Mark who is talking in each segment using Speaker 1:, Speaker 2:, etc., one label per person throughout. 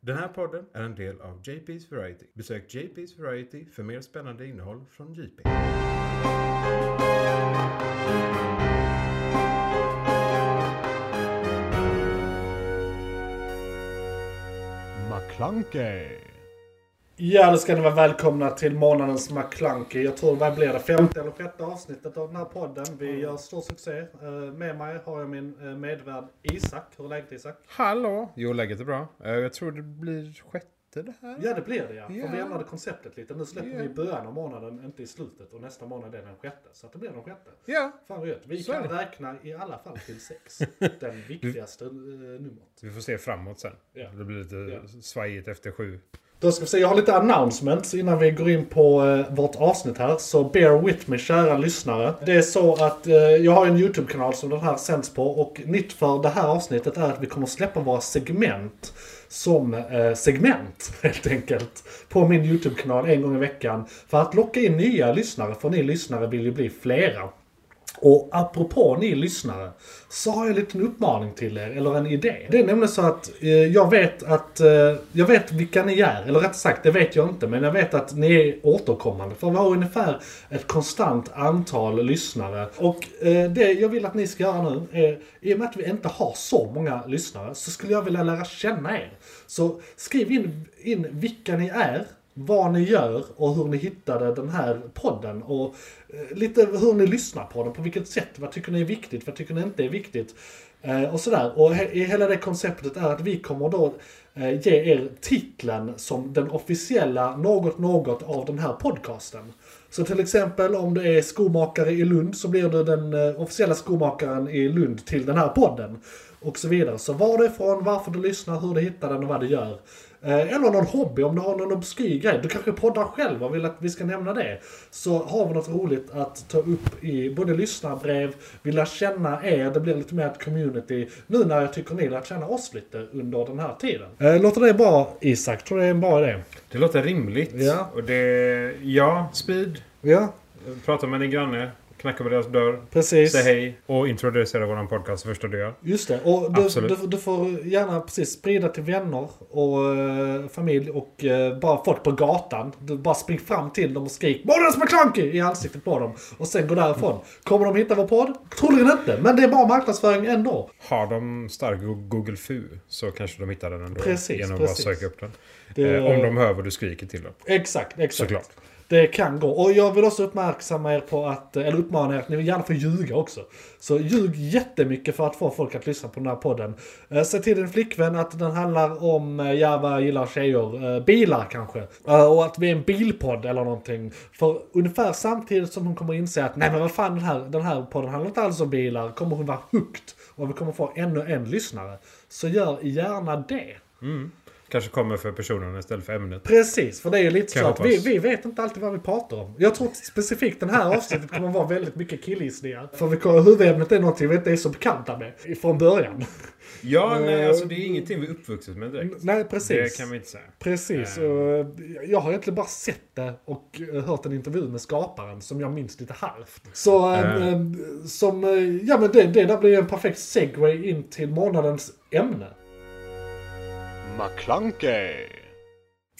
Speaker 1: Den här podden är en del av JP's Variety. Besök JP's Variety för mer spännande innehåll från JP.
Speaker 2: McClunkey.
Speaker 3: Ja, då ska ni vara välkomna till månadens McClunky. Jag tror det blir det femte eller sjätte avsnittet av den här podden. Vi gör stor succé. Eh, Med mig har jag min eh, medvärd Isak. Hur är läget Isak?
Speaker 1: Hallå! Jo, läget är bra. Eh, Jag tror det blir sjätte det här.
Speaker 3: Ja, det blir det ja.
Speaker 1: Ja.
Speaker 3: För vi ändrade konceptet lite. Nu släpper
Speaker 1: Ja.
Speaker 3: vi i början av månaden, inte i slutet. Och nästa månad är den sjätte. Så att det blir den sjätte.
Speaker 1: Ja.
Speaker 3: Fan vad gött. Vi
Speaker 1: Så är
Speaker 3: kan
Speaker 1: det.
Speaker 3: räkna i alla fall till sex. Den viktigaste eh, numret.
Speaker 1: Vi får se framåt sen.
Speaker 3: Ja.
Speaker 1: Det blir lite
Speaker 3: Ja.
Speaker 1: svajigt efter sju.
Speaker 3: Då ska vi se, jag har lite announcements innan vi går in på eh, vårt avsnitt här. Så bear with me kära lyssnare. Det är så att eh, jag har en YouTube-kanal som den här sänds på. Och nytt för det här avsnittet är att vi kommer släppa våra segment som eh, segment helt enkelt. På min YouTube-kanal en gång i veckan. För att locka in nya lyssnare, för ni lyssnare vill ju bli flera. Och apropå ni lyssnare, så har jag en liten uppmaning till er, eller en idé. Det är nämligen så att eh, jag vet att, eh, jag vet vilka ni är, eller rätt sagt, det vet jag inte, men jag vet att ni är återkommande. För vi har ungefär ett konstant antal lyssnare. Och eh, det jag vill att ni ska göra nu är, i och med att vi inte har så många lyssnare, så skulle jag vilja lära känna er. Så skriv in, in vilka ni är, vad ni gör och hur ni hittade den här podden och eh, lite hur ni lyssnar på den, på vilket sätt, vad tycker ni är viktigt, vad tycker ni inte är viktigt eh, och sådär. Och he- i hela det konceptet är att vi kommer då eh, ge er titeln som den officiella något något av den här podcasten. Så till exempel om det är skomakare i Lund så blir du den eh, officiella skomakaren i Lund till den här podden. Och så vidare. Så var du är ifrån, varför du lyssnar, hur du hittar den och vad du gör. Eh, Eller någon hobby om du har någon obskyr grej. Du kanske poddar själv och vill att vi ska nämna det. Så har vi något roligt att ta upp i både lyssnarbrev, vi lär känna er, det blir lite mer ett community. Nu när jag tycker ni lär känna oss lite under den här tiden. Eh, Låter det bra Isak? Tror du det är en bra idé?
Speaker 1: Det låter rimligt.
Speaker 3: Ja.
Speaker 1: Och det... Ja, speed.
Speaker 3: Ja,
Speaker 1: Prata med din granne. Knacka på deras dörr.
Speaker 3: precis.
Speaker 1: Säg hej. Och introducera våran podcast först du gör.
Speaker 3: Just det, och du,
Speaker 1: Absolut.
Speaker 3: du, du får gärna precis sprida till vänner och eh, familj och eh, bara folk på gatan. Du bara spring fram till dem och skrik Månadens McKlunky i ansiktet på dem och sen gå därifrån. Kommer de hitta vår podd? Troligen inte, men det är bra marknadsföring ändå.
Speaker 1: Har de stark Go- Google FU så kanske de hittar den ändå.
Speaker 3: Precis,
Speaker 1: genom att
Speaker 3: precis.
Speaker 1: bara söka upp den.
Speaker 3: Det-
Speaker 1: Eh, om de hör vad du skriker till dem.
Speaker 3: Exakt, exakt.
Speaker 1: Såklart.
Speaker 3: Det kan gå. Och jag vill också uppmärksamma er på att, eller uppmana er att ni gärna får ljuga också. Så ljug jättemycket för att få folk att lyssna på den här podden. Eh, Säg till din flickvän att den handlar om, eh, ja vad jag gillar tjejer, eh, bilar kanske. Eh, Och att vi är en bilpodd eller någonting. För ungefär samtidigt som hon kommer inse att nej men vad fan den här, den här podden handlar inte alls om bilar, kommer hon vara hooked. Och vi kommer få ännu en lyssnare. Så gör gärna det.
Speaker 1: Kanske kommer för personerna istället för ämnet.
Speaker 3: Precis, för det är ju lite
Speaker 1: Kan
Speaker 3: så
Speaker 1: jag
Speaker 3: att vi,
Speaker 1: hoppas.
Speaker 3: vi vet inte alltid vad vi pratar om. Jag tror att specifikt den här avsnittet kommer vara väldigt mycket killgissningar. För vi kommer, huvudämnet är någonting vi inte är så bekanta med från början.
Speaker 1: Ja, nej, alltså det är ingenting vi är uppvuxna med direkt.
Speaker 3: Nej, precis.
Speaker 1: Det kan vi inte säga.
Speaker 3: Precis,
Speaker 1: Eh.
Speaker 3: och jag har egentligen bara sett det och eh, hört en intervju med skaparen som jag minns lite halvt. Så, eh,
Speaker 1: Eh.
Speaker 3: eh, som, eh, ja men det, det där blir en perfekt segway in till månadens ämne.
Speaker 2: McClunkey.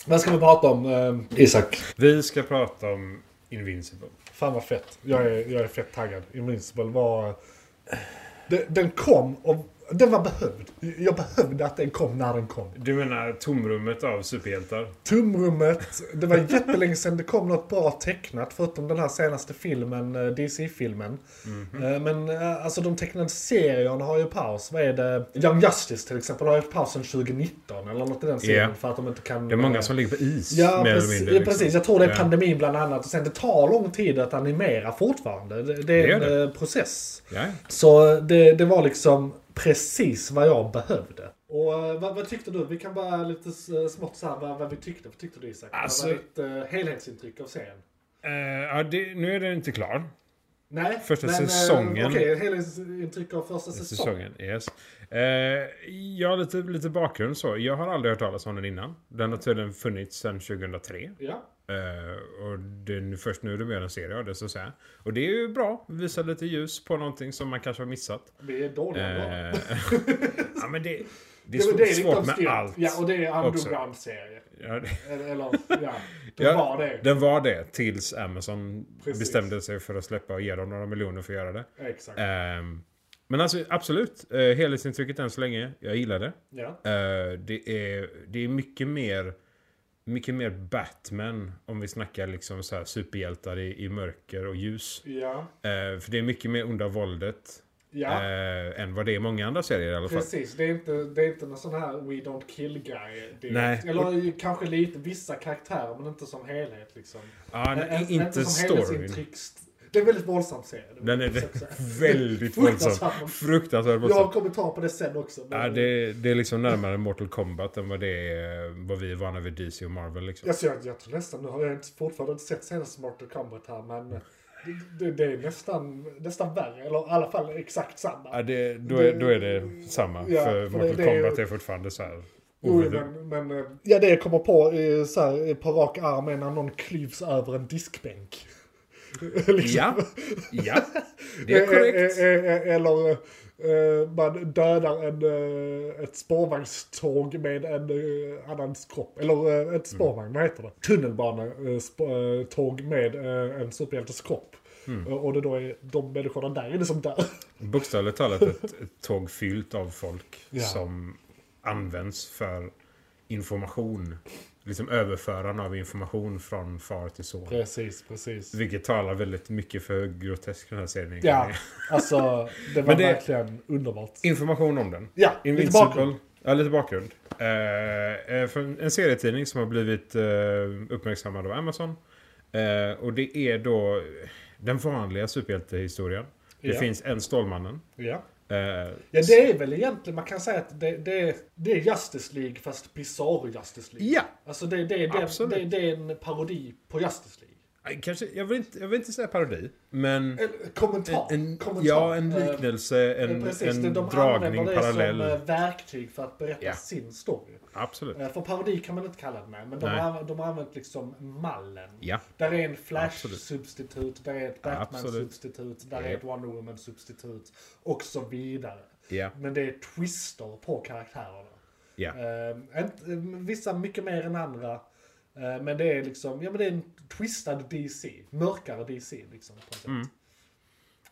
Speaker 3: Vad ska vi prata om, eh, Isak?
Speaker 1: Vi ska prata om Invincible.
Speaker 3: Fan vad fett. Jag är, jag är fett taggad. Invincible var... Den, den kom och den var behövd. Jag behövde att den kom när den kom.
Speaker 1: Du menar tomrummet av superhjältar?
Speaker 3: Tumrummet. Det var jättelänge sedan det kom något bra tecknat förutom den här senaste filmen, eh, DC-filmen.
Speaker 1: Mhm.
Speaker 3: Eh, Men eh, alltså de tecknade serierna har ju paus. Vad är det? Young Justice till exempel har ju pausen 2019 eller något i den stilen
Speaker 1: Ja.
Speaker 3: för att de inte kan...
Speaker 1: Det är många
Speaker 3: eh,
Speaker 1: som ligger på is
Speaker 3: Ja,
Speaker 1: mer
Speaker 3: precis,
Speaker 1: eller mindre.
Speaker 3: ja,
Speaker 1: liksom.
Speaker 3: precis. Jag tror det är
Speaker 1: Ja.
Speaker 3: pandemin bland annat. Och sen det tar lång tid att animera fortfarande. Det, det är
Speaker 1: Det
Speaker 3: en
Speaker 1: gör det.
Speaker 3: eh, process.
Speaker 1: Ja.
Speaker 3: Så det, det var liksom precis vad jag behövde. Och eh, vad, vad tyckte du? Vi kan bara lite eh, smått så här, vad, vad vi tyckte. Vad tyckte du Isak?
Speaker 1: Alltså-
Speaker 3: Vad var ditt eh, helhetsintryck av serien?
Speaker 1: Eh, ja, det, nu är den inte klar.
Speaker 3: Nej,
Speaker 1: Första
Speaker 3: eh,
Speaker 1: säsongen.
Speaker 3: Okej, helhetsintryck av första
Speaker 1: Säsongen,
Speaker 3: säsongen.
Speaker 1: yes. Eh, jag har lite, lite bakgrund så. Jag har aldrig hört talas om den innan. Den har tydligen funnits sedan 2003.
Speaker 3: Ja.
Speaker 1: Eh, och det är nu- först nu de gör en serie av det så att säga. Och det är ju bra. Visar lite ljus på någonting som man kanske har missat.
Speaker 3: Vi är dåliga
Speaker 1: Eh,
Speaker 3: då.
Speaker 1: ja men det... Det är, svårt- svårt med allt.
Speaker 3: Ja, och det är en
Speaker 1: också.
Speaker 3: underground-serie.
Speaker 1: Ja, det-
Speaker 3: Eller, eller ja, det
Speaker 1: ja,
Speaker 3: var det.
Speaker 1: Den var det tills Amazon
Speaker 3: Precis.
Speaker 1: bestämde sig för att släppa och ge dem några miljoner för att göra det.
Speaker 3: Exakt.
Speaker 1: Ehm, men alltså absolut, uh, helhetsintrycket än så länge. Jag gillar det.
Speaker 3: Ja.
Speaker 1: Eh, det, är, det är mycket mer mycket mer Batman om vi snackar liksom så här superhjältar i, i mörker och ljus.
Speaker 3: Ja.
Speaker 1: Eh, för det är mycket mer onda våldet
Speaker 3: Ja.
Speaker 1: eh, än vad det är i många andra serier i alla fall.
Speaker 3: Precis, det är, inte, det är inte någon sån här We Don't Kill Guy.
Speaker 1: Nej.
Speaker 3: direkt. Eller ju kanske lite vissa karaktärer, men inte som helhet liksom.
Speaker 1: Ja,
Speaker 3: Ä- ä-
Speaker 1: nej, inte
Speaker 3: som
Speaker 1: storyn.
Speaker 3: helhetsintryck. Det är en väldigt våldsam serie. det vill
Speaker 1: Den är
Speaker 3: jag
Speaker 1: det,
Speaker 3: försöka säga.
Speaker 1: väldigt våldsam.
Speaker 3: Fruktansvärt.
Speaker 1: Fruktansvärt
Speaker 3: Jag har en
Speaker 1: våldsam.
Speaker 3: kommentar på det sen också. men-
Speaker 1: Ja, det, det är liksom närmare Mortal Kombat än vad det är vad vi är vana vid DC och Marvel. Liksom.
Speaker 3: Alltså, jag, jag tror nästan, nu har jag inte- fortfarande inte sett senaste Mortal Kombat här, men det- det, det är nästan, nästan värre. Eller i alla fall exakt samma.
Speaker 1: Ja, det, då, är, då är det samma.
Speaker 3: Ja,
Speaker 1: för
Speaker 3: för
Speaker 1: Mortal
Speaker 3: det- det är ju-
Speaker 1: Kombat är fortfarande så här...
Speaker 3: Oj, men, men, eh, ja, det jag kommer på eh, så här, eh, på rak arm är när någon klyvs över en diskbänk. liksom.
Speaker 1: Ja, ja. Det är korrekt.
Speaker 3: Eh, eh, eh, eh, Eller eh, man dödar en, eh, ett spårvagnståg med en eh, annans kropp. Eller eh, ett spårvagn, vad heter det? eh, Tunnelbanetåg med eh, en superhjältes kropp.
Speaker 1: Mm.
Speaker 3: Eh, Och det då är de människorna där inne som dör.
Speaker 1: Bokstavligt talat ett, ett tåg fyllt av folk
Speaker 3: Ja.
Speaker 1: som används för information. Liksom överförande av information från far till son.
Speaker 3: Precis, precis.
Speaker 1: Vilket talar väldigt mycket för hur grotesk den här serien är.
Speaker 3: Ja, alltså det var
Speaker 1: Men det-
Speaker 3: verkligen underbart.
Speaker 1: Information om den.
Speaker 3: Ja, lite bakgrund.
Speaker 1: Invincible. Ja, lite bakgrund. Eh, eh, från en serietidning som har blivit eh, uppmärksammad av Amazon. Eh, och det är då den vanliga superhjältehistorien. Det
Speaker 3: Ja.
Speaker 1: finns en Stålmannen.
Speaker 3: Ja.
Speaker 1: Eh,
Speaker 3: ja, det är väl egentligen, man kan säga att det, det, det är Justice League fast Bizarro Justice League.
Speaker 1: ja.
Speaker 3: Alltså det, det, det,
Speaker 1: Absolut.
Speaker 3: det, det är en parodi på Justice League.
Speaker 1: Eh, Kanske, jag, vill inte, jag vill inte säga parodi, men...
Speaker 3: En kommentar.
Speaker 1: En,
Speaker 3: Eh, kommentar.
Speaker 1: ja, en
Speaker 3: Eh,
Speaker 1: liknelse, en,
Speaker 3: precis, det-
Speaker 1: en
Speaker 3: de
Speaker 1: dragning,
Speaker 3: använder det
Speaker 1: parallell.
Speaker 3: som eh, verktyg för att berätta
Speaker 1: Ja.
Speaker 3: sin story.
Speaker 1: Absolut.
Speaker 3: Eh, För parodi kan man inte kalla det med, men de
Speaker 1: Nej.
Speaker 3: har, de har använt liksom mallen.
Speaker 1: Ja.
Speaker 3: Där är en
Speaker 1: Absolut.
Speaker 3: Flash-substitut, där är ett Batman-substitut, där är
Speaker 1: Ja.
Speaker 3: ett Wonder Woman-substitut och så vidare.
Speaker 1: Ja.
Speaker 3: Men det är twister på karaktärerna.
Speaker 1: Ja.
Speaker 3: Eh, inte- eh, vissa mycket mer än andra. Eh, men det är liksom, ja men det är en twistad DC. Mörkare DC liksom. På något sätt.
Speaker 1: Mm.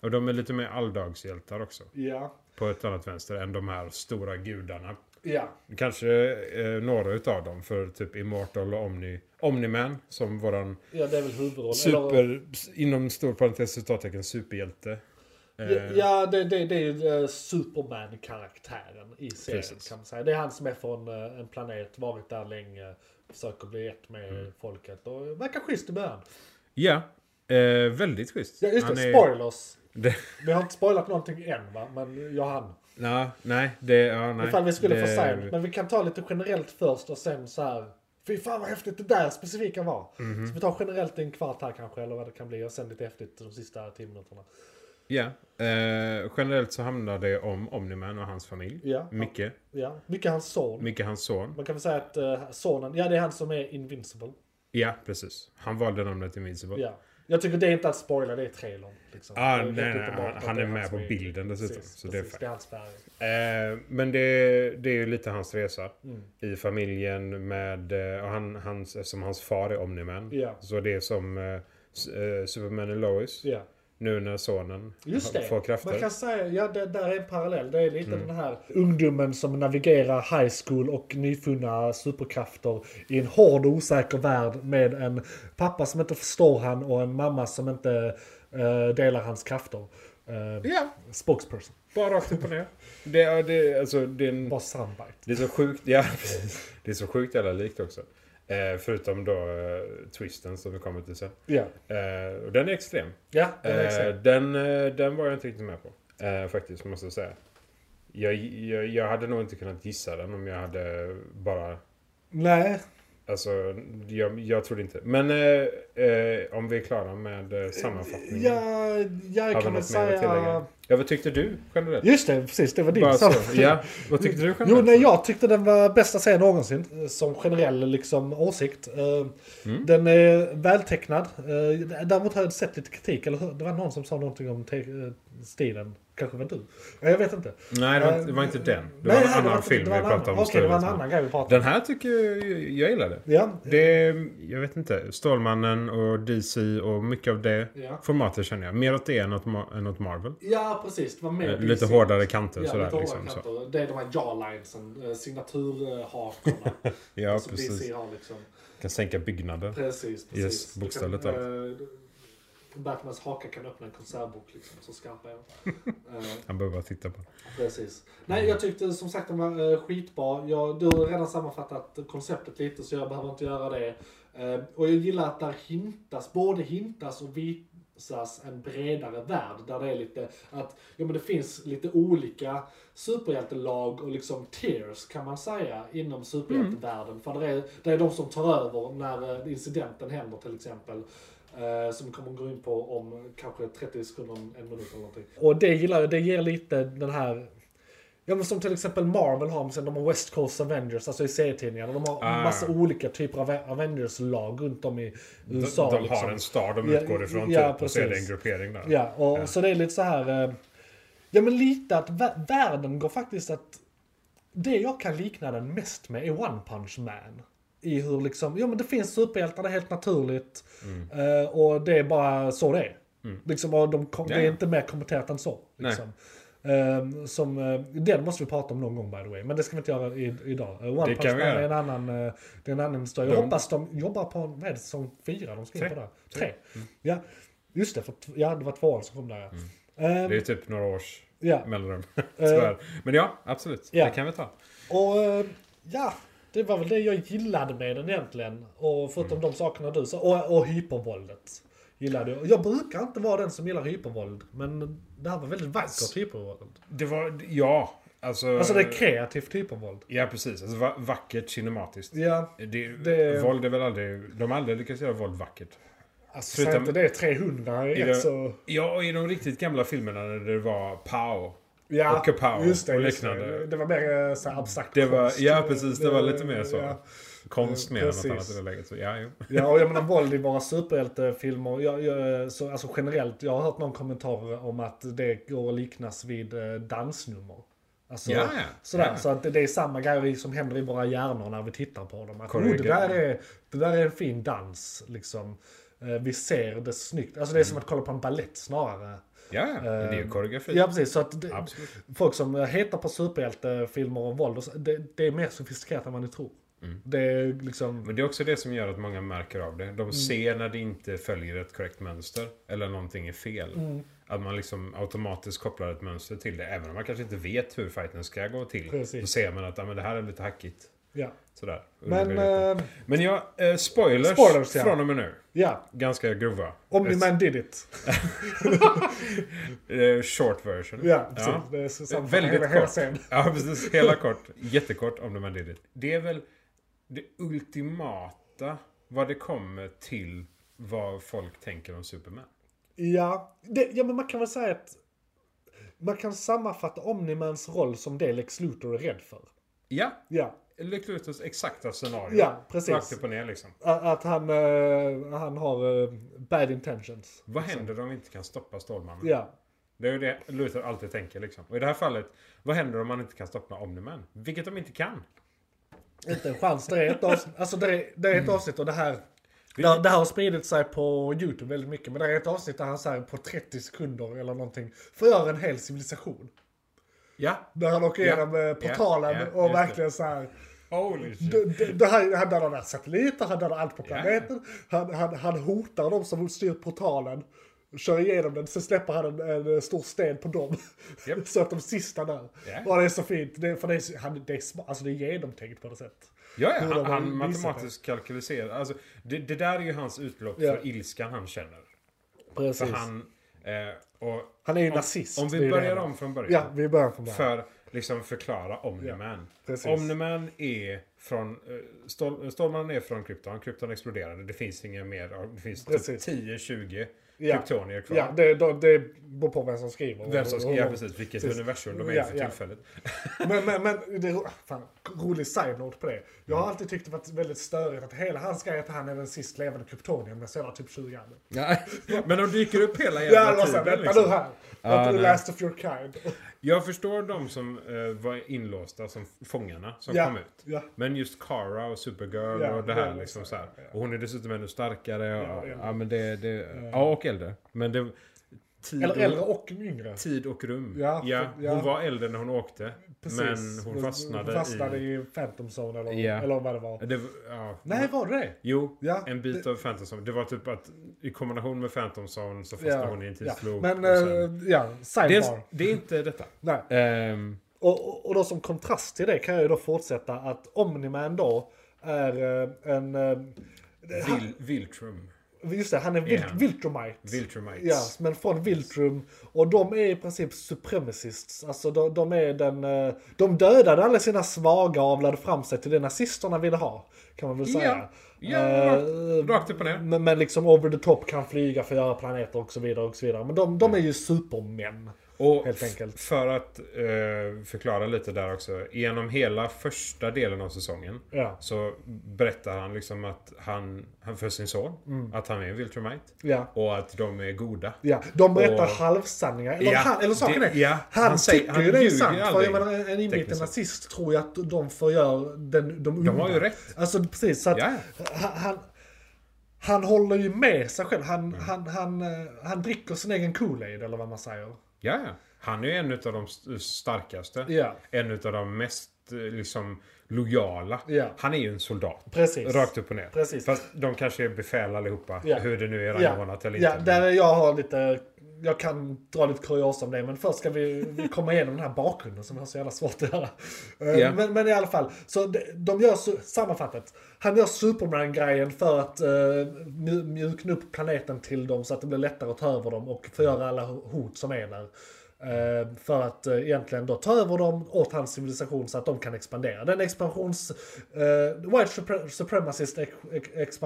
Speaker 1: Och de är lite mer alldagshjältar också.
Speaker 3: Ja,
Speaker 1: På ett annat vänster än de här stora gudarna
Speaker 3: ja,
Speaker 1: Kanske eh, några utav dem för typ Immortal och Omni, Omni-Man som våran
Speaker 3: ja det är väl huvudrollen. Eller-
Speaker 1: super, inom stor parentes citattecken, superhjälte. Eh,
Speaker 3: Ja, ja, det, det, det är ju eh, Superman-karaktären i serien
Speaker 1: Precis.
Speaker 3: kan man säga. Det är han som är från eh, en planet, varit där länge, försöker bli ett med
Speaker 1: Mm.
Speaker 3: folket och verkar schysst i början.
Speaker 1: ja. Eh, väldigt schysst.
Speaker 3: Ja, just
Speaker 1: Han
Speaker 3: det,
Speaker 1: är-
Speaker 3: spoilers.
Speaker 1: Det-
Speaker 3: Vi har inte spoilat någonting än va, men jag hann.
Speaker 1: Ja, nej, det... Ja, nej.
Speaker 3: Ifall vi skulle få
Speaker 1: Det-
Speaker 3: säga något. Men vi kan ta lite generellt först och sen så här. Fy fan vad häftigt det där specifika var.
Speaker 1: Mhm.
Speaker 3: Så vi tar generellt i en kvart här kanske, eller vad det kan bli. Och sen lite häftigt de sista 10 minuterna.
Speaker 1: Ja. Eh, generellt så handlar det om Omni-Man och hans familj.
Speaker 3: Ja.
Speaker 1: Micke.
Speaker 3: Ja, mycket hans son.
Speaker 1: Micke, hans son.
Speaker 3: Man kan väl säga att eh, sonen, ja det är han som är invincible.
Speaker 1: Ja, precis. Han valde namnet Invincible.
Speaker 3: Ja. Jag tycker det är inte att spoila, det är trailern. Liksom.
Speaker 1: Ah,
Speaker 3: Det är
Speaker 1: nej,
Speaker 3: helt
Speaker 1: nej,
Speaker 3: uppenbart
Speaker 1: han-
Speaker 3: att
Speaker 1: han
Speaker 3: det
Speaker 1: är med
Speaker 3: han
Speaker 1: på
Speaker 3: som
Speaker 1: bilden dessutom,
Speaker 3: Precis,
Speaker 1: så det är fine.
Speaker 3: precis, det är hans färg.
Speaker 1: Eh, men det, det är ju lite hans resa
Speaker 3: Mm.
Speaker 1: i familjen med, eh, och han, hans, eftersom hans far är Omni-Man.
Speaker 3: Ja.
Speaker 1: Så det är som eh, S- eh, Superman och Lois.
Speaker 3: Ja.
Speaker 1: Nu när sonen
Speaker 3: Just
Speaker 1: har-
Speaker 3: det.
Speaker 1: får krafter. Mm.
Speaker 3: Man kan säga, ja det där är en parallell. Det är lite den här ungdomen som navigerar high school och nyfunna superkrafter i en hård och osäker värld med en pappa som inte förstår han och en mamma som inte eh, delar hans krafter. Eh,
Speaker 1: Ja,
Speaker 3: Spokesperson.
Speaker 1: bara rakt upp och ner. Det är, det, är- alltså, det, är en,
Speaker 3: Bara soundbite.
Speaker 1: det är så sjukt, ja precis. Det är så sjukt jävla likt också. Eh, förutom då eh, twisten som vi kommer till sen.
Speaker 3: Ja.
Speaker 1: Eh, och den är extrem.
Speaker 3: Ja, det är
Speaker 1: Eh,
Speaker 3: exakt.
Speaker 1: den, eh, den var jag inte riktigt med på. Eh, faktiskt, måste jag säga. Jag, jag, jag hade nog inte kunnat gissa den om jag hade bara...
Speaker 3: Nej,
Speaker 1: Alltså, jag, jag trodde inte. Men eh, eh, om vi är klara med eh, sammanfattningen.
Speaker 3: Ja, jag
Speaker 1: har vi
Speaker 3: kan väl
Speaker 1: något mer att
Speaker 3: säga...
Speaker 1: tillägga? Ja, vad tyckte du generellt?
Speaker 3: Just det, precis. Det var din
Speaker 1: Bara så.
Speaker 3: sammanfattning.
Speaker 1: Ja, vad tyckte du generellt?
Speaker 3: Jo, nej, jag tyckte den var bästa serien någonsin. eh, Som generell liksom, åsikt. Eh,
Speaker 1: Mm.
Speaker 3: Den är vältecknad. Eh, Däremot har jag sett lite kritik. Eller hur? Det var någon som sa någonting om te- eh, stilen. Kanske var du? Ja, Jag vet inte. Eh,
Speaker 1: Nej, det var, inte- det var inte den. Det var en
Speaker 3: nej,
Speaker 1: annan
Speaker 3: inte-
Speaker 1: film
Speaker 3: det
Speaker 1: vi
Speaker 3: var en
Speaker 1: pratade
Speaker 3: annan-
Speaker 1: om.
Speaker 3: Okej, det var en
Speaker 1: Stålmannen.
Speaker 3: annan grej vi pratade
Speaker 1: Den
Speaker 3: om.
Speaker 1: här tycker jag, jag gillade.
Speaker 3: Ja.
Speaker 1: Det, jag vet inte, Stålmannen och DC och mycket av det
Speaker 3: Ja.
Speaker 1: formatet känner jag. Mer åt det än åt, Ma- än åt Marvel.
Speaker 3: ja, precis. Det var mer
Speaker 1: Eh, Lite
Speaker 3: DC.
Speaker 1: hårdare kanter
Speaker 3: Ja,
Speaker 1: sådär.
Speaker 3: lite
Speaker 1: Liksom,
Speaker 3: hårdare
Speaker 1: så.
Speaker 3: kanter. Det är de här jawlinesen, eh, signaturhakorna.
Speaker 1: Ja,
Speaker 3: som
Speaker 1: precis.
Speaker 3: DC har liksom.
Speaker 1: Kan sänka byggnader.
Speaker 3: Precis, precis.
Speaker 1: Yes,
Speaker 3: Du
Speaker 1: bokstavligt
Speaker 3: kan, eh, Batmans haka kan öppna en konservbok liksom, så skarp är de. Eh,
Speaker 1: Han behöver bara titta på.
Speaker 3: Precis. Nej, jag tyckte som sagt den var eh, skitbra. Jag, du har redan sammanfattat konceptet lite så jag behöver inte göra det. Eh, och jag gillar att där hintas, både hintas och visas en bredare värld. Där det är lite att, ja men det finns lite olika superhjältelag och liksom tiers kan man säga inom superhjältevärlden. För det är, det är de som tar över när eh, incidenten händer till exempel. Eh, som vi kommer gå in på om kanske 30 sekunder, en minut eller någonting. Och det gillar jag, det ger lite den här Ja men som till exempel Marvel har, men sen de har West Coast Avengers, alltså i serietidningarna. De har
Speaker 1: Ah.
Speaker 3: massa olika typer av Avengers-lag runt om i
Speaker 1: De,
Speaker 3: USA.
Speaker 1: de
Speaker 3: liksom.
Speaker 1: har en star de
Speaker 3: Ja,
Speaker 1: utgår ifrån
Speaker 3: ja,
Speaker 1: typ, och så är det en
Speaker 3: precis.
Speaker 1: gruppering där.
Speaker 3: Ja, och så det är lite så här... eh, Ja men lite att vä- världen går faktiskt att... Det jag kan likna den mest med är One Punch Man. I hur liksom, ja men det finns superhjältar, det är helt naturligt.
Speaker 1: Mm.
Speaker 3: Eh, och det är bara så det är. Liksom, och de kom,
Speaker 1: Ja,
Speaker 3: Det är
Speaker 1: ja.
Speaker 3: inte mer kommenterat än så.
Speaker 1: Nej.
Speaker 3: Liksom. Eh, som, eh, den måste vi prata om någon gång by the way, men det ska vi inte göra i, idag. Eh, One
Speaker 1: Det
Speaker 3: Punch
Speaker 1: kan
Speaker 3: Man
Speaker 1: vi
Speaker 3: är
Speaker 1: göra.
Speaker 3: en annan, eh, det är en annan historia. Jag
Speaker 1: De-
Speaker 3: hoppas Alltså, de jobbar på, en- vad är det, som fyra de ska in
Speaker 1: Tre. Mm.
Speaker 3: på där? Tre. Ja, just det, för, t- ja, det var tvåan som kom där ja. Eh,
Speaker 1: Det är typ några års
Speaker 3: ja.
Speaker 1: mellanrum. Tyvärr. Men ja, absolut.
Speaker 3: Eh. ja.
Speaker 1: Det kan vi ta.
Speaker 3: Och eh, ja, det var väl det jag gillade med den egentligen. Och förutom
Speaker 1: Mm.
Speaker 3: de sakerna du sa. Och, och hypervåldet. Gillade jag. Jag brukar inte vara den som gillar hypervåld. Men det här var väldigt vackert hypervåld.
Speaker 1: Det var, ja. Alltså,
Speaker 3: Alltså det är kreativt hypervåld.
Speaker 1: Ja, precis. Alltså, va- vackert kinematiskt.
Speaker 3: Ja,
Speaker 1: Det,
Speaker 3: Det-
Speaker 1: Våld är väl aldrig... De har aldrig lyckats göra våld vackert.
Speaker 3: alltså
Speaker 1: Förutom-
Speaker 3: säg inte det är 300 i
Speaker 1: I
Speaker 3: ett
Speaker 1: det-
Speaker 3: så...
Speaker 1: Ja, och i de riktigt gamla filmerna när det var pow.
Speaker 3: Ja,
Speaker 1: och kapow
Speaker 3: just det,
Speaker 1: och
Speaker 3: just
Speaker 1: liknande.
Speaker 3: det. Det var mer eh, så här abstrakt
Speaker 1: Det var,
Speaker 3: konst.
Speaker 1: ja, precis. Det var lite mer så.
Speaker 3: Ja.
Speaker 1: Konst mer än något
Speaker 3: Precis.
Speaker 1: annat i det läget. Så, ja, jo.
Speaker 3: Ja, och jag menar våld i våra superhjältefilmer. Jag, jag, så, alltså generellt, jag har hört någon kommentar om att det går att liknas vid eh, dansnummer. Alltså,
Speaker 1: Ja, ja.
Speaker 3: Sådär,
Speaker 1: Ja.
Speaker 3: Så att det, det är samma grej som händer i våra hjärnor när vi tittar på dem. Att, oh,
Speaker 1: Korrekt.
Speaker 3: det, där är, det där är en fin dans. Liksom. Eh, Vi ser det snyggt. Alltså, det
Speaker 1: Mm.
Speaker 3: är som att kolla på en ballett snarare.
Speaker 1: Ja, ja. Men det är ju koreografi.
Speaker 3: Eh, Ja, precis. Så att det,
Speaker 1: Absolut.
Speaker 3: folk som eh, heter på superhjältefilmer och våld, och så, det, det är mer sofistikerat än vad ni tror.
Speaker 1: Mm.
Speaker 3: Det är liksom...
Speaker 1: Men det är också det som gör att många märker av det.
Speaker 3: Mm.
Speaker 1: De ser när det inte följer ett korrekt mönster. Eller någonting är fel.
Speaker 3: Mm.
Speaker 1: Att man liksom automatiskt kopplar ett mönster till det. Även om man kanske inte vet hur fighten ska gå till.
Speaker 3: Precis.
Speaker 1: Då ser man att ja, men det här är lite hackigt.
Speaker 3: Ja.
Speaker 1: Sådär.
Speaker 3: Men...
Speaker 1: Undermedvetet.
Speaker 3: eh,
Speaker 1: men ja, eh, spoilers,
Speaker 3: Spoilers, ja.
Speaker 1: från och med nu.
Speaker 3: ja.
Speaker 1: Ganska grova.
Speaker 3: Omni-Man did it.
Speaker 1: Eh, short version.
Speaker 3: Ja, precis. Det är så samma
Speaker 1: Väldigt
Speaker 3: hela, hela
Speaker 1: kort.
Speaker 3: scenen.
Speaker 1: Ja, precis. Hela kort. Jättekort om man did it. Det är väl det ultimata vad det kommer till vad folk tänker om Superman.
Speaker 3: Ja. Det, ja, men man kan väl säga att man kan sammanfatta Omni-Mans roll som det Lex Luthor är rädd för.
Speaker 1: Ja,
Speaker 3: Ja,
Speaker 1: Lex Luthors exakta scenario.
Speaker 3: ja precis.
Speaker 1: Rakt upp och ner liksom.
Speaker 3: A- Att han, eh, han har eh, bad intentions.
Speaker 1: Vad händer om vi inte kan stoppa Stålmannen?
Speaker 3: Ja,
Speaker 1: Det är ju det Luthor alltid tänker liksom. Och i det här fallet, vad händer om man inte kan stoppa Omniman? Vilket de inte kan.
Speaker 3: inte en chans. Det är ett avsnitt, alltså det är, det är
Speaker 1: Mm.
Speaker 3: ett avsnitt och det här det, det här har spridit sig på YouTube väldigt mycket, men det är ett avsnitt där han säger på 30 sekunder eller någonting förgör en hel civilisation.
Speaker 1: Ja.
Speaker 3: Där han åker
Speaker 1: Ja,
Speaker 3: igenom eh, portalen
Speaker 1: ja, just
Speaker 3: och
Speaker 1: det.
Speaker 3: verkligen så här
Speaker 1: Holy shit.
Speaker 3: Det- det- det här- Han dödar satelliter, han dödar allt på planeten. Han, han, han hotar de som styr portalen. Kör igenom den, sen släpper han en, en stor sten på dem.
Speaker 1: Japp.
Speaker 3: Så att de sista där.
Speaker 1: Ja.
Speaker 3: Och det är så fint. Det, är- för det är, så- han, det, är, sma- alltså det är genomtänkt på något sätt.
Speaker 1: Ja, ja
Speaker 3: Hur
Speaker 1: han,
Speaker 3: de har
Speaker 1: han
Speaker 3: visat det.
Speaker 1: matematiskt kalkyliserar. Alltså, det, det där är ju hans utlopp
Speaker 3: Ja.
Speaker 1: för ilskan han känner. För
Speaker 3: Precis. Han,
Speaker 1: han... Eh, och
Speaker 3: är ju nazist.
Speaker 1: om
Speaker 3: det är
Speaker 1: vi
Speaker 3: ju
Speaker 1: börjar
Speaker 3: det.
Speaker 1: om från början.
Speaker 3: Ja, vi börjar från början.
Speaker 1: För liksom förklara Omniman.
Speaker 3: precis.
Speaker 1: Omniman är från... eh, Stål, Stålmannen är från Krypton. Krypton exploderade. Det finns inga mer. av- Det finns typ
Speaker 3: Precis.
Speaker 1: 10-20 ja.
Speaker 3: Ja.
Speaker 1: kryptonier kvar.
Speaker 3: Ja, det, då- det beror på vem som skriver.
Speaker 1: Vem som ska, ja,
Speaker 3: Och- och-
Speaker 1: precis, vilket
Speaker 3: Precis.
Speaker 1: universum de är i
Speaker 3: Ja,
Speaker 1: för
Speaker 3: ja.
Speaker 1: tillfället.
Speaker 3: Men, men, men det är ro- fan, rolig side-note på det. Jag har alltid tyckt det varit väldigt störigt att hela hans grej är att han är den sist levande kryptonien, men så var typ 20 gammal.
Speaker 1: Ja. Men de dyker upp hela
Speaker 3: Ja, det
Speaker 1: jävla
Speaker 3: var
Speaker 1: tiden.
Speaker 3: såhär, vänta
Speaker 1: Liksom.
Speaker 3: nu här.
Speaker 1: Ja,
Speaker 3: Not the
Speaker 1: nej.
Speaker 3: last of your kind.
Speaker 1: Jag förstår de som eh, var inlåsta som fångarna som
Speaker 3: Ja,
Speaker 1: kom ut.
Speaker 3: ja.
Speaker 1: Men just Kara och Supergirl
Speaker 3: Ja,
Speaker 1: och det här
Speaker 3: det är
Speaker 1: liksom så
Speaker 3: så
Speaker 1: här.
Speaker 3: här,
Speaker 1: Och hon är dessutom ännu starkare. Och,
Speaker 3: Ja,
Speaker 1: ja,
Speaker 3: och äldre.
Speaker 1: men det, det, ja, och äldre. Men det... Tid,
Speaker 3: Eller
Speaker 1: och,
Speaker 3: äldre och yngre.
Speaker 1: tid och rum.
Speaker 3: Ja,
Speaker 1: hon
Speaker 3: ja.
Speaker 1: var äldre när hon åkte. Men hon fastnade,
Speaker 3: hon fastnade
Speaker 1: i...
Speaker 3: i... Phantom Zone eller,
Speaker 1: Ja.
Speaker 3: eller vad det var.
Speaker 1: Det, var- ja.
Speaker 3: Nej, var det det?
Speaker 1: Jo,
Speaker 3: Ja,
Speaker 1: en bit av Phantom Zone. Det var typ att i kombination med Phantom Zone så fastnade
Speaker 3: Ja,
Speaker 1: hon i en
Speaker 3: ja.
Speaker 1: tidsloop.
Speaker 3: Men,
Speaker 1: och sen-
Speaker 3: eh, ja,
Speaker 1: det,
Speaker 3: sidebar.
Speaker 1: är, det är inte detta.
Speaker 3: Nej.
Speaker 1: Ehm,
Speaker 3: Och, och, och då som kontrast till det kan jag ju då fortsätta att Omniman då är eh, en... eh,
Speaker 1: Vil, Viltrum.
Speaker 3: Just det, han är vil,
Speaker 1: Ja.
Speaker 3: Viltrumite.
Speaker 1: Viltrumites.
Speaker 3: Ja, men från Viltrum. Och de är i princip supremacists. Alltså de, de är den... eh, De dödade alla sina svaga och avlade fram sig till det nazisterna ville ha. Kan man väl säga.
Speaker 1: Ja,
Speaker 3: Eh,
Speaker 1: rakt- rakt upp och ner.
Speaker 3: Men, men liksom over the top kan flyga, förgöra planeter och så vidare. och så vidare. Men de, de är ju supermän.
Speaker 1: Och
Speaker 3: Helt enkelt.
Speaker 1: för att eh, förklara lite där också. Genom hela första delen av säsongen
Speaker 3: Ja.
Speaker 1: så berättar han liksom att han, han för sin son, att han är en Viltrumite.
Speaker 3: Ja.
Speaker 1: Och att de är goda.
Speaker 3: Mm. Ja, de berättar
Speaker 1: Och-
Speaker 3: halvsanningar. Eller,
Speaker 1: Ja,
Speaker 3: han, eller saken
Speaker 1: det-
Speaker 3: är,
Speaker 1: ja,
Speaker 3: han,
Speaker 1: han säger-
Speaker 3: tycker
Speaker 1: han
Speaker 3: ju det är
Speaker 1: ljuger
Speaker 3: sant. För
Speaker 1: aldrig,
Speaker 3: jag menar, en- en inbiten
Speaker 1: tekniskt sett.
Speaker 3: nazist tror ju att de förgör den, de onda.
Speaker 1: De har ju rätt.
Speaker 3: Alltså precis, så att
Speaker 1: Ja.
Speaker 3: han, han, han håller ju med sig själv. Han,
Speaker 1: Mm.
Speaker 3: han, han, eh, han dricker sin egen Kool-Aid eller vad man säger.
Speaker 1: Ja, ja. Han är ju en av de st- starkaste.
Speaker 3: Ja.
Speaker 1: En av de mest eh, liksom lojala.
Speaker 3: Ja.
Speaker 1: Han är ju en soldat.
Speaker 3: Precis.
Speaker 1: Rakt upp och ner.
Speaker 3: Precis.
Speaker 1: Fast de kanske är befäl allihopa.
Speaker 3: Ja.
Speaker 1: Hur det nu är
Speaker 3: Ja,
Speaker 1: rangordnat eller
Speaker 3: ja
Speaker 1: inte.
Speaker 3: där är jag har lite... Jag kan dra lite kuriosa om det, men först ska vi, vi komma igenom den här bakgrunden som jag har så jävla svårt att göra. Eh,
Speaker 1: Ja.
Speaker 3: Men, men i alla fall, så de, de gör, su- sammanfattat, han gör Superman-grejen för att eh, mju- mjukna upp planeten till dem så att det blir lättare att ta över dem och förgöra alla ho- hot som är där. Eh, För att eh, egentligen då ta över dem åt hans civilisation så att de kan expandera. Den expansions... eh, white supre- supremacist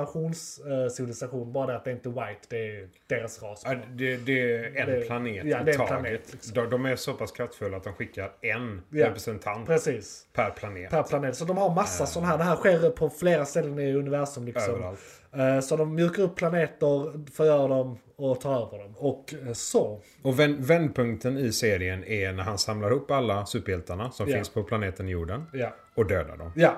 Speaker 3: expansionscivilisation, eh, bara det att det inte är white, det är deras ras.
Speaker 1: Ja, det, det är en
Speaker 3: Det-
Speaker 1: planet
Speaker 3: ja, det
Speaker 1: i
Speaker 3: är en
Speaker 1: taget.
Speaker 3: planet, liksom.
Speaker 1: de, de är så pass kraftfulla att de skickar en
Speaker 3: Ja.
Speaker 1: representant
Speaker 3: Precis.
Speaker 1: per planet.
Speaker 3: Per planet. Så de har massa sådana här. Det här sker på flera ställen i universum. Liksom.
Speaker 1: Överallt.
Speaker 3: Eh, Så de mjukar upp planeter, förgör dem och tar över dem. Och eh, så.
Speaker 1: Och vänd, vändpunkten i serien är när han samlar ihop alla superhjältarna som
Speaker 3: Ja.
Speaker 1: finns på planeten jorden
Speaker 3: Ja.
Speaker 1: och dödar dem.
Speaker 3: ja.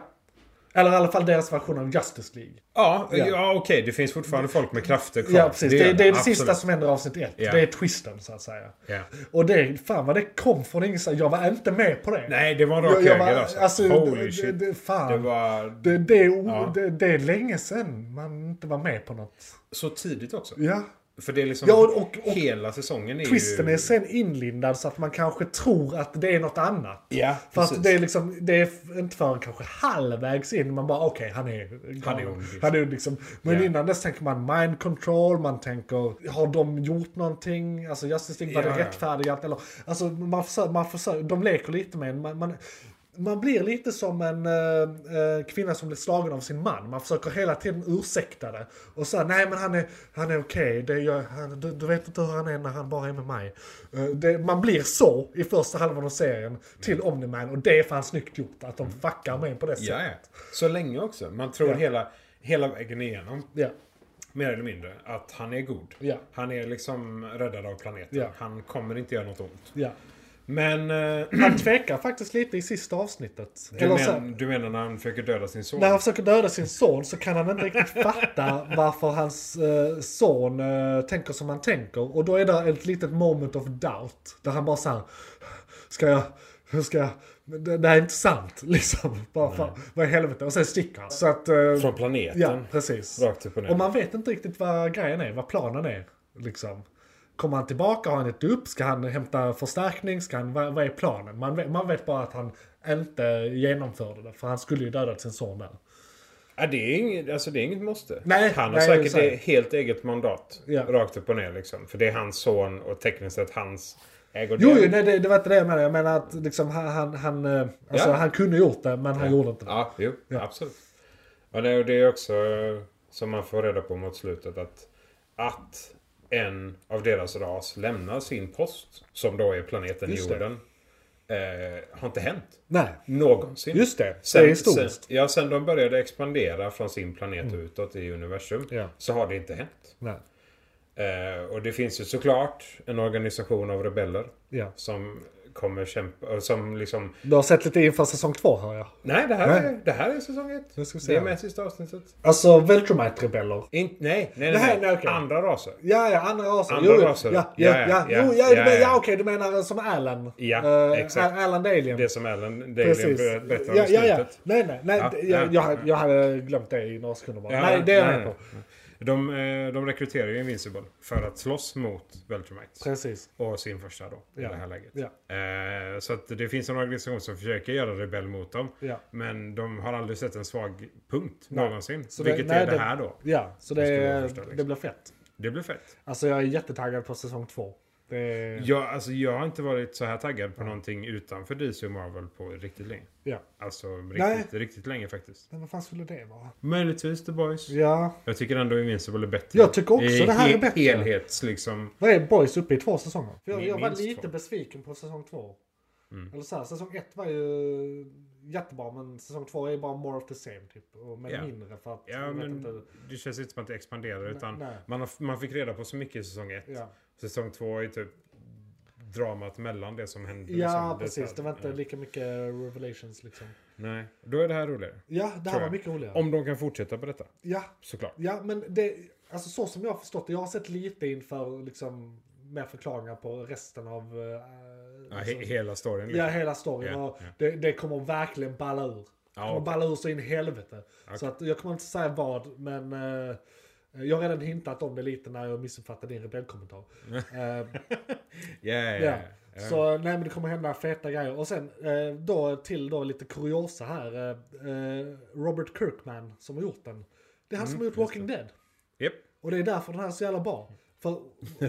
Speaker 3: Eller i alla fall deras version av Justice League.
Speaker 1: Ja, ja.
Speaker 3: Ja.
Speaker 1: okej. Det finns fortfarande folk med krafter kvar.
Speaker 3: Ja, precis. Det, det,
Speaker 1: gör
Speaker 3: är det
Speaker 1: Absolut.
Speaker 3: sista som händer i avsnitt ett.
Speaker 1: Ja.
Speaker 3: Det är twisten, så att säga.
Speaker 1: Ja.
Speaker 3: Och det, fan vad det kom från ingenstans. Jag var inte med på det.
Speaker 1: Nej, det var en
Speaker 3: jag,
Speaker 1: rak
Speaker 3: jag
Speaker 1: höger
Speaker 3: var,
Speaker 1: alltså.
Speaker 3: alltså,
Speaker 1: Holy
Speaker 3: det,
Speaker 1: shit.
Speaker 3: Det, det, fan.
Speaker 1: Det
Speaker 3: Det, var...
Speaker 1: var
Speaker 3: det, det, är o-
Speaker 1: Ja.
Speaker 3: det, det är länge sedan man inte var med på något.
Speaker 1: så tidigt också.
Speaker 3: Ja.
Speaker 1: För det är liksom
Speaker 3: Ja, och- och- och
Speaker 1: hela säsongen är
Speaker 3: Twisten
Speaker 1: ju...
Speaker 3: är sen inlindad så att man kanske tror att det är något annat.
Speaker 1: Ja,
Speaker 3: För
Speaker 1: precis.
Speaker 3: att det är liksom, det är f- inte förrän kanske halvvägs in man bara okej, han är galen.
Speaker 1: Han är ond, liksom.
Speaker 3: Han är ond, liksom. Men
Speaker 1: Ja.
Speaker 3: innan dess tänker man mind control, man tänker har de gjort någonting? Alltså Justice League, var
Speaker 1: Ja,
Speaker 3: det
Speaker 1: ja.
Speaker 3: rättfärdigat? Eller, alltså man försöker, man försöker, de leker lite med en, man, man, man blir lite som en eh, eh, kvinna som blir slagen av sin man. Man försöker hela tiden ursäkta det. Och säga nej men han är, han är okej, Det gör- han- du, du vet inte hur han är när han bara är med mig. Eh, det, man blir så i första halvan av serien till Omniman och det är fan snyggt gjort att de fuckar med på det sättet.
Speaker 1: Mm. Ja, ja. Så länge också. Man tror
Speaker 3: Ja.
Speaker 1: hela, hela vägen igenom.
Speaker 3: Ja.
Speaker 1: mer eller mindre, att han är god.
Speaker 3: Ja.
Speaker 1: Han är liksom räddad av planeten.
Speaker 3: Ja.
Speaker 1: Han kommer inte göra något ont.
Speaker 3: ja.
Speaker 1: Men... eh,
Speaker 3: Han tvekar faktiskt lite i sista avsnittet.
Speaker 1: Du,
Speaker 3: Eller så-
Speaker 1: men, du menar när han försöker döda sin son?
Speaker 3: när han försöker döda sin son så kan han inte riktigt fatta varför hans eh, son eh, tänker som han tänker. Och då är det ett litet moment of doubt. Där han bara såhär, ska jag, hur ska jag, Men det, det här är inte sant liksom. Bara för, vad i helvete. Och sen sticker han. Så att, eh,
Speaker 1: Från planeten?
Speaker 3: ja precis.
Speaker 1: Rakt upp och ner.
Speaker 3: Och man vet inte riktigt vad grejen är, vad planen är. Liksom. Kommer han tillbaka? Har han gett upp? Ska han hämta förstärkning? Ska han, vad, vad är planen? Man vet, man vet bara att han inte genomförde det, för han skulle ju dödat sin son där.
Speaker 1: Ja, det, är inget, alltså, det är inget måste.
Speaker 3: Nej,
Speaker 1: han har
Speaker 3: nej,
Speaker 1: säkert
Speaker 3: så är det.
Speaker 1: ett helt eget mandat.
Speaker 3: Ja.
Speaker 1: Rakt upp och ner liksom. För det är hans son och tekniskt sett hans ägodel.
Speaker 3: Jo, jo nej, det, det var inte det jag menade. Jag menar att liksom, han, han, han, eh, alltså,
Speaker 1: Ja.
Speaker 3: han kunde gjort det, men han gjorde inte det.
Speaker 1: Ja, jo, absolut. Ja, nej, och det är också eh, som man får reda på mot slutet att, att en av deras ras lämnar sin post, som då är planeten
Speaker 3: Just det.
Speaker 1: jorden, eh, har inte hänt.
Speaker 3: Nej.
Speaker 1: Någonsin.
Speaker 3: Just det, det
Speaker 1: Sen,
Speaker 3: är historiskt. Mm.
Speaker 1: Sen, ja, sen de började expandera från sin planet utåt i universum
Speaker 3: Ja.
Speaker 1: så har det inte hänt.
Speaker 3: Nej.
Speaker 1: Eh, och det finns ju såklart en organisation av rebeller
Speaker 3: Ja.
Speaker 1: som kommer kämpa, och som liksom...
Speaker 3: Du har sett lite inför säsong två hör jag.
Speaker 1: Nej, det här,
Speaker 3: Nej.
Speaker 1: Är, det här är säsong ett.
Speaker 3: Nu ska vi se
Speaker 1: det är
Speaker 3: här.
Speaker 1: med sista avsnittet.
Speaker 3: Alltså Veltromite-rebeller.
Speaker 1: In, nej, nej, nej.
Speaker 3: Det här-
Speaker 1: nej.
Speaker 3: nej, okej.
Speaker 1: Andra raser.
Speaker 3: Ja, ja, andra raser.
Speaker 1: Andra
Speaker 3: jo,
Speaker 1: raser.
Speaker 3: Ja, ja, ja. ja, jo,
Speaker 1: ja,
Speaker 3: ja, du men-
Speaker 1: ja.
Speaker 3: ja okej, du menar eh, som Alan.
Speaker 1: Ja,
Speaker 3: Eh,
Speaker 1: exakt.
Speaker 3: A- Alan Dalien.
Speaker 1: Det som Ellen Daly
Speaker 3: Precis.
Speaker 1: berättade om
Speaker 3: ja,
Speaker 1: i
Speaker 3: ja,
Speaker 1: slutet.
Speaker 3: ja. Nej, nej, nej.
Speaker 1: Ja,
Speaker 3: det- jag,
Speaker 1: ja.
Speaker 3: jag, jag hade glömt det i några sekunder bara.
Speaker 1: Ja,
Speaker 3: nej, det är jag
Speaker 1: nej,
Speaker 3: med på.
Speaker 1: nej. De, eh, de rekryterar ju Invincible för att slåss mot Veltramites.
Speaker 3: Precis.
Speaker 1: Och sin första då, i
Speaker 3: Ja.
Speaker 1: det här läget.
Speaker 3: Ja.
Speaker 1: Eh, så att det finns en organisation som försöker göra rebell mot dem.
Speaker 3: Ja.
Speaker 1: Men de har aldrig sett en svag punkt
Speaker 3: Nej.
Speaker 1: någonsin.
Speaker 3: Så det-
Speaker 1: vilket
Speaker 3: nej,
Speaker 1: är det
Speaker 3: det-
Speaker 1: här då.
Speaker 3: Ja, så
Speaker 1: Det
Speaker 3: det,
Speaker 1: skulle vara första, liksom.
Speaker 3: det blir fett.
Speaker 1: Det blir fett.
Speaker 3: Alltså jag är jättetaggad på säsong två. Det är...
Speaker 1: Jag, alltså, jag har inte varit så här taggad på någonting utanför DC och Marvel på riktigt länge.
Speaker 3: Ja.
Speaker 1: Alltså riktigt, riktigt länge faktiskt.
Speaker 3: Men vad fan skulle det vara?
Speaker 1: Möjligtvis The Boys.
Speaker 3: Ja.
Speaker 1: Jag tycker ändå Invincible är bättre.
Speaker 3: Jag tycker också det här är
Speaker 1: he-
Speaker 3: bättre.
Speaker 1: Helhets liksom.
Speaker 3: Vad är Boys uppe i två säsonger? För jag,
Speaker 1: Min-
Speaker 3: jag var
Speaker 1: minst
Speaker 3: lite
Speaker 1: två. Mm.
Speaker 3: besviken på säsong två. Eller så här, säsong ett var ju jättebra men säsong två är bara more of the same typ. Och men
Speaker 1: Ja.
Speaker 3: mindre för att
Speaker 1: Ja,
Speaker 3: jag vet
Speaker 1: men
Speaker 3: inte.
Speaker 1: det känns inte som att det expanderar utan
Speaker 3: nej.
Speaker 1: Man, har, man fick reda på så mycket i säsong ett.
Speaker 3: Ja,
Speaker 1: Säsong två är typ dramat mellan det som hände.
Speaker 3: ja
Speaker 1: liksom.
Speaker 3: precis. Det var inte
Speaker 1: Ja.
Speaker 3: lika mycket revelations liksom.
Speaker 1: Nej, då är det här roligare.
Speaker 3: Ja, det här
Speaker 1: jag.
Speaker 3: var mycket roligare.
Speaker 1: Om de kan fortsätta på detta,
Speaker 3: Ja,
Speaker 1: såklart.
Speaker 3: ja, men det, alltså så som jag har förstått det. Jag har sett lite inför liksom mer förklaringar på resten av... eh,
Speaker 1: Ja,
Speaker 3: alltså-
Speaker 1: he hela storyn.
Speaker 3: Ja,
Speaker 1: Liksom.
Speaker 3: hela storyn.
Speaker 1: Ja,
Speaker 3: och
Speaker 1: ja.
Speaker 3: Det, det kommer verkligen balla ur. Det
Speaker 1: Ja,
Speaker 3: kommer
Speaker 1: okej.
Speaker 3: balla ur så in i helvete. Så att, jag kommer inte säga vad, men eh, jag har redan hintat om det lite när jag missuppfattade din rebellkommentar. Eh,
Speaker 1: Ja, ja, ja.
Speaker 3: ja.
Speaker 1: Ja.
Speaker 3: Så nej men det kommer hända feta grejer. Och sen eh, då till då lite kuriosa här. eh, Eh, Robert Kirkman som har gjort den. Det
Speaker 1: Mm,
Speaker 3: är han som har gjort Walking Dead.
Speaker 1: Japp.
Speaker 3: Och det är därför den här är så jävla bra. För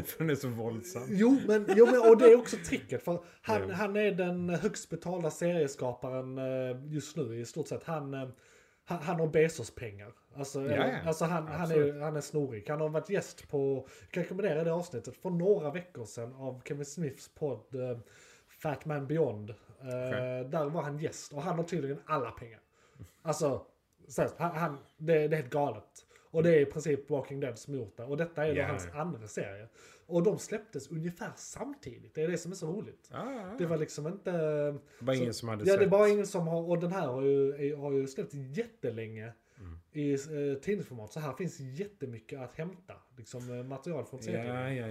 Speaker 1: För den är så våldsam.
Speaker 3: Jo, men, jo, men och det är också tricket. För han, han är den högst betalda serieskaparen eh, just nu i stort sett. Han, eh, han, han har Bezos-pengar. Alltså,
Speaker 1: Ja,
Speaker 3: eller-
Speaker 1: ja.
Speaker 3: alltså han, han,
Speaker 1: Absolut.
Speaker 3: är, han är snorig. Han har varit gäst på, jag kan rekommendera det avsnittet, för några veckor sedan av Kevin Smiths podd eh, Fat Man Beyond. Eh, Där var han gäst och han har tydligen alla pengar. Alltså, så här, han, han, det, det är helt galet. Och det är i princip Walking Dead som gjort det. Och detta är då
Speaker 1: Ja.
Speaker 3: hans andra serie. Och de släpptes ungefär samtidigt. Det är det som är så roligt.
Speaker 1: Ja, ja,
Speaker 3: Det
Speaker 1: ja.
Speaker 3: var liksom inte...
Speaker 1: Det var ingen som hade
Speaker 3: Ja, det
Speaker 1: sett.
Speaker 3: var ingen som har... Och den här har ju, är- har ju släppts jättelänge
Speaker 1: Mm.
Speaker 3: i eh, tidningsformat. Så här finns jättemycket att hämta. Liksom eh, material från serien.
Speaker 1: Ja, ja,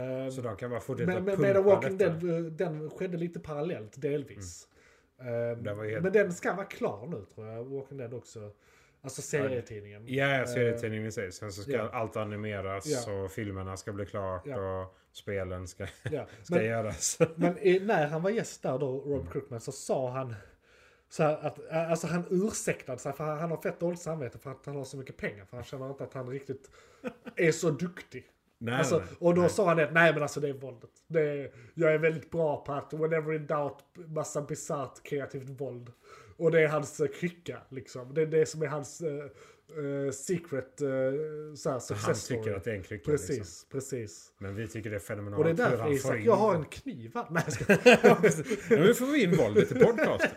Speaker 1: ja.
Speaker 3: Eh,
Speaker 1: Så de kan bara fortsätta
Speaker 3: men men
Speaker 1: pumpa
Speaker 3: medan Walking
Speaker 1: detta.
Speaker 3: Dead, eh, den skedde lite parallellt delvis. Eh,
Speaker 1: Den Mm. var helt-
Speaker 3: Men den ska vara klar nu tror jag, Walking Dead också. Alltså serietidningen.
Speaker 1: Ja, ja, serietidningen i sig. Sen så ska
Speaker 3: Eh, ja.
Speaker 1: allt animeras
Speaker 3: Ja.
Speaker 1: och filmerna ska bli klart
Speaker 3: Ja.
Speaker 1: och spelen ska,
Speaker 3: Ja,
Speaker 1: ska
Speaker 3: Men,
Speaker 1: göras.
Speaker 3: men i, när han var gäst där då, Rob Crookman, så sa han så här att, eh, alltså han ursäktade sig för han, han har fett dåligt samvete för att han har så mycket pengar. För han känner inte att han riktigt är så duktig.
Speaker 1: Nej,
Speaker 3: Alltså,
Speaker 1: nej, nej.
Speaker 3: och då sa han det, nej men alltså det är våldet. Det är, jag är väldigt bra på att whenever in doubt, massa bisarrt kreativt våld. Och det är hans eh, krycka liksom. Det är det som är hans eh, eh, secret eh, såhär, success
Speaker 1: Han
Speaker 3: story.
Speaker 1: tycker att det är en krycka.
Speaker 3: Precis,
Speaker 1: Liksom.
Speaker 3: precis.
Speaker 1: Men vi tycker det är fenomenalt.
Speaker 3: Och det är
Speaker 1: hur han
Speaker 3: därför
Speaker 1: får
Speaker 3: Isak,
Speaker 1: in
Speaker 3: jag har
Speaker 1: det.
Speaker 3: en kniv här. Nej jag ska...
Speaker 1: ja, men nu får vi in våldet i podcasten.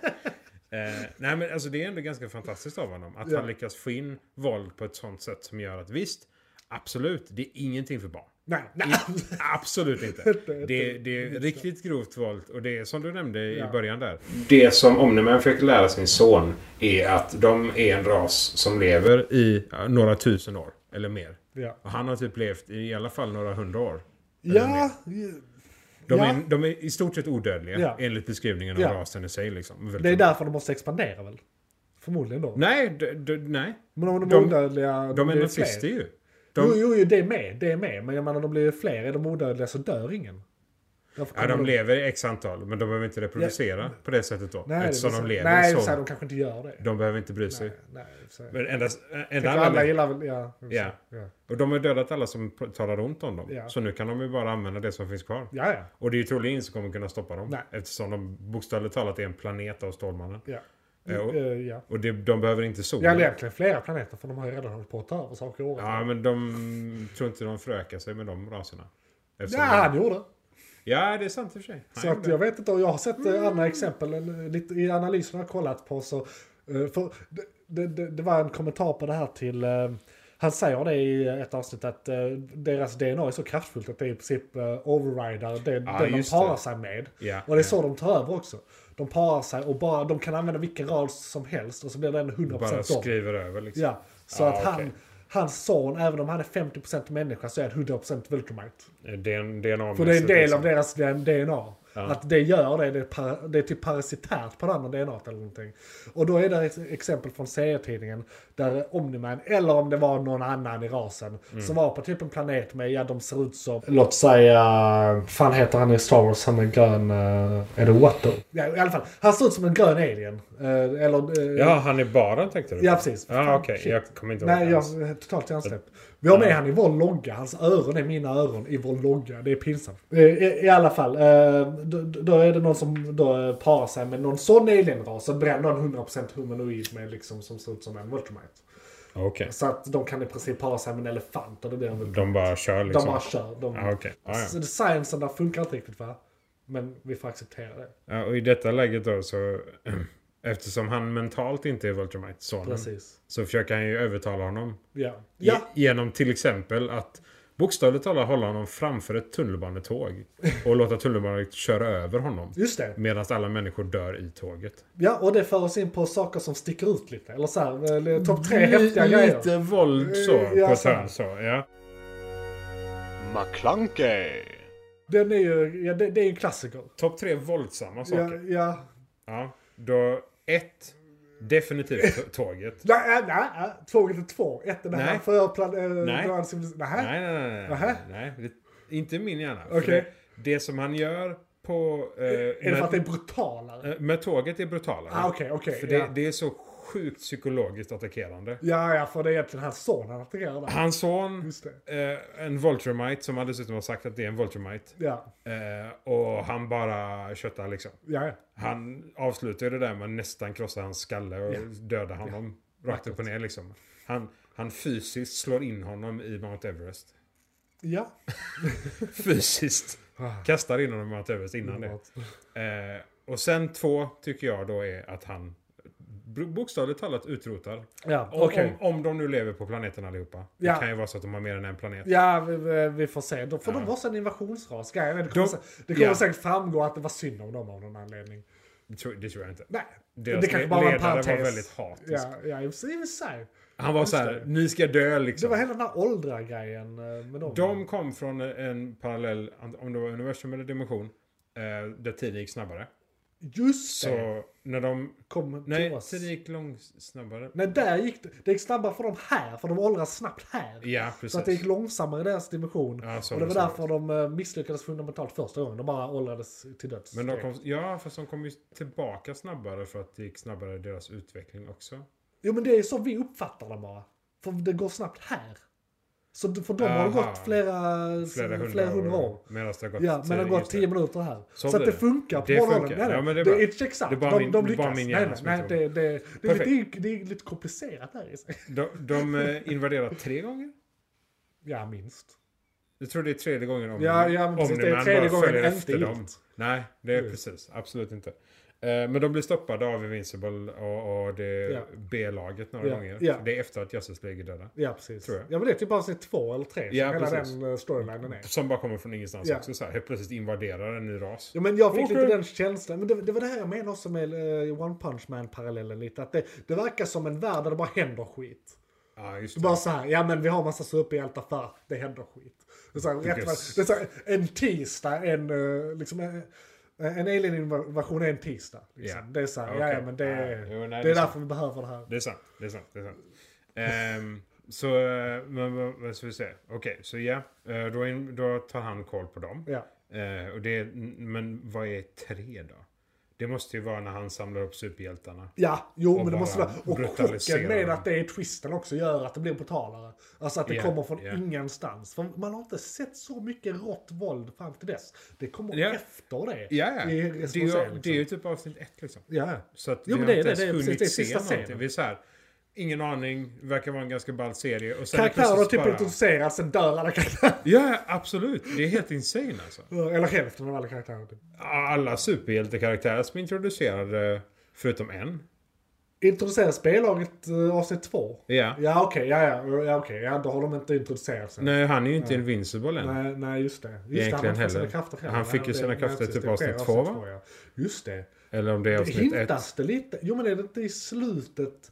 Speaker 1: Eh, nej men alltså det är ändå ganska fantastiskt av honom. Att
Speaker 3: Ja.
Speaker 1: han lyckas få in våld på ett sånt sätt som gör att visst, absolut, det är ingenting för barn.
Speaker 3: Nej, nej.
Speaker 1: Absolut inte. Det, det är riktigt grovt våld och det är som du nämnde i
Speaker 3: Ja.
Speaker 1: början där. Det som Omniman fick lära sin son är att de är en ras som lever i ja, några tusen år eller mer.
Speaker 3: Ja.
Speaker 1: Och han har typ levt i alla fall några hundra år.
Speaker 3: Ja,
Speaker 1: De,
Speaker 3: Ja.
Speaker 1: är, de är i stort sett odödliga
Speaker 3: Ja.
Speaker 1: enligt beskrivningen av
Speaker 3: Ja.
Speaker 1: rasen i sig. Liksom.
Speaker 3: det är därför de måste expandera väl? Förmodligen då.
Speaker 1: Nej, d- d- nej.
Speaker 3: Men om de,
Speaker 1: De-
Speaker 3: är odödliga...
Speaker 1: De är
Speaker 3: blir
Speaker 1: nazister
Speaker 3: fler.
Speaker 1: ju.
Speaker 3: Jo,
Speaker 1: De,
Speaker 3: jo, jo, det är med. Det är med. Men jag menar, de blir ju fler. Är de odödliga så dör ingen. Därför
Speaker 1: ja,
Speaker 3: kommer
Speaker 1: de lever i x antal, men de behöver inte reproducera på det sättet då.
Speaker 3: Nej, det är
Speaker 1: eftersom
Speaker 3: väl
Speaker 1: de
Speaker 3: så-
Speaker 1: lever
Speaker 3: Nej, det är
Speaker 1: så.
Speaker 3: så här, de kanske inte gör det.
Speaker 1: De behöver inte bry sig.
Speaker 3: Nej, det är så här.
Speaker 1: Men endast, enda
Speaker 3: Kanske alla
Speaker 1: anledningen-
Speaker 3: gillar väl... Ja. det är så.
Speaker 1: Ja.
Speaker 3: Ja,
Speaker 1: Och de har dödat alla som pr- talar ont om dem.
Speaker 3: Ja.
Speaker 1: Så nu kan de ju bara använda det som finns kvar.
Speaker 3: ja. ja.
Speaker 1: Och det är ju troligen ingen som kommer kunna stoppa dem.
Speaker 3: Nej.
Speaker 1: Eftersom de bokstavligt talat är en planet av Stålmannen.
Speaker 3: ja.
Speaker 1: Eh, och-
Speaker 3: Eh, ja.
Speaker 1: Och det, de behöver inte sol.
Speaker 3: Ja, egentligen flera planeter för de har ju redan hållit på att ta över saker i året.
Speaker 1: Ja, men de tror inte de förökar sig med de raserna.
Speaker 3: Ja,
Speaker 1: Eftersom de-
Speaker 3: han gjorde.
Speaker 1: ja, det är sant i och för sig.
Speaker 3: Så
Speaker 1: Nej,
Speaker 3: att
Speaker 1: men-
Speaker 3: jag vet inte, och jag har sett eh, andra exempel eh, lite, i analyserna jag kollat på. Så, eh, för det, det- det, det var en kommentar på det här till, eh, han säger det i ett avsnitt att eh, deras DNA är så kraftfullt att det i princip eh, overrider det,
Speaker 1: Ja,
Speaker 3: det de
Speaker 1: just
Speaker 3: parar
Speaker 1: det.
Speaker 3: sig med.
Speaker 1: Ja,
Speaker 3: Och det
Speaker 1: ja.
Speaker 3: är så de tar över också. De parar sig och bara, de kan använda vilken ras som helst och så blir den 100%
Speaker 1: Bara
Speaker 3: dem.
Speaker 1: skriver över liksom.
Speaker 3: Ja, så
Speaker 1: Ja,
Speaker 3: att han,
Speaker 1: okej.
Speaker 3: hans son, även om han är 50% människa så är han 100% Vulcamite.
Speaker 1: Eh, DNA-mässigt.
Speaker 3: För det är en del
Speaker 1: liksom.
Speaker 3: av deras DNA. Att det gör det, det är, para, det är typ parasitärt på det andra DNA eller någonting. Och då är det ett exempel från serietidningen där Omniman, eller om det var någon annan i rasen, som var på typ en planet med, ja de ser ut som... Låt säga, fan heter han i Star Wars, han är grön, eh, är det Watto? Ja i alla fall, han ser ut som en grön alien. Eh, eller... eh,
Speaker 1: Ja, han är bara tänkte du på.
Speaker 3: Ja, precis.
Speaker 1: Ja,
Speaker 3: Fan,
Speaker 1: okej.
Speaker 3: shit.
Speaker 1: Jag kommer inte ihåg
Speaker 3: Nej,
Speaker 1: det
Speaker 3: jag
Speaker 1: alls.
Speaker 3: är totalt hjärnsläpp. Vi har med han i vår logga. Hans öron är mina öron i vår logga. Det är pinsamt. Eh, I, i alla fall, eh, då, då är det någon som då eh, parar sig med någon sån alienras. Så bränner en 100% humanoid med liksom som ser ut som en Vultramite.
Speaker 1: Okej.
Speaker 3: Så att de kan i princip para sig med en elefant och det blir en Vultramite.
Speaker 1: De bara kör
Speaker 3: De,
Speaker 1: liksom.
Speaker 3: bara kör. De,
Speaker 1: Ja, okej. Ja, ja.
Speaker 3: Så det- Sciencen där funkar inte riktigt va? Men vi får acceptera det.
Speaker 1: Ja, och i detta läget då så... Eftersom han mentalt inte är Vultramite, sonen,
Speaker 3: Precis.
Speaker 1: så försöker han ju övertala honom.
Speaker 3: Ja. Ja,
Speaker 1: Ge- Genom till exempel att bokstavligt talat hålla honom framför ett tunnelbanetåg. Och låta tunnelbanan köra över honom.
Speaker 3: just det.
Speaker 1: Medan alla människor dör i tåget.
Speaker 3: Ja, och det för oss in på saker som sticker ut lite. Eller så här, eller topp tre
Speaker 1: Li-
Speaker 3: häftiga grejer.
Speaker 1: Mm,
Speaker 3: Eh,
Speaker 1: Lite våld så.
Speaker 3: Ja,
Speaker 1: på ett
Speaker 3: så.
Speaker 1: hörn så. Ja.
Speaker 2: McClunkey,
Speaker 3: Den är ju, ja, det, det är ju en klassiker.
Speaker 1: Topp tre våldsamma saker.
Speaker 3: Ja, ja.
Speaker 1: Ja, då ett. Definitivt t- tåget.
Speaker 3: Nej, nej, nej, nej. Tåget är två. Ett är det här
Speaker 1: Nej.
Speaker 3: förplan... Äh,
Speaker 1: Nej.
Speaker 3: Nej.
Speaker 1: Nej, nej, nej. nej,
Speaker 3: Nähä?
Speaker 1: nej, nej. Det, inte i min hjärna. För
Speaker 3: Okej.
Speaker 1: Det, det som han gör på... Eh,
Speaker 3: Är det för att det är
Speaker 1: med,
Speaker 3: brutalare?
Speaker 1: eh, med tåget är brutalare.
Speaker 3: Ah, okej, okej.
Speaker 1: För det,
Speaker 3: ja.
Speaker 1: det är så sjukt psykologiskt attackerande.
Speaker 3: ja, ja, för det är egentligen hans son han attackerar där.
Speaker 1: Hans son,
Speaker 3: Just det.
Speaker 1: eh, en Voltramite, som han dessutom har sagt att det är en Voltramite.
Speaker 3: Ja,
Speaker 1: Eh, och han bara köttar liksom.
Speaker 3: ja, ja.
Speaker 1: Han avslutar ju det där med att nästan krossa hans skalle och döda honom. Rakt upp och ner liksom. Han, han fysiskt slår in honom i Mount Everest.
Speaker 3: ja.
Speaker 1: Fysiskt. Kastar in honom i Mount Everest innan det.
Speaker 3: Underbart.
Speaker 1: Eh, och sen två tycker jag då är att han b- bokstavligt talat utrotar.
Speaker 3: Ja,
Speaker 1: Om,
Speaker 3: okej.
Speaker 1: om, om de nu lever på planeten allihopa.
Speaker 3: Ja.
Speaker 1: Det kan ju vara så att de har mer än en planet.
Speaker 3: Ja, vi- vi, vi får se. Då får de vara så en invasionsras. Grejen är, Det kommer,
Speaker 1: De-
Speaker 3: sä- det kommer
Speaker 1: ja.
Speaker 3: säkert framgå att det var synd om dem av någon anledning.
Speaker 1: Det tror, det tror jag inte.
Speaker 3: Nej,
Speaker 1: Deras
Speaker 3: det kanske
Speaker 1: le-
Speaker 3: bara var en
Speaker 1: ledare var
Speaker 3: parentes.
Speaker 1: väldigt hatisk.
Speaker 3: Ja, ja i och för sig.
Speaker 1: Han var så här, ni ska dö
Speaker 3: Det
Speaker 1: liksom.
Speaker 3: var hela den här åldra-grejen eh, med dem.
Speaker 1: De kom från en parallell, om det var universum eller dimension, eh, där tiden gick snabbare.
Speaker 3: Just
Speaker 1: Så
Speaker 3: det!
Speaker 1: när de...
Speaker 3: Kom till
Speaker 1: Nej,
Speaker 3: oss.
Speaker 1: tiden gick långsammare.
Speaker 3: Nej, där gick det. Det gick snabbare för dem här, för de åldras snabbt här.
Speaker 1: Ja,
Speaker 3: Så att det gick
Speaker 1: precis.
Speaker 3: långsammare i deras dimension.
Speaker 1: Ja, så
Speaker 3: och det
Speaker 1: var
Speaker 3: var
Speaker 1: det
Speaker 3: därför de eh, misslyckades fundamentalt första gången. De bara åldrades till döds.
Speaker 1: Men de kom, ja, fast de kom ju tillbaka snabbare för att det gick snabbare i deras utveckling också.
Speaker 3: Jo men det är så vi uppfattar dem bara. För det går snabbt här. Så d- för dem har det
Speaker 1: Aha.
Speaker 3: gått flera,
Speaker 1: Flera hundra,
Speaker 3: år.
Speaker 1: Medan det har gått
Speaker 3: Ja, men det har
Speaker 1: tio-
Speaker 3: gått
Speaker 1: eh, just det.
Speaker 3: 10 minuter här. Så,
Speaker 1: Så
Speaker 3: att
Speaker 1: blir
Speaker 3: det
Speaker 1: det.
Speaker 3: funkar på
Speaker 1: Det
Speaker 3: båda
Speaker 1: funkar.
Speaker 3: hållen. Nej, nej.
Speaker 1: Ja, men
Speaker 3: det,
Speaker 1: det är
Speaker 3: är det
Speaker 1: bra.
Speaker 3: är inte exakt.
Speaker 1: Det är bara
Speaker 3: de,
Speaker 1: min-
Speaker 3: de
Speaker 1: det är
Speaker 3: lyckas.
Speaker 1: bara min hjärna
Speaker 3: nej,
Speaker 1: som är
Speaker 3: nej, nej, det,
Speaker 1: dum.
Speaker 3: det, det, är
Speaker 1: Perfekt.
Speaker 3: lite, det är lite komplicerat där i sig.
Speaker 1: De, de eh, invaderar tre gånger?
Speaker 3: Ja, minst.
Speaker 1: Jag tror det är tredje gången om
Speaker 3: Ja, ja, men precis, det är
Speaker 1: Omniman
Speaker 3: tredje
Speaker 1: bara
Speaker 3: gången
Speaker 1: följer
Speaker 3: inte
Speaker 1: efter
Speaker 3: gjort.
Speaker 1: dem. Nej, det är
Speaker 3: Mm.
Speaker 1: precis. Absolut inte. Eh, Men de blir stoppade av Invincible och, och det
Speaker 3: Ja.
Speaker 1: B-laget några
Speaker 3: Ja,
Speaker 1: gånger.
Speaker 3: ja.
Speaker 1: Det är efter att Justice League är döda.
Speaker 3: Ja, precis.
Speaker 1: Tror jag.
Speaker 3: Ja, men det är typ avsnitt två eller tre. som
Speaker 1: Ja,
Speaker 3: hela
Speaker 1: precis.
Speaker 3: den eh, storylinen är.
Speaker 1: Som bara kommer från ingenstans
Speaker 3: Ja.
Speaker 1: också. Så här, helt plötsligt invaderar en ny ras.
Speaker 3: Ja, men jag fick
Speaker 1: Okej.
Speaker 3: lite den känslan. Men det, det var det här jag menade också med eh, One Punch Man-parallellen lite. Att det, det verkar som en värld där det bara händer skit.
Speaker 1: Ja, just
Speaker 3: Så
Speaker 1: det.
Speaker 3: Bara så här, ja men vi har massa superhjältar för att det händer skit. Det är så här, rätt,
Speaker 1: Yes.
Speaker 3: det är så här, en tisdag, en, eh, liksom, eh, en alien-invasion är en tisdag. Liksom.
Speaker 1: Ja.
Speaker 3: Det är så här, ja,
Speaker 1: Okej.
Speaker 3: ja men det,
Speaker 1: Ja, jo, nej, det
Speaker 3: det, är
Speaker 1: är
Speaker 3: därför vi behöver det här.
Speaker 1: Det är sant. Mm. Det är sant. Det är sant. Ehm, så, eh, men vad- vad ska vi säga? Okej, så ja. eh, Då, in- då tar han koll på dem.
Speaker 3: Ja.
Speaker 1: Eh, och det, är- men vad är tre då? Det måste ju vara när han samlar upp superhjältarna.
Speaker 3: Ja, jo
Speaker 1: Och
Speaker 3: men det måste
Speaker 1: bara
Speaker 3: vara. Och
Speaker 1: brutalisera
Speaker 3: chocken med
Speaker 1: den.
Speaker 3: att det är twisten också gör att det blir brutalare. Alltså att det
Speaker 1: Ja,
Speaker 3: kommer från
Speaker 1: ja.
Speaker 3: ingenstans. För man har inte sett så mycket rått våld fram till dess. Det kommer
Speaker 1: Ja.
Speaker 3: efter det.
Speaker 1: Ja, ja.
Speaker 3: I
Speaker 1: Det, är
Speaker 3: recension,
Speaker 1: ju- det är ju
Speaker 3: liksom.
Speaker 1: typ avsnitt ett liksom.
Speaker 3: Ja.
Speaker 1: Så att
Speaker 3: Jo,
Speaker 1: vi
Speaker 3: men
Speaker 1: har
Speaker 3: det är
Speaker 1: inte
Speaker 3: det,
Speaker 1: ens
Speaker 3: det är
Speaker 1: hunnit
Speaker 3: precis, det är
Speaker 1: se
Speaker 3: sista
Speaker 1: någonting.
Speaker 3: scenen.
Speaker 1: Vi är så här, ingen aning, verkar vara en ganska ball serie. Och sen
Speaker 3: Karaktärer
Speaker 1: plötsligt
Speaker 3: typ
Speaker 1: bara-
Speaker 3: introduceras, sen dör alla karaktärer.
Speaker 1: Ja, absolut. Det är helt insane alltså.
Speaker 3: Eller hälften av alla karaktärer. Typ.
Speaker 1: Alla superhjältekaraktärer som introducerade, förutom en.
Speaker 3: Introduceras B-laget eh, avsnitt två?
Speaker 1: Ja.
Speaker 3: Ja okej, ja ja, ja okej, ja då har de inte introducerats än.
Speaker 1: Nej, han är ju inte invincible än.
Speaker 3: Nej, nej just det. Just det,
Speaker 1: Egentligen
Speaker 3: han får sina
Speaker 1: heller.
Speaker 3: krafter själv.
Speaker 1: Han
Speaker 3: Nej,
Speaker 1: fick ju
Speaker 3: det-
Speaker 1: sina
Speaker 3: nej,
Speaker 1: krafter
Speaker 3: precis,
Speaker 1: typ
Speaker 3: det sker
Speaker 1: avsnitt två, va?
Speaker 3: ja. Just det.
Speaker 1: Eller om det är
Speaker 3: Det
Speaker 1: avsnitt ett.
Speaker 3: hintas det lite? Jo men är det inte i slutet?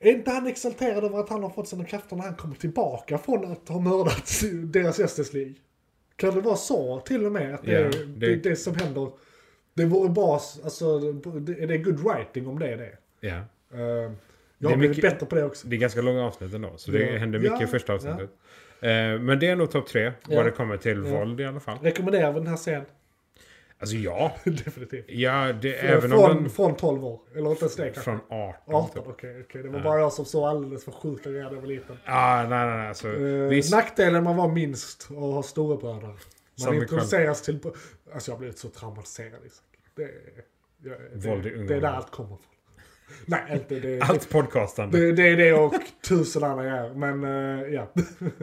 Speaker 3: Är inte han exalterad över att han har fått sina krafter när han kommer tillbaka från att ha mördat deras Justice League? Kan det vara så till och med? Att det,
Speaker 1: Ja,
Speaker 3: är, det...
Speaker 1: det-
Speaker 3: är det som händer. Det vore bra, alltså, det, är det good writing om det är det?
Speaker 1: Ja.
Speaker 3: Eh, jag har
Speaker 1: är
Speaker 3: blivit
Speaker 1: mycket-
Speaker 3: bättre på det också.
Speaker 1: Det är ganska långa avsnitt ändå, så det
Speaker 3: Ja.
Speaker 1: händer mycket
Speaker 3: Ja,
Speaker 1: i första
Speaker 3: ja.
Speaker 1: avsnittet. Eh, Men det är nog topp tre,
Speaker 3: Ja.
Speaker 1: vad det kommer till
Speaker 3: Ja.
Speaker 1: våld i alla fall.
Speaker 3: Rekommenderar vi den här scenen?
Speaker 1: Alltså ja,
Speaker 3: Definitivt.
Speaker 1: ja det, även
Speaker 3: från,
Speaker 1: om
Speaker 3: från 12 år, eller inte ens det
Speaker 1: den...
Speaker 3: kanske?
Speaker 1: Från 18.
Speaker 3: 18,
Speaker 1: typ.
Speaker 3: okej. okej. Det var bara jag som såg alldeles för sjukt när jag var liten.
Speaker 1: Ah, nej, nej, nej. Alltså,
Speaker 3: Eh,
Speaker 1: visst,
Speaker 3: Nackdelen man var minst och har storebröder. Man
Speaker 1: Som vi
Speaker 3: introduceras till... Alltså jag har blivit så traumatiserad Isak. Det, är- jag,
Speaker 1: Våld i
Speaker 3: det,
Speaker 1: unga
Speaker 3: det är där
Speaker 1: år.
Speaker 3: allt kommer ifrån. Nej, inte det.
Speaker 1: allt podcastande.
Speaker 3: Det, det är det och tusen andra grejer. Men eh, ja.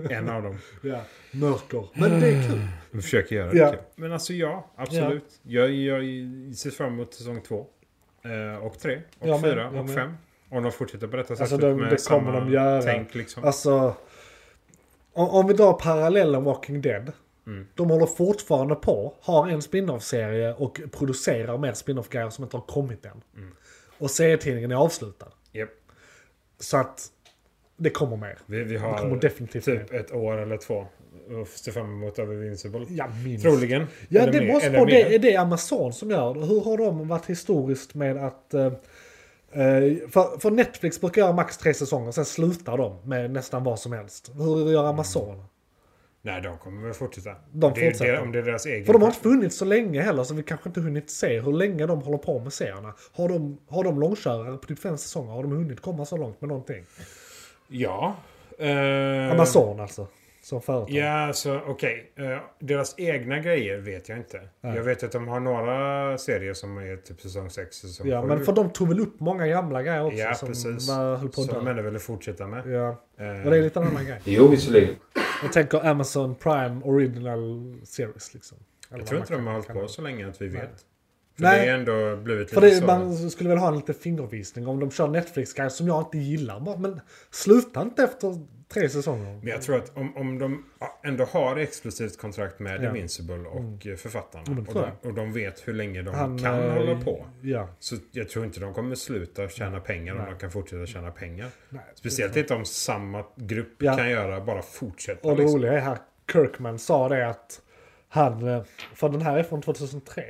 Speaker 1: En av dem.
Speaker 3: ja. Mörker. Men det är kul.
Speaker 1: Vi försöker göra
Speaker 3: Ja.
Speaker 1: det kul. Men alltså ja, absolut. Jag, jag ser fram emot säsong två. Eh, och tre. Och
Speaker 3: Jag med,
Speaker 1: fyra.
Speaker 3: jag
Speaker 1: och
Speaker 3: med.
Speaker 1: fem. Om de fortsätter på detta
Speaker 3: Alltså,
Speaker 1: sättet
Speaker 3: de-
Speaker 1: med
Speaker 3: det
Speaker 1: samma
Speaker 3: kommer de göra.
Speaker 1: tänk liksom.
Speaker 3: Alltså, om, om vi drar parallellen Walking Dead.
Speaker 1: Mm.
Speaker 3: De håller fortfarande på, har en spin-off-serie och producerar mer spin-off-grejer som inte har kommit än.
Speaker 1: Mm.
Speaker 3: Och serietidningen är avslutad.
Speaker 1: Japp.
Speaker 3: Så att det kommer mer.
Speaker 1: Vi, vi
Speaker 3: Det kommer
Speaker 1: har
Speaker 3: definitivt
Speaker 1: typ
Speaker 3: mer.
Speaker 1: ett år eller två att se fram emot över Invincible.
Speaker 3: Ja, minst.
Speaker 1: Troligen.
Speaker 3: Ja,
Speaker 1: Eller
Speaker 3: det
Speaker 1: mer-
Speaker 3: måste
Speaker 1: eller
Speaker 3: vara
Speaker 1: mer.
Speaker 3: det. Är det Amazon som gör det? Hur har de varit historiskt med att... eh, eh, För, för Netflix brukar göra max tre säsonger, sen slutar de med nästan vad som helst. Hur gör Amazon?
Speaker 1: Mm. Nej, de kommer väl fortsätta.
Speaker 3: De
Speaker 1: det är,
Speaker 3: fortsätter.
Speaker 1: Det, om det är deras egen...
Speaker 3: För de har inte funnits så länge heller så vi kanske inte hunnit se hur länge de håller på med serierna. Har de, har de långkörare på typ fem säsonger? Har de hunnit komma så långt med någonting?
Speaker 1: Ja. Eh,
Speaker 3: Amazon alltså. Som företag.
Speaker 1: Ja, så okej. Eh, Deras egna grejer vet jag inte.
Speaker 3: Nej.
Speaker 1: Jag vet att de har några serier som är typ säsong 6, säsong
Speaker 3: Ja,
Speaker 1: sju.
Speaker 3: men för de tog väl upp många gamla grejer också
Speaker 1: Ja,
Speaker 3: som
Speaker 1: precis.
Speaker 3: var, höll på att
Speaker 1: Som de
Speaker 3: dö.
Speaker 1: ändå ville fortsätta med.
Speaker 3: Ja,
Speaker 1: Eh,
Speaker 3: och det är lite en annan grej.
Speaker 2: Jo, visserligen.
Speaker 3: Jag tänker Amazon Prime Original Series liksom. Eller
Speaker 1: jag
Speaker 3: vad
Speaker 1: tror inte de
Speaker 3: man kan-
Speaker 1: har hållit
Speaker 3: kan-
Speaker 1: på så länge att vi
Speaker 3: Nej.
Speaker 1: vet. För
Speaker 3: Nej.
Speaker 1: det är ändå blivit
Speaker 3: För
Speaker 1: lite
Speaker 3: det,
Speaker 1: så.
Speaker 3: man skulle väl ha en liten fingervisning om de kör Netflix-grejer som jag inte gillar. Bara, Men sluta inte efter tre säsonger.
Speaker 1: Men jag tror att om, om de ändå har exklusivt kontrakt med
Speaker 3: Ja. Mm.
Speaker 1: Invincible och eh, författarna.
Speaker 3: men det
Speaker 1: och,
Speaker 3: tror
Speaker 1: de, och de vet hur länge de
Speaker 3: Han,
Speaker 1: kan
Speaker 3: eh,
Speaker 1: hålla på.
Speaker 3: Ja.
Speaker 1: Så jag tror inte de kommer sluta tjäna pengar om
Speaker 3: Nej.
Speaker 1: de kan fortsätta tjäna pengar.
Speaker 3: Nej,
Speaker 1: Speciellt inte om samma grupp
Speaker 3: Ja.
Speaker 1: kan göra, bara fortsätta.
Speaker 3: Och det
Speaker 1: liksom.
Speaker 3: roliga är här, Kirkman sa det att han, eh, för den här är från 2003.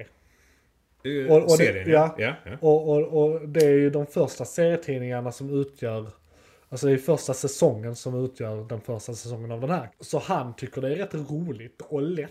Speaker 1: Eh,
Speaker 3: och- och det-
Speaker 1: Serien, ja. ja. ja.
Speaker 3: Och, och, och det är ju de första serietidningarna som utgör, alltså det är första säsongen som utgör den första säsongen av den här. Så han tycker det är rätt roligt och lätt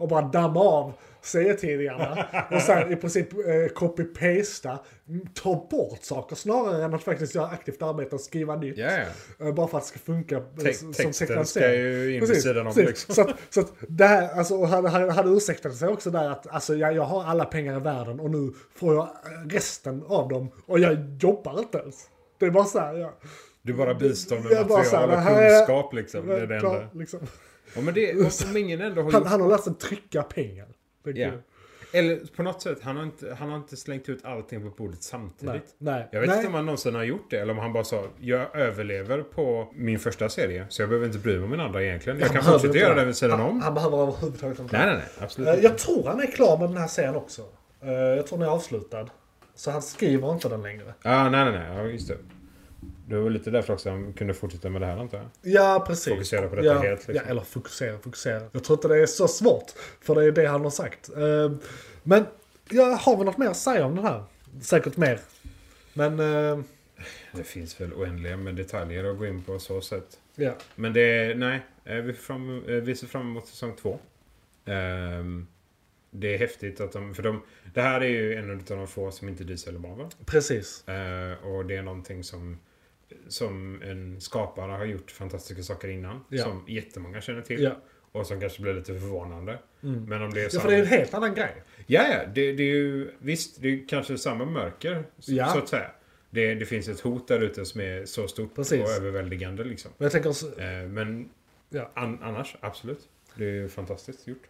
Speaker 3: att bara damma av serietidningarna och sen i princip eh, copy-pasta, mm, ta bort saker snarare än att faktiskt göra aktivt arbete och skriva nytt.
Speaker 1: Ja, ja.
Speaker 3: Eh, Bara för att det ska funka eh,
Speaker 1: Te-
Speaker 3: som
Speaker 1: texten
Speaker 3: tecknad
Speaker 1: ska
Speaker 3: serie.
Speaker 1: ju in vid
Speaker 3: Precis,
Speaker 1: sidan om.
Speaker 3: precis.
Speaker 1: Liksom.
Speaker 3: Så, att, så att det här, alltså, och han, han, han ursäktade sig också där att alltså, jag, jag har alla pengar i världen och nu får jag resten av dem och jag jobbar inte ens. Det är bara så här, ja.
Speaker 1: Du bara bistår med
Speaker 3: Jag bara så här,
Speaker 1: material
Speaker 3: det
Speaker 1: och
Speaker 3: här är-
Speaker 1: kunskap liksom. Det är det
Speaker 3: Klar,
Speaker 1: enda.
Speaker 3: liksom.
Speaker 1: Ja, men det, om ingen ändå har
Speaker 3: han,
Speaker 1: gjort...
Speaker 3: han har lärt sig trycka pengar. Det är
Speaker 1: Ja.
Speaker 3: kul.
Speaker 1: Eller på något sätt, han har, inte, han har inte slängt ut allting på bordet samtidigt.
Speaker 3: Nej, nej,
Speaker 1: Jag vet
Speaker 3: nej.
Speaker 1: inte om han någonsin har gjort det eller om han bara sa jag överlever på min första serie så jag behöver inte bry mig om min andra egentligen. Jag kan
Speaker 3: behöver
Speaker 1: fortsätta
Speaker 3: inte
Speaker 1: göra
Speaker 3: det.
Speaker 1: det vid sidan
Speaker 3: Han,
Speaker 1: om.
Speaker 3: han behöver överhuvudtaget inte.
Speaker 1: Nej, nej, nej. Absolut
Speaker 3: Eh,
Speaker 1: inte.
Speaker 3: Jag tror han är klar med den här serien också. Eh, Jag tror den är avslutad. Så han skriver inte den längre.
Speaker 1: Ja, nej, nej, nej. Ja, just det. Det var väl lite därför också han kunde fortsätta med det här antar jag.
Speaker 3: Ja, precis.
Speaker 1: Fokusera på detta
Speaker 3: ja,
Speaker 1: helt, liksom.
Speaker 3: Ja, eller fokusera, fokusera. Jag tror inte det är så svårt, för det är det han har sagt. Eh, Men, ja, har vi något mer att säga om den här? Säkert mer. Men, eh,
Speaker 1: Det finns väl oändliga med detaljer att gå in på så sätt.
Speaker 3: ja.
Speaker 1: Men det, nej. eh, Vi, fram, eh, vi ser fram emot säsong två. Ehm, det är häftigt att de... För de, det här är ju en av de få som inte är DC eller Marvel.
Speaker 3: Precis.
Speaker 1: Eh, och det är någonting som, som en skapare har gjort fantastiska saker innan.
Speaker 3: Ja.
Speaker 1: Som jättemånga känner till.
Speaker 3: Ja. Mm.
Speaker 1: Och som kanske blir lite förvånande. Men om det är
Speaker 3: ja,
Speaker 1: samma...
Speaker 3: för det är en helt annan grej.
Speaker 1: Ja, ja. Det, det är ju, visst, det är kanske samma mörker. Så,
Speaker 3: Ja.
Speaker 1: så att säga. Det, det finns ett hot där ute som är så stort
Speaker 3: Precis.
Speaker 1: och överväldigande. Liksom.
Speaker 3: Men jag tänker så,
Speaker 1: Eh, men
Speaker 3: Ja.
Speaker 1: an, annars, absolut. Det är ju fantastiskt gjort.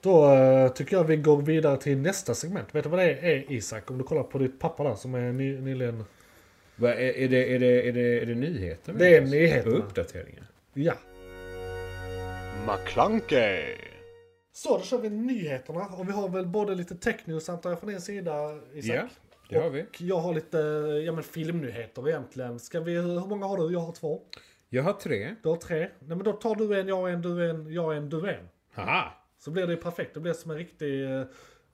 Speaker 3: då eh, tycker jag vi går vidare till nästa segment. Vet du vad det är Isak? Om du kollar på ditt pappa där som är ny, nyligen...
Speaker 1: Va, är, är, det, är, det, är, det, är det nyheter?
Speaker 3: Det är nyheterna.
Speaker 1: Och uppdateringar.
Speaker 3: Ja.
Speaker 2: McClunkey.
Speaker 3: Så, då kör vi nyheterna. Och vi har väl både lite technews antar jag från din sida Isak.
Speaker 1: Ja, det har vi.
Speaker 3: Och Jag har lite ja, men filmnyheter egentligen. Ska vi, hur många har du? Jag har två.
Speaker 1: Jag har tre.
Speaker 3: Du har tre. Nej men då tar du en, jag en, du en, jag en, du en.
Speaker 1: Haha!
Speaker 3: Så blir det ju perfekt. Det blir som en riktig eh,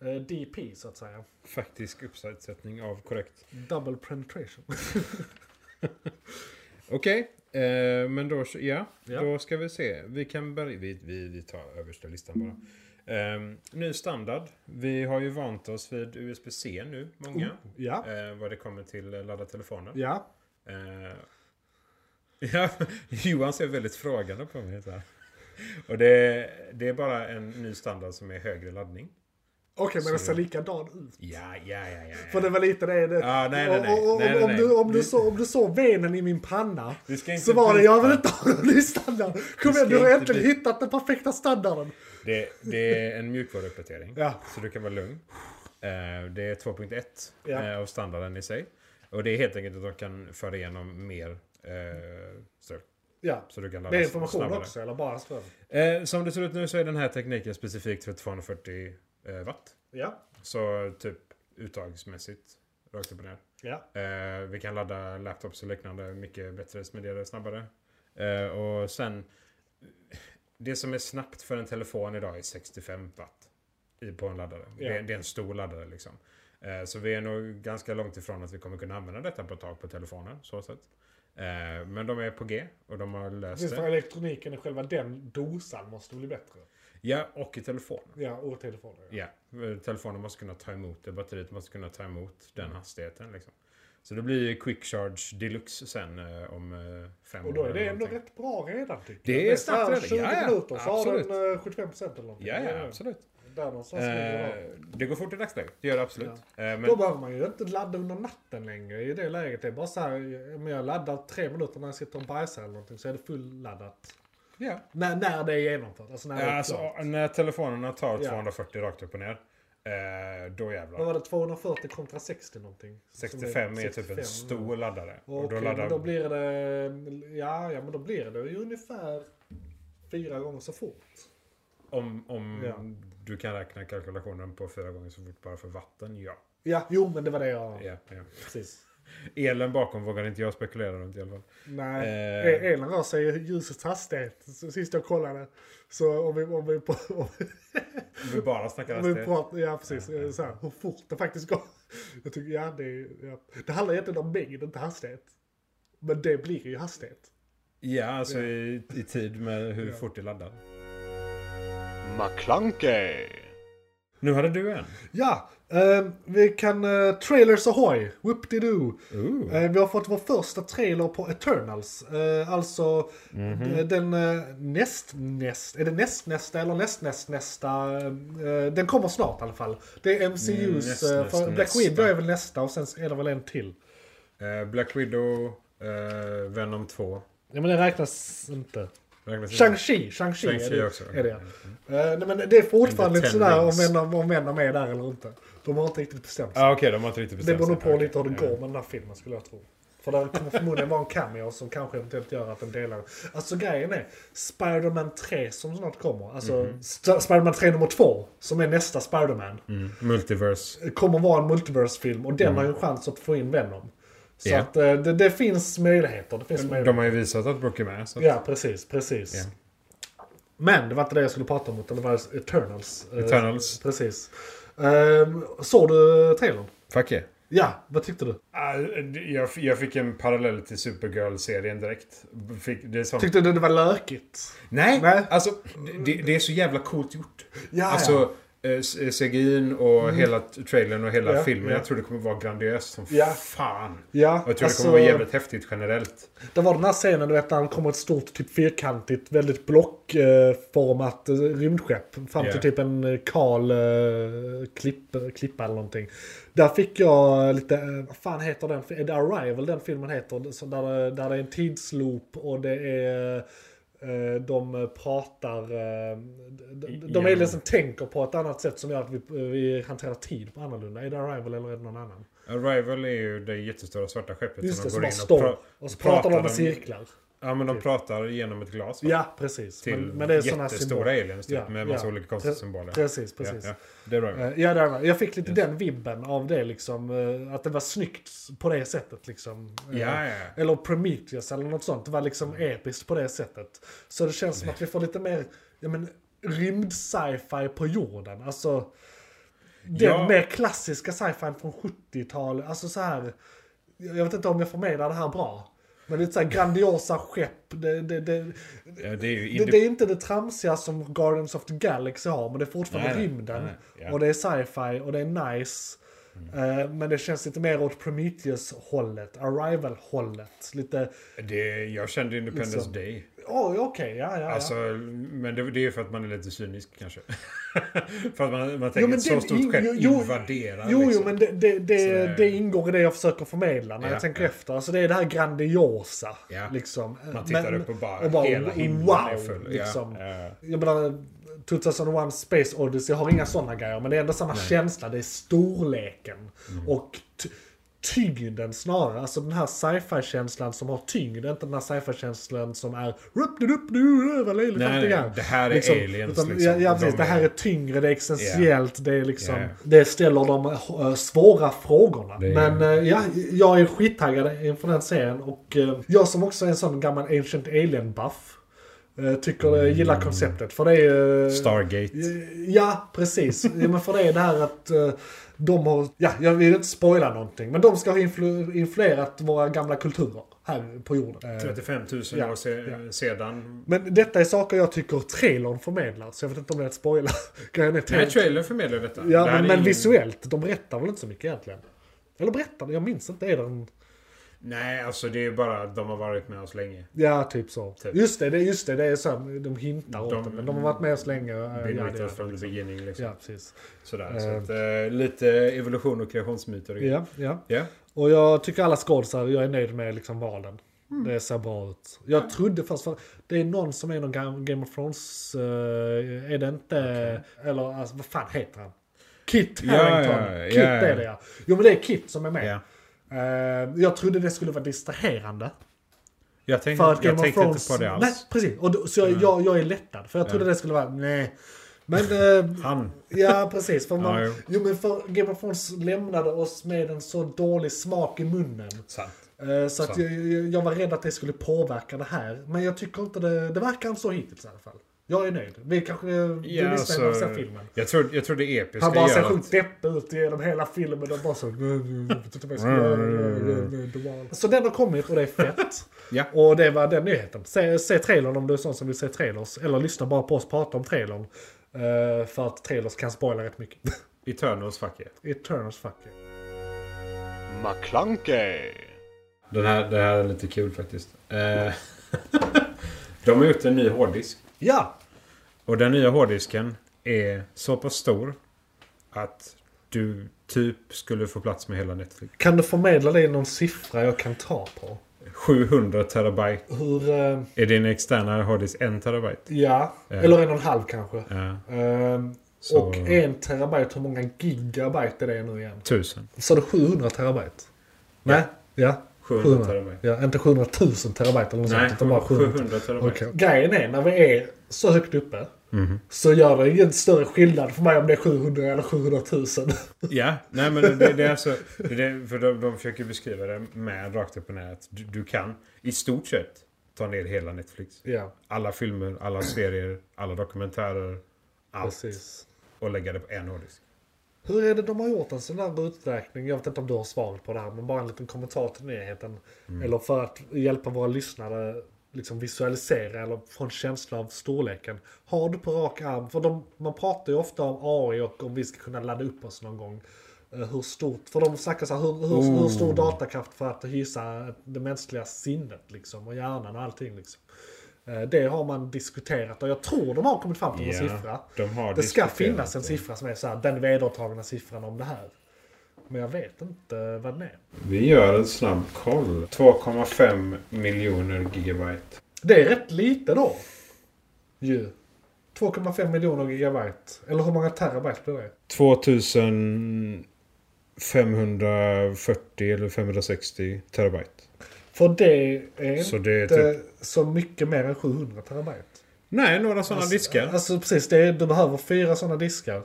Speaker 3: eh, DP så att säga.
Speaker 1: Faktisk uppsättning av korrekt.
Speaker 3: Double penetration.
Speaker 1: Okej, eh, men då, ja,
Speaker 3: Ja.
Speaker 1: då ska vi se. Vi kan börja. Vi, vi, vi tar översta listan bara. Ehm, ny standard. Vi har ju vant oss vid USB-C nu, många.
Speaker 3: Oh, ja.
Speaker 1: Eh, vad det kommer till eh, ladda telefoner.
Speaker 3: Ja.
Speaker 1: Eh, ja, Johan ser väldigt frågande på mig. Så här. Och det, det är bara en ny standard som är högre laddning.
Speaker 3: Okej men den
Speaker 1: Så-
Speaker 3: ser likadan ut.
Speaker 1: Ja, ja, ja, ja.
Speaker 3: För det var lite det. det.
Speaker 1: Ja, nej, nej, nej.
Speaker 3: Och- och- och-
Speaker 1: Nej, nej,
Speaker 3: om
Speaker 1: nej.
Speaker 3: du- Om du
Speaker 1: Du-
Speaker 3: så- om du såg venen i min panna.
Speaker 1: Vi ska inte
Speaker 3: Så var det, jag vill
Speaker 1: byta.
Speaker 3: inte ha den i standard. Kom
Speaker 1: ska
Speaker 3: igen, du har
Speaker 1: inte
Speaker 3: äntligen
Speaker 1: byta.
Speaker 3: hittat den perfekta standarden.
Speaker 1: Det, det är en mjukvaruuppdatering.
Speaker 3: Ja.
Speaker 1: Så du kan vara lugn. Eh, Det är 2.1
Speaker 3: Ja.
Speaker 1: eh, av standarden i sig. Och det är helt enkelt att de kan föra igenom mer eh, ström.
Speaker 3: Ja.
Speaker 1: Så du kan
Speaker 3: Det
Speaker 1: ladda
Speaker 3: är information
Speaker 1: snabbare.
Speaker 3: också, eller bara ström?
Speaker 1: Eh, Som det ser ut nu så är den här tekniken specifikt för 240 eh, watt.
Speaker 3: Ja.
Speaker 1: Så typ uttagsmässigt. Rakt upp och ner.
Speaker 3: Ja.
Speaker 1: Eh, vi kan ladda laptops och liknande mycket bättre, smidigare, snabbare. Eh, och sen, det som är snabbt för en telefon idag är 65 watt i- på en laddare.
Speaker 3: Ja.
Speaker 1: Det, är, det är en stor laddare liksom. Eh, så vi är nog ganska långt ifrån att vi kommer kunna använda detta på ett tag på telefoner. Så sett. Eh, men de är på G och de har löst
Speaker 3: Precis, för
Speaker 1: det.
Speaker 3: elektroniken i själva den dosan måste bli bättre.
Speaker 1: Ja, och i telefonen.
Speaker 3: Ja, och telefoner. Ja.
Speaker 1: Ja, eh, telefonen måste kunna ta emot det. Batteriet måste kunna ta emot den
Speaker 3: Mm.
Speaker 1: hastigheten. Liksom. Så det blir quick charge deluxe sen eh, om eh, fem
Speaker 3: Och då
Speaker 1: år
Speaker 3: är
Speaker 1: eller
Speaker 3: det ändå
Speaker 1: någonting.
Speaker 3: rätt bra redan tycker
Speaker 1: Det
Speaker 3: jag.
Speaker 1: är
Speaker 3: så här
Speaker 1: snabbt redan.
Speaker 3: 20
Speaker 1: Ja, ja.
Speaker 3: minuter så
Speaker 1: Absolut.
Speaker 3: har den eh, 75% eller någonting.
Speaker 1: Ja, ja, absolut.
Speaker 3: Där någonstans ligger den.
Speaker 1: Eh, det går fort i dagsläget. Det gör det absolut. Eh,
Speaker 3: Då
Speaker 1: men,
Speaker 3: behöver man ju inte ladda under natten längre i det läget. Det är bara så här, men jag laddar tre minuter när jag sitter och bajsar eller någonting så är det fulladdat.
Speaker 1: ja.
Speaker 3: När, när det är genomfört. Alltså när det
Speaker 1: Ja,
Speaker 3: är
Speaker 1: alltså,
Speaker 3: klart.
Speaker 1: när telefonerna tar
Speaker 3: Ja.
Speaker 1: 240 rakt upp och ner, eh, då jävlar.
Speaker 3: Vad var det? 240 kontra 60 någonting? Som är
Speaker 1: 65 är typ
Speaker 3: 65,
Speaker 1: en stor laddare.
Speaker 3: Okej,
Speaker 1: och då laddar...
Speaker 3: men då blir det... Ja, ja, men då blir det ju ungefär fyra gånger så fort.
Speaker 1: Om, om
Speaker 3: Ja.
Speaker 1: du kan räkna kalkylationen på fyra gånger så fort bara för vatten, ja.
Speaker 3: Ja, jo, men det var det jag...
Speaker 1: ja, ja.
Speaker 3: Precis.
Speaker 1: Elen bakom vågar inte jag spekulera runt i alla fall.
Speaker 3: Nej,
Speaker 1: Eh.
Speaker 3: eh. elen rör sig i ljusets hastighet. Så Sist jag kollade. Så om vi, om vi, på- om vi,
Speaker 1: Om vi bara snackar
Speaker 3: om vi
Speaker 1: hastighet.
Speaker 3: pratar... Ja, precis. eh, Så här, hur fort det faktiskt går. Jag tycker, ja, det, är- ja. det handlar egentligen om mängd, inte hastighet. Men det blir ju hastighet.
Speaker 1: Ja, alltså i, i tid med hur
Speaker 3: Ja.
Speaker 1: fort det laddar.
Speaker 2: McClunkey.
Speaker 1: Nu hade du en.
Speaker 3: Ja, eh, vi kan... Eh, trailers ahoy! Whoop-de-doo!
Speaker 1: Ooh.
Speaker 3: Eh, Vi har fått vår första trailer på Eternals. Eh, Alltså
Speaker 1: Mhm.
Speaker 3: eh, den eh, näst, näst, är det näst nästa eller näst näst nästa? eh, Den kommer snart i alla fall. Det är MCUs,
Speaker 1: Mm,
Speaker 3: näst,
Speaker 1: näst,
Speaker 3: eh, för
Speaker 1: nästa,
Speaker 3: Black
Speaker 1: nästa.
Speaker 3: Widow är väl nästa och sen är det väl en till.
Speaker 1: Eh, Black Widow, eh, Venom 2.
Speaker 3: Ja men det räknas inte.
Speaker 1: Räknas inte.
Speaker 3: Shang-Chi, Shang-Chi är
Speaker 1: Shang-Chi
Speaker 3: det,
Speaker 1: också.
Speaker 3: är det ja. Eh, Nej men det är fortfarande
Speaker 1: And the
Speaker 3: lite
Speaker 1: Ten
Speaker 3: sådär om
Speaker 1: Rings.
Speaker 3: Venom, om Venom är där eller inte. De har inte riktigt bestämt sig.
Speaker 1: Ah, Okej, de har inte riktigt
Speaker 3: Det
Speaker 1: bestämt
Speaker 3: beror nog
Speaker 1: sig.
Speaker 3: på lite hur det
Speaker 1: Okej, Mm.
Speaker 3: går med den här filmen skulle jag tro. För det kommer förmodligen vara en cameo som kanske eventuellt gör att den delar. Alltså grejen är, Spider-Man 3 som snart kommer, alltså
Speaker 1: Mhm.
Speaker 3: St- Spider-Man 3 nummer 2, som är nästa Spider-Man,
Speaker 1: ja. Mm. Multiverse.
Speaker 3: kommer vara en multiverse-film och den har ju en chans att få in Venom. Så
Speaker 1: Mm. Ja.
Speaker 3: att eh, det, det finns möjligheter. Det finns möjligheter.
Speaker 1: De har ju visat att Brooke är med. Så att
Speaker 3: Ja, precis, precis.
Speaker 1: Ja.
Speaker 3: Men det var inte det jag skulle prata om, utan det var Eternals. Eh,
Speaker 1: Eternals.
Speaker 3: Precis. Ehm, såg du trailern?
Speaker 1: Fuck yeah.
Speaker 3: Ja, vad tyckte du?
Speaker 1: Ah, jag, jag fick en parallell till Supergirl-serien direkt. Fick, det är sånt.
Speaker 3: Tyckte du det var lökigt?
Speaker 1: Nej,
Speaker 3: Nej.
Speaker 1: alltså det, det är så jävla coolt gjort.
Speaker 3: Ja, Mm.
Speaker 1: alltså, eh, c- CGI'n och hela t- trailern och hela
Speaker 3: Ja,
Speaker 1: filmen.
Speaker 3: ja.
Speaker 1: Jag tror det kommer vara grandiöst som
Speaker 3: Ja.
Speaker 1: fan.
Speaker 3: Ja,
Speaker 1: Och jag tror det
Speaker 3: alltså,
Speaker 1: kommer vara jävligt häftigt generellt.
Speaker 3: det var den här scenen du vet när han kommer ett stort, typ fyrkantigt, väldigt blockformat eh, rymdskepp. Fram till
Speaker 1: Ja.
Speaker 3: typ en eh, kal eh, klipp, klippa eller någonting. Där fick jag lite, eh, vad fan heter den? Är det Arrival den filmen heter? Så där, det- där det är en tidsloop och det är eh, de pratar, eh, de, de, de
Speaker 1: Ja.
Speaker 3: aliensen tänker på ett annat sätt som gör att vi, vi hanterar tid på annorlunda. Är det Arrival eller är det någon annan?
Speaker 1: Arrival är ju det jättestora svarta skeppet
Speaker 3: Just
Speaker 1: som
Speaker 3: det, som
Speaker 1: de
Speaker 3: bara
Speaker 1: går in
Speaker 3: står.
Speaker 1: och, pra-
Speaker 3: och så pratar de om
Speaker 1: de-
Speaker 3: cirklar.
Speaker 1: Ja men de pratar genom ett glas va?
Speaker 3: Ja, precis.
Speaker 1: Till
Speaker 3: men, men det är såna
Speaker 1: jättestora
Speaker 3: symboler.
Speaker 1: aliens typ,
Speaker 3: Ja,
Speaker 1: med massa
Speaker 3: ja.
Speaker 1: olika konstiga
Speaker 3: Pre-
Speaker 1: symboler.
Speaker 3: Precis,
Speaker 1: Ja,
Speaker 3: precis. Eh,
Speaker 1: ja.
Speaker 3: Ja,
Speaker 1: Det är Arrival.
Speaker 3: ja. där var. Jag fick lite
Speaker 1: Yes.
Speaker 3: den vibben av det liksom. eh, Att det var snyggt på det sättet liksom. Eh,
Speaker 1: Ja, ja.
Speaker 3: Eller Prometheus eller något sånt. Det var liksom episkt på det sättet. Så det känns som att vi får lite mer ja, men, rymd sci-fi på jorden. Alltså den
Speaker 1: Ja.
Speaker 3: mer klassiska sci-fi från 70-talet. Alltså så här. Jag vet inte om jag förmedlar det här bra. Men lite så här grandiosa skepp. Det, det, det,
Speaker 1: Ja, det är ju
Speaker 3: det,
Speaker 1: indie-
Speaker 3: det är inte det tramsiga som Guardians of the Galaxy har, men det är fortfarande
Speaker 1: Nej, nej,
Speaker 3: rymden.
Speaker 1: nej, nej, ja.
Speaker 3: Och det är sci-fi och det är nice. Eh, Men det känns lite mer åt Prometheus-hållet, Arrival-hållet. Lite,
Speaker 1: det, jag kände Independence
Speaker 3: Liksom.
Speaker 1: Day.
Speaker 3: åh okej, ja ja
Speaker 1: Alltså,
Speaker 3: ja.
Speaker 1: men det, det är ju för att man är lite cynisk kanske. för att man, man tänker
Speaker 3: men
Speaker 1: ett så
Speaker 3: den-
Speaker 1: stort
Speaker 3: jo,
Speaker 1: skepp
Speaker 3: jo, jo,
Speaker 1: invaderar
Speaker 3: Jo,
Speaker 1: liksom.
Speaker 3: jo, men det, det, det,
Speaker 1: Sådär.
Speaker 3: det ingår i det jag försöker förmedla när
Speaker 1: Ja,
Speaker 3: jag tänker
Speaker 1: ja.
Speaker 3: efter. Alltså det är det här grandiosa.
Speaker 1: Ja.
Speaker 3: Liksom. Eh,
Speaker 1: Man tittar upp och bara, hela himlen är full. Ja, eh,
Speaker 3: Liksom.
Speaker 1: ja.
Speaker 3: Jag menar, 2001 Space Odyssey har inga sådana grejer, men det är ändå samma känsla. Det är storleken och ty- tyngden snarare. Alltså den här sci-fi-känslan som har tyngd, inte den här sci-fi-känslan som är rupp du rupp du vad löjligt
Speaker 1: Nej,
Speaker 3: allt
Speaker 1: nej,
Speaker 3: är.
Speaker 1: det här är aliens,
Speaker 3: Utan,
Speaker 1: liksom.
Speaker 3: Ja, ja
Speaker 1: De
Speaker 3: precis, det här
Speaker 1: är-
Speaker 3: är tyngre, det är existentiellt, det är liksom,
Speaker 1: Ja.
Speaker 3: det ställer de eh, svåra frågorna.
Speaker 1: Det är-
Speaker 3: Men eh, ja, jag är skittaggad inför den serien och eh, jag som också är en sån gammal Ancient Alien-buff eh, tycker, eh, gillar konceptet. För det är ju...
Speaker 1: Stargate.
Speaker 3: Ja, precis. Ja, men för det är det här att eh, de har, ja, jag vill inte spoila någonting, men de ska ha influ- influerat våra gamla kulturer här på jorden. Eh,
Speaker 1: 35 000
Speaker 3: Ja,
Speaker 1: år se- sedan.
Speaker 3: Men detta är saker jag tycker trailern förmedlar, så jag vet inte om det är att spoila. Grejen är
Speaker 1: Nej,
Speaker 3: trailern-
Speaker 1: trailern förmedlar detta.
Speaker 3: Ja,
Speaker 1: Det här
Speaker 3: men,
Speaker 1: är
Speaker 3: men
Speaker 1: ingen-
Speaker 3: visuellt, de berättar väl inte så mycket egentligen? Eller berättar de? Jag minns inte. Är det en...
Speaker 1: Nej, alltså det är bara att de har varit med oss länge.
Speaker 3: Ja, typ så.
Speaker 1: Typ.
Speaker 3: Just det, det, just det, det är så här, de hintar åt
Speaker 1: De-
Speaker 3: det, men de har varit med oss länge. eh,
Speaker 1: Been
Speaker 3: Ja,
Speaker 1: with
Speaker 3: det,
Speaker 1: us from the beginning liksom.
Speaker 3: ja, precis.
Speaker 1: Sådär.
Speaker 3: Eh.
Speaker 1: Så att, eh, lite evolution och kreationsmyter. och grejer.
Speaker 3: Ja, ja.
Speaker 1: Ja.
Speaker 3: Och jag tycker alla skådisar, jag är nöjd med liksom valen. Det ser bra ut. Jag trodde först, för det är någon som är någon Ga- Game of Thrones, eh, är det inte, eller alltså, vad fan heter han? Kit
Speaker 1: Ja,
Speaker 3: Harington.
Speaker 1: ja, ja,
Speaker 3: Kit
Speaker 1: ja.
Speaker 3: är det ja. Jo men det är Kit som är med.
Speaker 1: Ja.
Speaker 3: Eh, jag trodde det skulle vara distraherande.
Speaker 1: Jag tänkte,
Speaker 3: För att
Speaker 1: jag
Speaker 3: Game of
Speaker 1: tänkte
Speaker 3: Thrones...
Speaker 1: inte på det alls.
Speaker 3: Nej, precis. Och då, så jag, jag, jag är lättad. För jag trodde det skulle vara, nej. Men, eh,
Speaker 1: Han.
Speaker 3: ja precis. För man,
Speaker 1: Ja, jo.
Speaker 3: jo men för Game of Thrones lämnade oss med en så dålig smak i munnen.
Speaker 1: Sant.
Speaker 3: Eh, Så att
Speaker 1: Så.
Speaker 3: jag, jag- jag var rädd att det skulle påverka det här. Men jag tycker inte det, det verkar inte så hittills i alla fall. Jag är nöjd. Vi kanske, du
Speaker 1: alltså,
Speaker 3: lyssnar när du ser filmen.
Speaker 1: Jag tror, jag tror det episka
Speaker 3: Han bara
Speaker 1: gör
Speaker 3: ser
Speaker 1: att-
Speaker 3: sjukt deppig ut genom hela filmen och bara så... "Äh, Så den har kommit och det är fett.
Speaker 1: Ja.
Speaker 3: Och det var den nyheten. Se, se trailern om du är sån som vill se trailers. Eller lyssna bara på oss prata om trailern. Eh, För att trailers kan spoila rätt mycket.
Speaker 1: Eternals fuck yeah.
Speaker 3: Eternals fuck yeah.
Speaker 2: McClunkey.
Speaker 1: Den här, det här är lite kul faktiskt. Eh, de har gjort en ny hårddisk.
Speaker 3: Ja!
Speaker 1: Och den nya hårddisken är så pass stor att du typ skulle få plats med hela Netflix.
Speaker 3: Kan du förmedla det i någon siffra jag kan ta på?
Speaker 1: 700 terabyte.
Speaker 3: Hur... eh,
Speaker 1: Är din externa hårddisk 1 terabyte?
Speaker 3: Ja,
Speaker 1: Eh.
Speaker 3: eller en och en halv kanske.
Speaker 1: Ja,
Speaker 3: Ehm,
Speaker 1: Så-
Speaker 3: Och en terabyte, hur många gigabyte är det nu igen?
Speaker 1: 1000.
Speaker 3: Så det 700 terabyte? Nej? Ja?
Speaker 1: 700 terabyte.
Speaker 3: Ja, inte 700 000 terabyte eller något
Speaker 1: Nej,
Speaker 3: sånt. Utan bara 700.
Speaker 1: 700 terabyte. Mhm.
Speaker 3: Okej. Grejen är, när vi är så högt uppe så gör det ingen större skillnad för mig om det är 700 eller 700 000.
Speaker 1: Ja, nej men det, det är alltså... Det, är- för de, de försöker beskriva det med rakt upp och ner att du, du kan i stort sett ta ner hela Netflix.
Speaker 3: ja,
Speaker 1: Alla filmer, alla serier, alla dokumentärer. Allt.
Speaker 3: precis.
Speaker 1: Och lägga det på en hårddisk.
Speaker 3: Hur är det de har gjort en sån här uträkning? Jag vet inte om du har svaret på det här, men bara en liten kommentar till nyheten. Eller för att hjälpa våra lyssnare liksom visualisera eller få en känsla av storleken. Har du på rak arm, för de, man pratar ju ofta om AI och om vi ska kunna ladda upp oss någon gång. Eh, Hur stort, för de snackar så här, hur, hur, hur stor datakraft för att hysa det mänskliga sinnet liksom och hjärnan och allting liksom. Eh, Det har man diskuterat och jag tror de har kommit fram till en
Speaker 1: Ja,
Speaker 3: siffra.
Speaker 1: de har
Speaker 3: det ska
Speaker 1: diskuterat
Speaker 3: finnas en
Speaker 1: det.
Speaker 3: siffra som är så här, den vedertagna siffran om det här. Men jag vet inte vad den är.
Speaker 1: Vi gör en snabb koll. 2,5 miljoner gigabyte.
Speaker 3: Det är rätt lite då. Ju. 2,5 miljoner gigabyte. Eller hur många terabyte blir det?
Speaker 1: 2540 eller 560 terabyte.
Speaker 3: För det är
Speaker 1: Så det är
Speaker 3: inte
Speaker 1: typ...
Speaker 3: så mycket mer än 700 terabyte.
Speaker 1: Nej, några sådana diskar.
Speaker 3: Alltså precis, det är, du behöver fyra sådana diskar.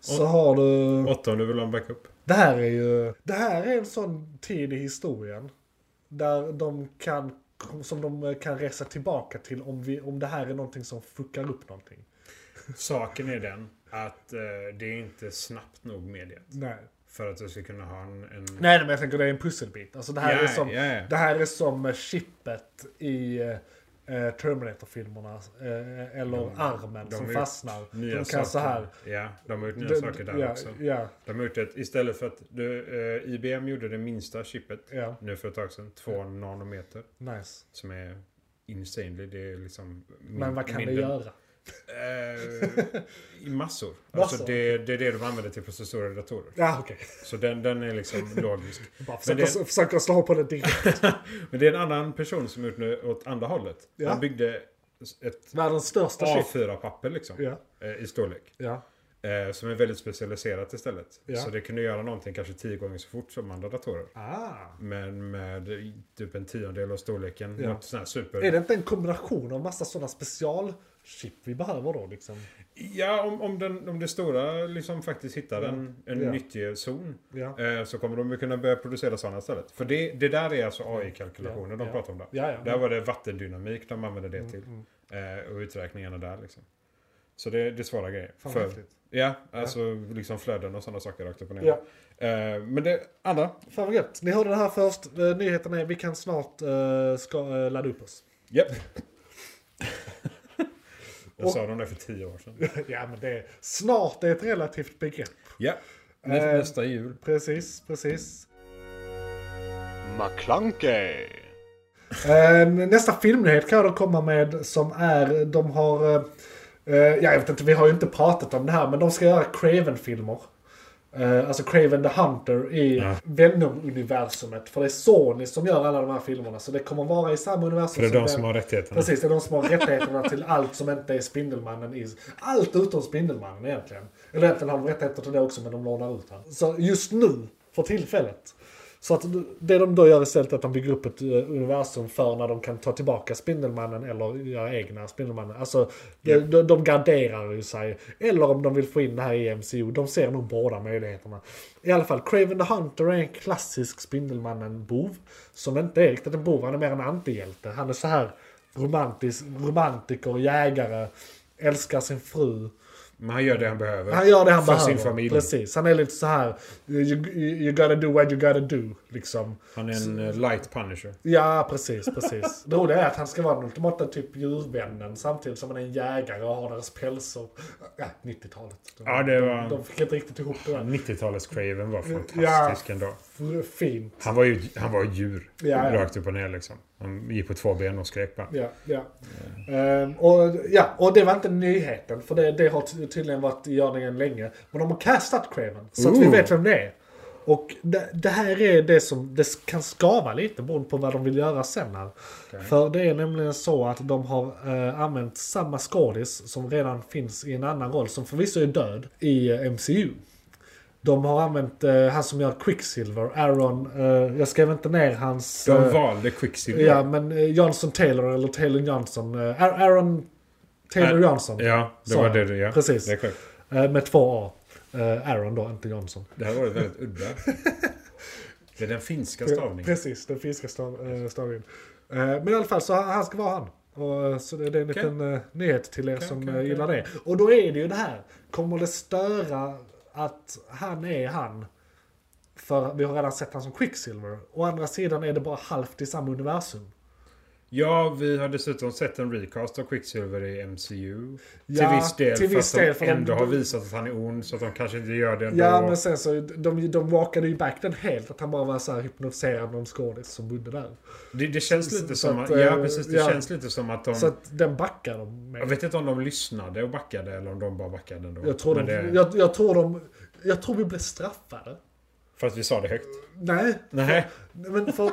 Speaker 3: Så har du...
Speaker 1: Åtta om du vill ha en backup.
Speaker 3: Det här är ju... Det här är en sån tid i historien. Där de kan... Som de kan resa tillbaka till om, vi, om det här är någonting som fuckar upp någonting.
Speaker 1: Saken är den att eh, det är inte snabbt nog mediet.
Speaker 3: Nej.
Speaker 1: För att du ska kunna ha en... en...
Speaker 3: Nej men jag tänker det är en pusselbit. Alltså det här
Speaker 1: Ja,
Speaker 3: är som...
Speaker 1: ja, ja.
Speaker 3: Det här är som chippet i eh, Terminator-filmerna. Eh, eller armen
Speaker 1: de har
Speaker 3: som
Speaker 1: gjort
Speaker 3: fastnar. De
Speaker 1: Nya
Speaker 3: kan
Speaker 1: saker.
Speaker 3: så här.
Speaker 1: Ja, de har gjort nya
Speaker 3: d-
Speaker 1: saker där
Speaker 3: ja,
Speaker 1: också.
Speaker 3: ja,
Speaker 1: De har gjort ett, istället för att du, eh, IBM gjorde det minsta chippet
Speaker 3: ja,
Speaker 1: nu för ett tag sedan. Två nanometer.
Speaker 3: nice.
Speaker 1: Som är insanely. Det är liksom... min-
Speaker 3: Men vad kan det
Speaker 1: mindre-
Speaker 3: göra?
Speaker 1: Eh, I massor.
Speaker 3: Massor,
Speaker 1: Alltså det, det är det de använder till processorer och datorer.
Speaker 3: Ja okej.
Speaker 1: Så den, den är liksom logisk.
Speaker 3: Bara försöka,
Speaker 1: det-
Speaker 3: försöka slå på det direkt.
Speaker 1: Men det är en annan person som gjort nu åt andra hållet.
Speaker 3: Ja.
Speaker 1: Han byggde ett
Speaker 3: Världens största chip.
Speaker 1: A4-papper liksom.
Speaker 3: Ja,
Speaker 1: eh, I storlek.
Speaker 3: ja.
Speaker 1: Eh, som är väldigt specialiserat istället.
Speaker 3: Ja.
Speaker 1: Så det kunde göra någonting kanske tio gånger så fort som andra datorer.
Speaker 3: Ah.
Speaker 1: Men med typ en tiondel av storleken.
Speaker 3: Ja.
Speaker 1: Något sånt här super...
Speaker 3: Är det inte en kombination av massa sådana specialchip vi behöver då liksom?
Speaker 1: Ja, om, om, den, om det stora liksom faktiskt hittar en, en
Speaker 3: Ja.
Speaker 1: nyttig zon.
Speaker 3: Ja.
Speaker 1: Eh, så kommer de ju kunna börja producera sådana istället. För det, det där är alltså AI-kalkylationer
Speaker 3: Ja,
Speaker 1: de
Speaker 3: ja.
Speaker 1: pratar om där.
Speaker 3: Ja, ja.
Speaker 1: Där var det vattendynamik de använde det
Speaker 3: Mm,
Speaker 1: till.
Speaker 3: mm.
Speaker 1: Eh, och uträkningarna där liksom. Så det, det är svåra grejer.
Speaker 3: Fan
Speaker 1: För-
Speaker 3: vad häftigt.
Speaker 1: ja, alltså liksom flöden och sådana saker rakt upp och ner.
Speaker 3: Ja.
Speaker 1: Eh, men det, andra.
Speaker 3: Fan vad gött. Ni hörde det här först. Eh, Nyheten är vi kan snart eh, ska, eh, ladda upp oss.
Speaker 1: Japp. Jag
Speaker 3: Och-
Speaker 1: sa de det för tio år sedan.
Speaker 3: ja men det är, snart är ett relativt begrepp.
Speaker 1: Ja.
Speaker 3: Nä- Eh,
Speaker 1: Nästa jul.
Speaker 3: Precis, precis.
Speaker 2: McClunkey,
Speaker 3: Eh, nästa filmnyhet kan jag då komma med som är, de har, eh, eh, ja, jag vet inte, vi har ju inte pratat om det här, men de ska göra Craven-filmer. Eh, alltså Craven the Hunter i
Speaker 1: Ja.
Speaker 3: Venom-universumet. För det är Sony som gör alla de här filmerna, så det kommer vara i samma universum
Speaker 1: För det är de
Speaker 3: Ven-
Speaker 1: som har rättigheterna.
Speaker 3: Precis, det är de som har rättigheterna till allt som inte är Spindelmannen. I, allt utom Spindelmannen egentligen. Eller egentligen har de rättigheter till det också men de lånar ut han. Så just nu, för tillfället. Så att det de då gör istället är att de bygger upp ett eh, universum för när de kan ta tillbaka Spindelmannen eller göra egna Spindelmannen. Alltså de, de, de garderar ju sig. Eller om de vill få in det här i MCU. De ser nog båda möjligheterna. I alla fall, Craven the Hunter är en klassisk Spindelmannen-bov. Som inte är riktigt en bov, han är mer en antihjälte. Han är så här romantisk, romantiker, jägare, älskar sin fru.
Speaker 1: Men han gör det han behöver.
Speaker 3: Han gör det han
Speaker 1: För
Speaker 3: behöver.
Speaker 1: sin familj.
Speaker 3: Precis, han är lite så här you, you, you gotta do what you gotta do. Liksom.
Speaker 1: Han är en eh, light punisher.
Speaker 3: Ja, precis, precis. Det roliga är att han ska vara den ultimata typ djurvännen samtidigt som han är en jägare och har deras pälsar. Ja, 90-talet. De,
Speaker 1: Ja, det var-
Speaker 3: de, de fick inte riktigt ihop det där.
Speaker 1: 90-talets Craven var fantastisk
Speaker 3: Ja.
Speaker 1: ändå.
Speaker 3: Fint.
Speaker 1: Han var ju han var ju djur.
Speaker 3: Ja, ja.
Speaker 1: Rakt upp och ner liksom. Han gick på två ben och skrek bara.
Speaker 3: Ja, ja. Ehm, och, ja, och det var inte nyheten, för det, det har ty- tydligen varit i görningen länge. Men de har castat Craven, så att vi
Speaker 1: Ooh.
Speaker 3: vet vem det är. Och det, det här är det som det s- kan skava lite beroende på vad de vill göra sen här. För det är nämligen så att de har eh, använt samma skådis som redan finns i en annan roll, som förvisso är död, i eh, MCU. De har använt eh, han som gör Quicksilver, Aaron, eh, jag skrev inte ner hans...
Speaker 1: De
Speaker 3: eh,
Speaker 1: valde Quicksilver.
Speaker 3: Ja, men eh, Johnson Taylor eller Taylor Johnson. eh, Ar- Aaron Taylor
Speaker 1: Ar-
Speaker 3: Johnson.
Speaker 1: Ja, det
Speaker 3: Sa
Speaker 1: var
Speaker 3: jag.
Speaker 1: det du ja.
Speaker 3: Precis.
Speaker 1: Det är korrekt.
Speaker 3: eh, Med två A. Eh, Aaron då, inte Johnson.
Speaker 1: Det här var väldigt udda. Det är den finska stavningen.
Speaker 3: Precis, den finska stav, eh, stavningen. Eh, Men i alla fall, så han han ska vara han. Och, eh, så det det är en
Speaker 1: Okej.
Speaker 3: liten eh, nyhet till er som
Speaker 1: okej,
Speaker 3: eh,
Speaker 1: okej.
Speaker 3: gillar det. Och då är det ju det här. Kommer det störa att han är han? För vi har redan sett han som Quicksilver. Å andra sidan är det bara halvt i samma universum.
Speaker 1: Ja, vi har dessutom sett en recast av Quicksilver i MCU.
Speaker 3: Ja,
Speaker 1: till viss del,
Speaker 3: till viss
Speaker 1: fast
Speaker 3: del,
Speaker 1: de
Speaker 3: för de-
Speaker 1: ändå har visat att han är ond så att de kanske inte gör det ändå.
Speaker 3: Ja men sen så, de, de walkade ju back den helt. Att han bara var så här hypnotiserad av någon skådis som bodde där.
Speaker 1: det, det känns lite
Speaker 3: så
Speaker 1: som
Speaker 3: att,
Speaker 1: att, Ja,
Speaker 3: eh,
Speaker 1: precis. Det
Speaker 3: ja.
Speaker 1: känns lite som att de...
Speaker 3: Så att den backar de
Speaker 1: jag
Speaker 3: med.
Speaker 1: vet inte om de lyssnade och backade eller om de bara backade ändå.
Speaker 3: Jag tror, de,
Speaker 1: Men det,
Speaker 3: jag, jag tror de... Jag tror vi blev straffade.
Speaker 1: För att vi sa det högt.
Speaker 3: Nej,
Speaker 1: Nej.
Speaker 3: men för...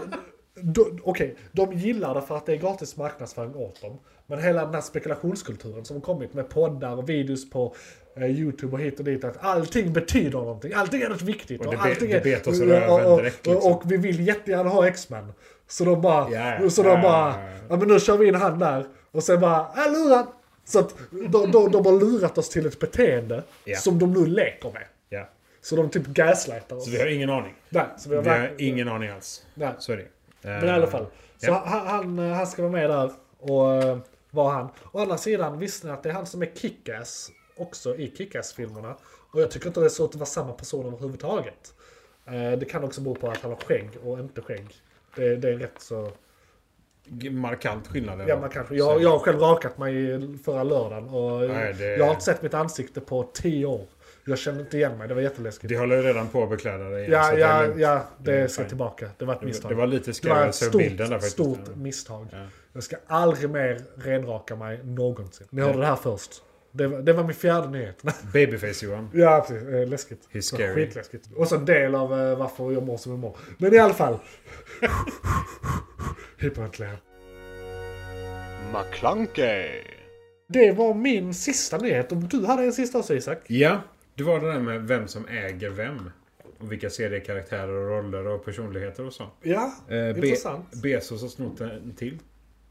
Speaker 3: då- Okej, de gillar det för att det är gratis marknadsföring åt dem. Men hela den här spekulationskulturen som har kommit med poddar och videos på eh, YouTube och hit och dit. Att allting betyder någonting. Allting är något viktigt.
Speaker 1: Och det be-
Speaker 3: allting
Speaker 1: det
Speaker 3: är,
Speaker 1: bet oss i
Speaker 3: och-
Speaker 1: röven
Speaker 3: och-
Speaker 1: direkt, liksom.
Speaker 3: Och vi vill jättegärna ha X-Men. Så de bara...
Speaker 1: Ja, ja.
Speaker 3: så
Speaker 1: Ja,
Speaker 3: de
Speaker 1: ja,
Speaker 3: bara...
Speaker 1: ja.
Speaker 3: Ja men nu kör vi in han där. Och sen bara... Äh, lurad! Så att de, de, de har lurat oss till ett beteende
Speaker 1: Ja.
Speaker 3: som de nu leker med.
Speaker 1: Ja.
Speaker 3: Så de typ gaslightar oss.
Speaker 1: Så vi har ingen aning.
Speaker 3: Nej, så vi har,
Speaker 1: Vi har
Speaker 3: verkligen-
Speaker 1: ingen aning alls.
Speaker 3: Nej.
Speaker 1: Så är det.
Speaker 3: Men i alla fall. Så
Speaker 1: Ja.
Speaker 3: han, han, han ska vara med där och eh, vara han. Å andra sidan visste ni att det är han som är Kick-Ass också i Kick-Ass-filmerna. Och jag tycker inte det är så att det var samma person överhuvudtaget. Eh, Det kan också bero på att han har skägg och inte skägg. Det, det är rätt så...
Speaker 1: G- Eh, Markant skillnad. ändå.
Speaker 3: Ja, man kanske, jag, jag har själv rakat mig förra lördagen och
Speaker 1: Nej, det-
Speaker 3: jag har inte sett mitt ansikte på 10 år. Jag kände inte igen mig, det var jätteläskigt.
Speaker 1: Det håller ju redan på att bekläda dig. igen, så
Speaker 3: ja,
Speaker 1: det är
Speaker 3: ja,
Speaker 1: lugnt.
Speaker 3: ja,
Speaker 1: Det är
Speaker 3: det ska
Speaker 1: fine.
Speaker 3: tillbaka. Det var ett misstag.
Speaker 1: Det var lite
Speaker 3: Det var ett
Speaker 1: skrämmelse i bilden där
Speaker 3: stort,
Speaker 1: faktiskt.
Speaker 3: stort misstag.
Speaker 1: Ja.
Speaker 3: Jag ska aldrig mer renraka mig någonsin. Ni hörde det här först. Det var, det var min fjärde nyhet.
Speaker 1: Babyface Johan.
Speaker 3: ja, precis. Eh, Läskigt.
Speaker 1: He's
Speaker 3: Så
Speaker 1: scary.
Speaker 3: Skitläskigt. Och så en del av eh, varför jag mår som jag mår. Men i alla fall. Hyperventilera.
Speaker 2: McClunkey.
Speaker 3: Det var min sista nyhet. Om du hade en sista också Isak.
Speaker 1: Ja, det var det där med vem som äger vem. Och vilka seriekaraktärer och roller och personligheter och sånt.
Speaker 3: Ja,
Speaker 1: Eh, Be-
Speaker 3: intressant.
Speaker 1: Bezos har snott en till.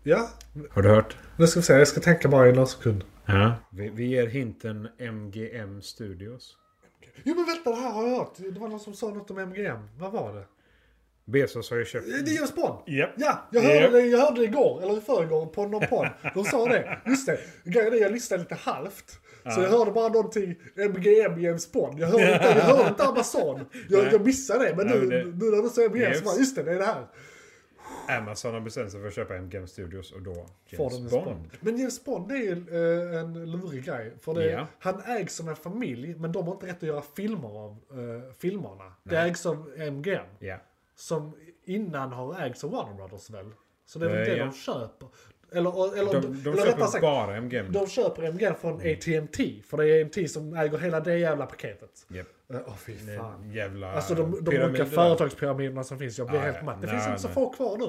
Speaker 3: Ja.
Speaker 1: Har du hört?
Speaker 3: Nu ska vi se, jag ska tänka bara i någon sekund.
Speaker 1: Ja. Vi, vi ger hinten MGM Studios.
Speaker 3: Jo men vänta, det här har jag hört. Det var någon som sa något om MGM. Vad var det?
Speaker 1: Bezos har ju köpt...
Speaker 3: Eh, Det är James Bond!
Speaker 1: Japp.
Speaker 3: Ja, jag hörde,
Speaker 1: Japp.
Speaker 3: det, jag hörde det igår, eller i förrgår, på någon podd. De sa det. Just det. Grejen är jag lyssnade lite halvt. Så jag hörde bara någonting, MGM James Bond. Jag hörde inte, jag hörde inte Amazon. Jag, jag missade det, men
Speaker 1: Nej,
Speaker 3: nu,
Speaker 1: men det-
Speaker 3: nu när du säger MGM så
Speaker 1: James.
Speaker 3: bara, just det, det är det här.
Speaker 1: Amazon har bestämt sig för att köpa MGM Studios och då
Speaker 3: Får
Speaker 1: James
Speaker 3: de en
Speaker 1: Bond.
Speaker 3: Bond. Men James Bond är ju eh, en lurig grej. För det,
Speaker 1: Ja.
Speaker 3: han ägs som en familj, men de har inte rätt att göra filmer av eh, filmerna. Det ägs av MGM.
Speaker 1: Ja.
Speaker 3: som innan har ägts av Warner Brothers väl? Så det är väl
Speaker 1: Eh,
Speaker 3: det
Speaker 1: ja.
Speaker 3: de köper? Eller, eller,
Speaker 1: De,
Speaker 3: eller
Speaker 1: de
Speaker 3: rättare
Speaker 1: köper Mm.
Speaker 3: sagt,
Speaker 1: bara MGM.
Speaker 3: de köper MGM från AT&T För det är AT&T som äger hela det jävla paketet.
Speaker 1: Japp.
Speaker 3: Eh, Åh fy fan.
Speaker 1: Jävla
Speaker 3: Alltså de, de
Speaker 1: pyramider
Speaker 3: olika
Speaker 1: där.
Speaker 3: företagspyramiderna som finns, jag blir
Speaker 1: Ah,
Speaker 3: helt
Speaker 1: ja.
Speaker 3: matt. Det
Speaker 1: Nej,
Speaker 3: finns inte så
Speaker 1: nej.
Speaker 3: få kvar nu.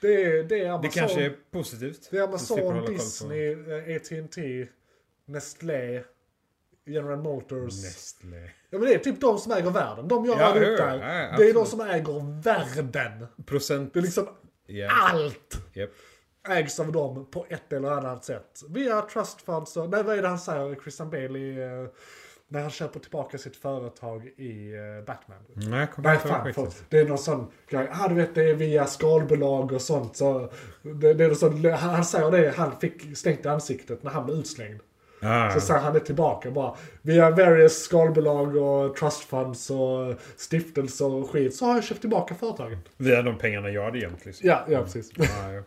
Speaker 3: Det är, det är Amazon,
Speaker 1: Det kanske är positivt.
Speaker 3: det är
Speaker 1: Så slipper
Speaker 3: Amazon
Speaker 1: hålla koll på-
Speaker 3: Disney, eh, AT&T Nestlé, General Motors.
Speaker 1: Nestlé.
Speaker 3: Ja men det är typ de som äger världen. De jag
Speaker 1: Ja,
Speaker 3: radar
Speaker 1: hur?
Speaker 3: upp där.
Speaker 1: Ja, ja,
Speaker 3: det är de
Speaker 1: absolut.
Speaker 3: som äger världen.
Speaker 1: Procent.
Speaker 3: Det är liksom
Speaker 1: Ja.
Speaker 3: allt
Speaker 1: Japp.
Speaker 3: ägs av dem på ett eller annat sätt. Via trust funds och, nej vad är det han säger, Christian Bale i, eh, när han köper tillbaka sitt företag i eh, Batman.
Speaker 1: Nej, jag kommer
Speaker 3: Nej
Speaker 1: inte ihåg
Speaker 3: fan,
Speaker 1: skiten.
Speaker 3: för, det är någon sån grej, ah, du vet det är via skalbolag och sånt. Så det, det är någon sån, han han säger det, han fick stängt i ansiktet när han blev utslängd.
Speaker 1: Ah.
Speaker 3: Så säger han det tillbaka bara. Via various skalbolag och trust funds och stiftelser och skit så har jag köpt tillbaka företaget.
Speaker 1: Via de pengarna jag hade gömt liksom.
Speaker 3: Ja, ja precis.
Speaker 1: Ah, ja.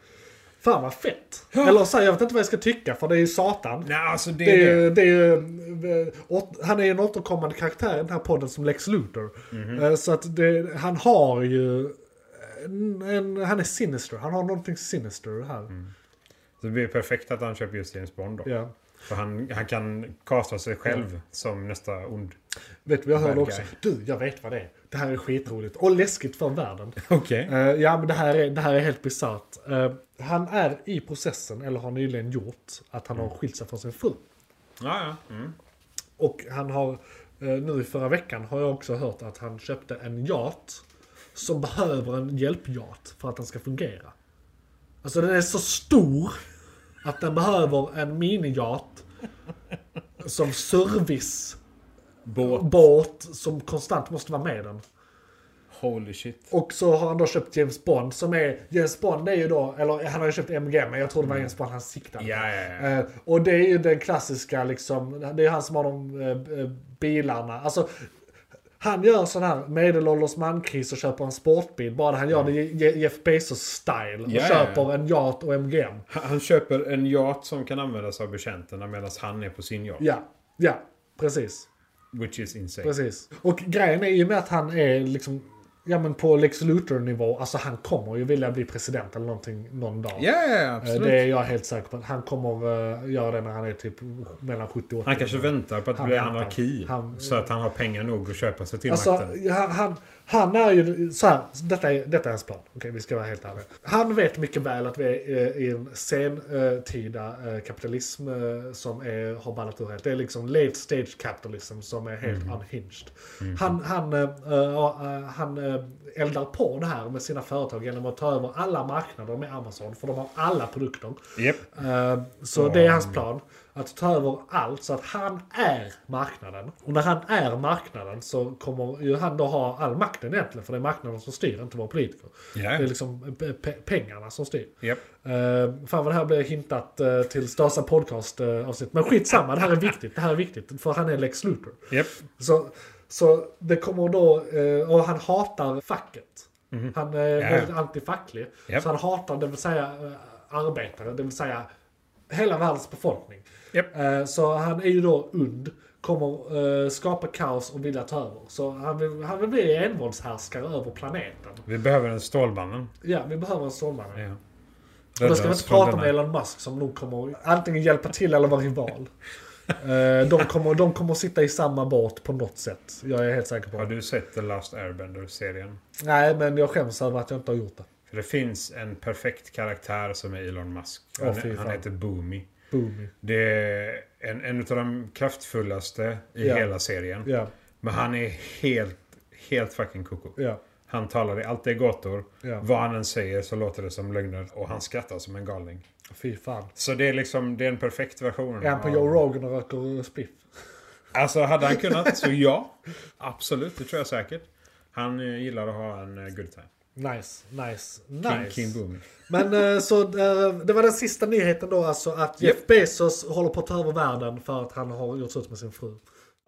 Speaker 3: Fan vad fett! Eller så, här, jag vet inte vad jag ska tycka för det är ju Satan.
Speaker 1: Nej, alltså det,
Speaker 3: Det är,
Speaker 1: är...
Speaker 3: ju- det är ju, eh, åt- han är ju en återkommande karaktär i den här podden som Lex Luthor. Eh, Så att det, han har ju... En, en, han är sinister, han har någonting sinister här.
Speaker 1: Så det blir perfekt att han köper just James Bond då.
Speaker 3: Ja.
Speaker 1: För han, han kan kasta sig själv som nästa ond.
Speaker 3: Vet du vad jag hörde
Speaker 1: Bad
Speaker 3: också?
Speaker 1: guy.
Speaker 3: Du, jag vet vad det är. Det här är skitroligt och läskigt för världen.
Speaker 1: Okej.
Speaker 3: Eh, ja, men det här är, det här är helt bisarrt. Eh, han är i processen, eller har nyligen gjort, att han har skilt sig från sin fru.
Speaker 1: Ja, ja. Mm.
Speaker 3: Och han har, eh, nu i förra veckan har jag också hört att han köpte en yacht som behöver en hjälpyacht för att den ska fungera. Alltså den är så stor att den behöver en miniyacht som servicebåt
Speaker 1: Båt.
Speaker 3: som konstant måste vara med den.
Speaker 1: Holy shit.
Speaker 3: Och så har han då köpt James Bond som är, James Bond är ju då, eller han har ju köpt MG men jag tror det var James Bond han siktade på.
Speaker 1: Ja, ja, ja.
Speaker 3: Eh, och det är ju den klassiska liksom, det är han som har de eh, eh, bilarna. Alltså, Han gör sån här medelålders mankris och köper en sportbil. Bara han gör det i Je- Jeff Bezos-style. Och
Speaker 1: Ja, ja, ja.
Speaker 3: köper en yacht och MGM.
Speaker 1: Han han köper en yacht som kan användas av betjänterna medan han är på sin yacht.
Speaker 3: Ja, ja, precis.
Speaker 1: Which is insane.
Speaker 3: Precis. Och grejen är ju med att han är liksom, ja men på Lex Luthor-nivå, alltså han kommer ju vilja bli president eller någonting någon dag.
Speaker 1: Ja, ja, ja,
Speaker 3: Eh,
Speaker 1: absolut.
Speaker 3: Det är jag helt säker på. Han kommer eh, göra det när han är typ mellan 70 och 80.
Speaker 1: Han kanske väntar på att
Speaker 3: Han
Speaker 1: bli
Speaker 3: väntar.
Speaker 1: anarki.
Speaker 3: Han-
Speaker 1: så att han har pengar nog att köpa sig till
Speaker 3: Alltså,
Speaker 1: makten.
Speaker 3: han, han, han är ju så här, detta är, detta är hans plan. Okej, vi ska vara helt ärliga. Han vet mycket väl att vi är eh, i en sentida eh, kapitalism eh, som är, har ballat ur helt. Det är liksom late stage capitalism som är helt unhinged. Han, han, eh, eh, han eh, eldar på det här med sina företag genom att ta över alla marknader med Amazon, för de har alla produkter.
Speaker 1: Japp.
Speaker 3: Eh, Så det är hans plan. Att ta över allt så att han är marknaden. Och när han är marknaden så kommer ju han då ha all makten egentligen. För det är marknaden som styr, inte våra politiker.
Speaker 1: Ja.
Speaker 3: Det är liksom pe- pe- pengarna som styr.
Speaker 1: Japp.
Speaker 3: Uh, fan vad det här blir hintat eh, till största podcast eh, avsnitt. Men skitsamma, det här är viktigt. Det här är viktigt. För han är Lex Luthor.
Speaker 1: Japp.
Speaker 3: Så, så det kommer då, eh, och han hatar facket. Han är väldigt antifacklig.
Speaker 1: Japp.
Speaker 3: Så han hatar, det vill säga eh, arbetare, det vill säga hela världens befolkning.
Speaker 1: Japp.
Speaker 3: Eh, Så han är ju då und, kommer eh, skapa kaos och vilja ta över. Så han vill, han vill bli envåldshärskare över planeten.
Speaker 1: Vi behöver en Stålmannen.
Speaker 3: Ja, vi behöver en Stålmannen.
Speaker 1: Ja.
Speaker 3: Och då
Speaker 1: Rädda
Speaker 3: ska vi
Speaker 1: oss
Speaker 3: inte
Speaker 1: från
Speaker 3: prata om
Speaker 1: denna-
Speaker 3: Elon Musk som nog kommer att antingen hjälpa till eller vara rival. Eh, de, kommer, de kommer att sitta i samma båt på något sätt. Jag är helt säker på
Speaker 1: Har
Speaker 3: det.
Speaker 1: du sett The Last Airbender-serien?
Speaker 3: Nej, men jag skäms över att jag inte har gjort det.
Speaker 1: För det finns en perfekt karaktär som är Elon Musk.
Speaker 3: Åh,
Speaker 1: Han,
Speaker 3: fy fan.
Speaker 1: han heter Boomy.
Speaker 3: Boomy.
Speaker 1: Det är en, en av de kraftfullaste i
Speaker 3: Ja.
Speaker 1: hela serien.
Speaker 3: Ja,
Speaker 1: Men han är helt, helt fucking koko.
Speaker 3: ja,
Speaker 1: Han talar i allt är gator.
Speaker 3: ja.
Speaker 1: Vad han än säger så låter det som lögner och han skrattar som en galning.
Speaker 3: Fy fan.
Speaker 1: Så det är liksom, det är en perfekt version.
Speaker 3: Är han på
Speaker 1: av-
Speaker 3: Joe Rogan och röker spliff?
Speaker 1: Alltså hade han kunnat så ja. Absolut, det tror jag säkert. Han eh, gillar att ha en eh, good time.
Speaker 3: Nice, nice,
Speaker 1: King,
Speaker 3: nice.
Speaker 1: King Boomy.
Speaker 3: Men eh, så eh, det var den sista nyheten då alltså att Jeff Bezos håller på att ta över världen för att han har gjort slut med sin fru.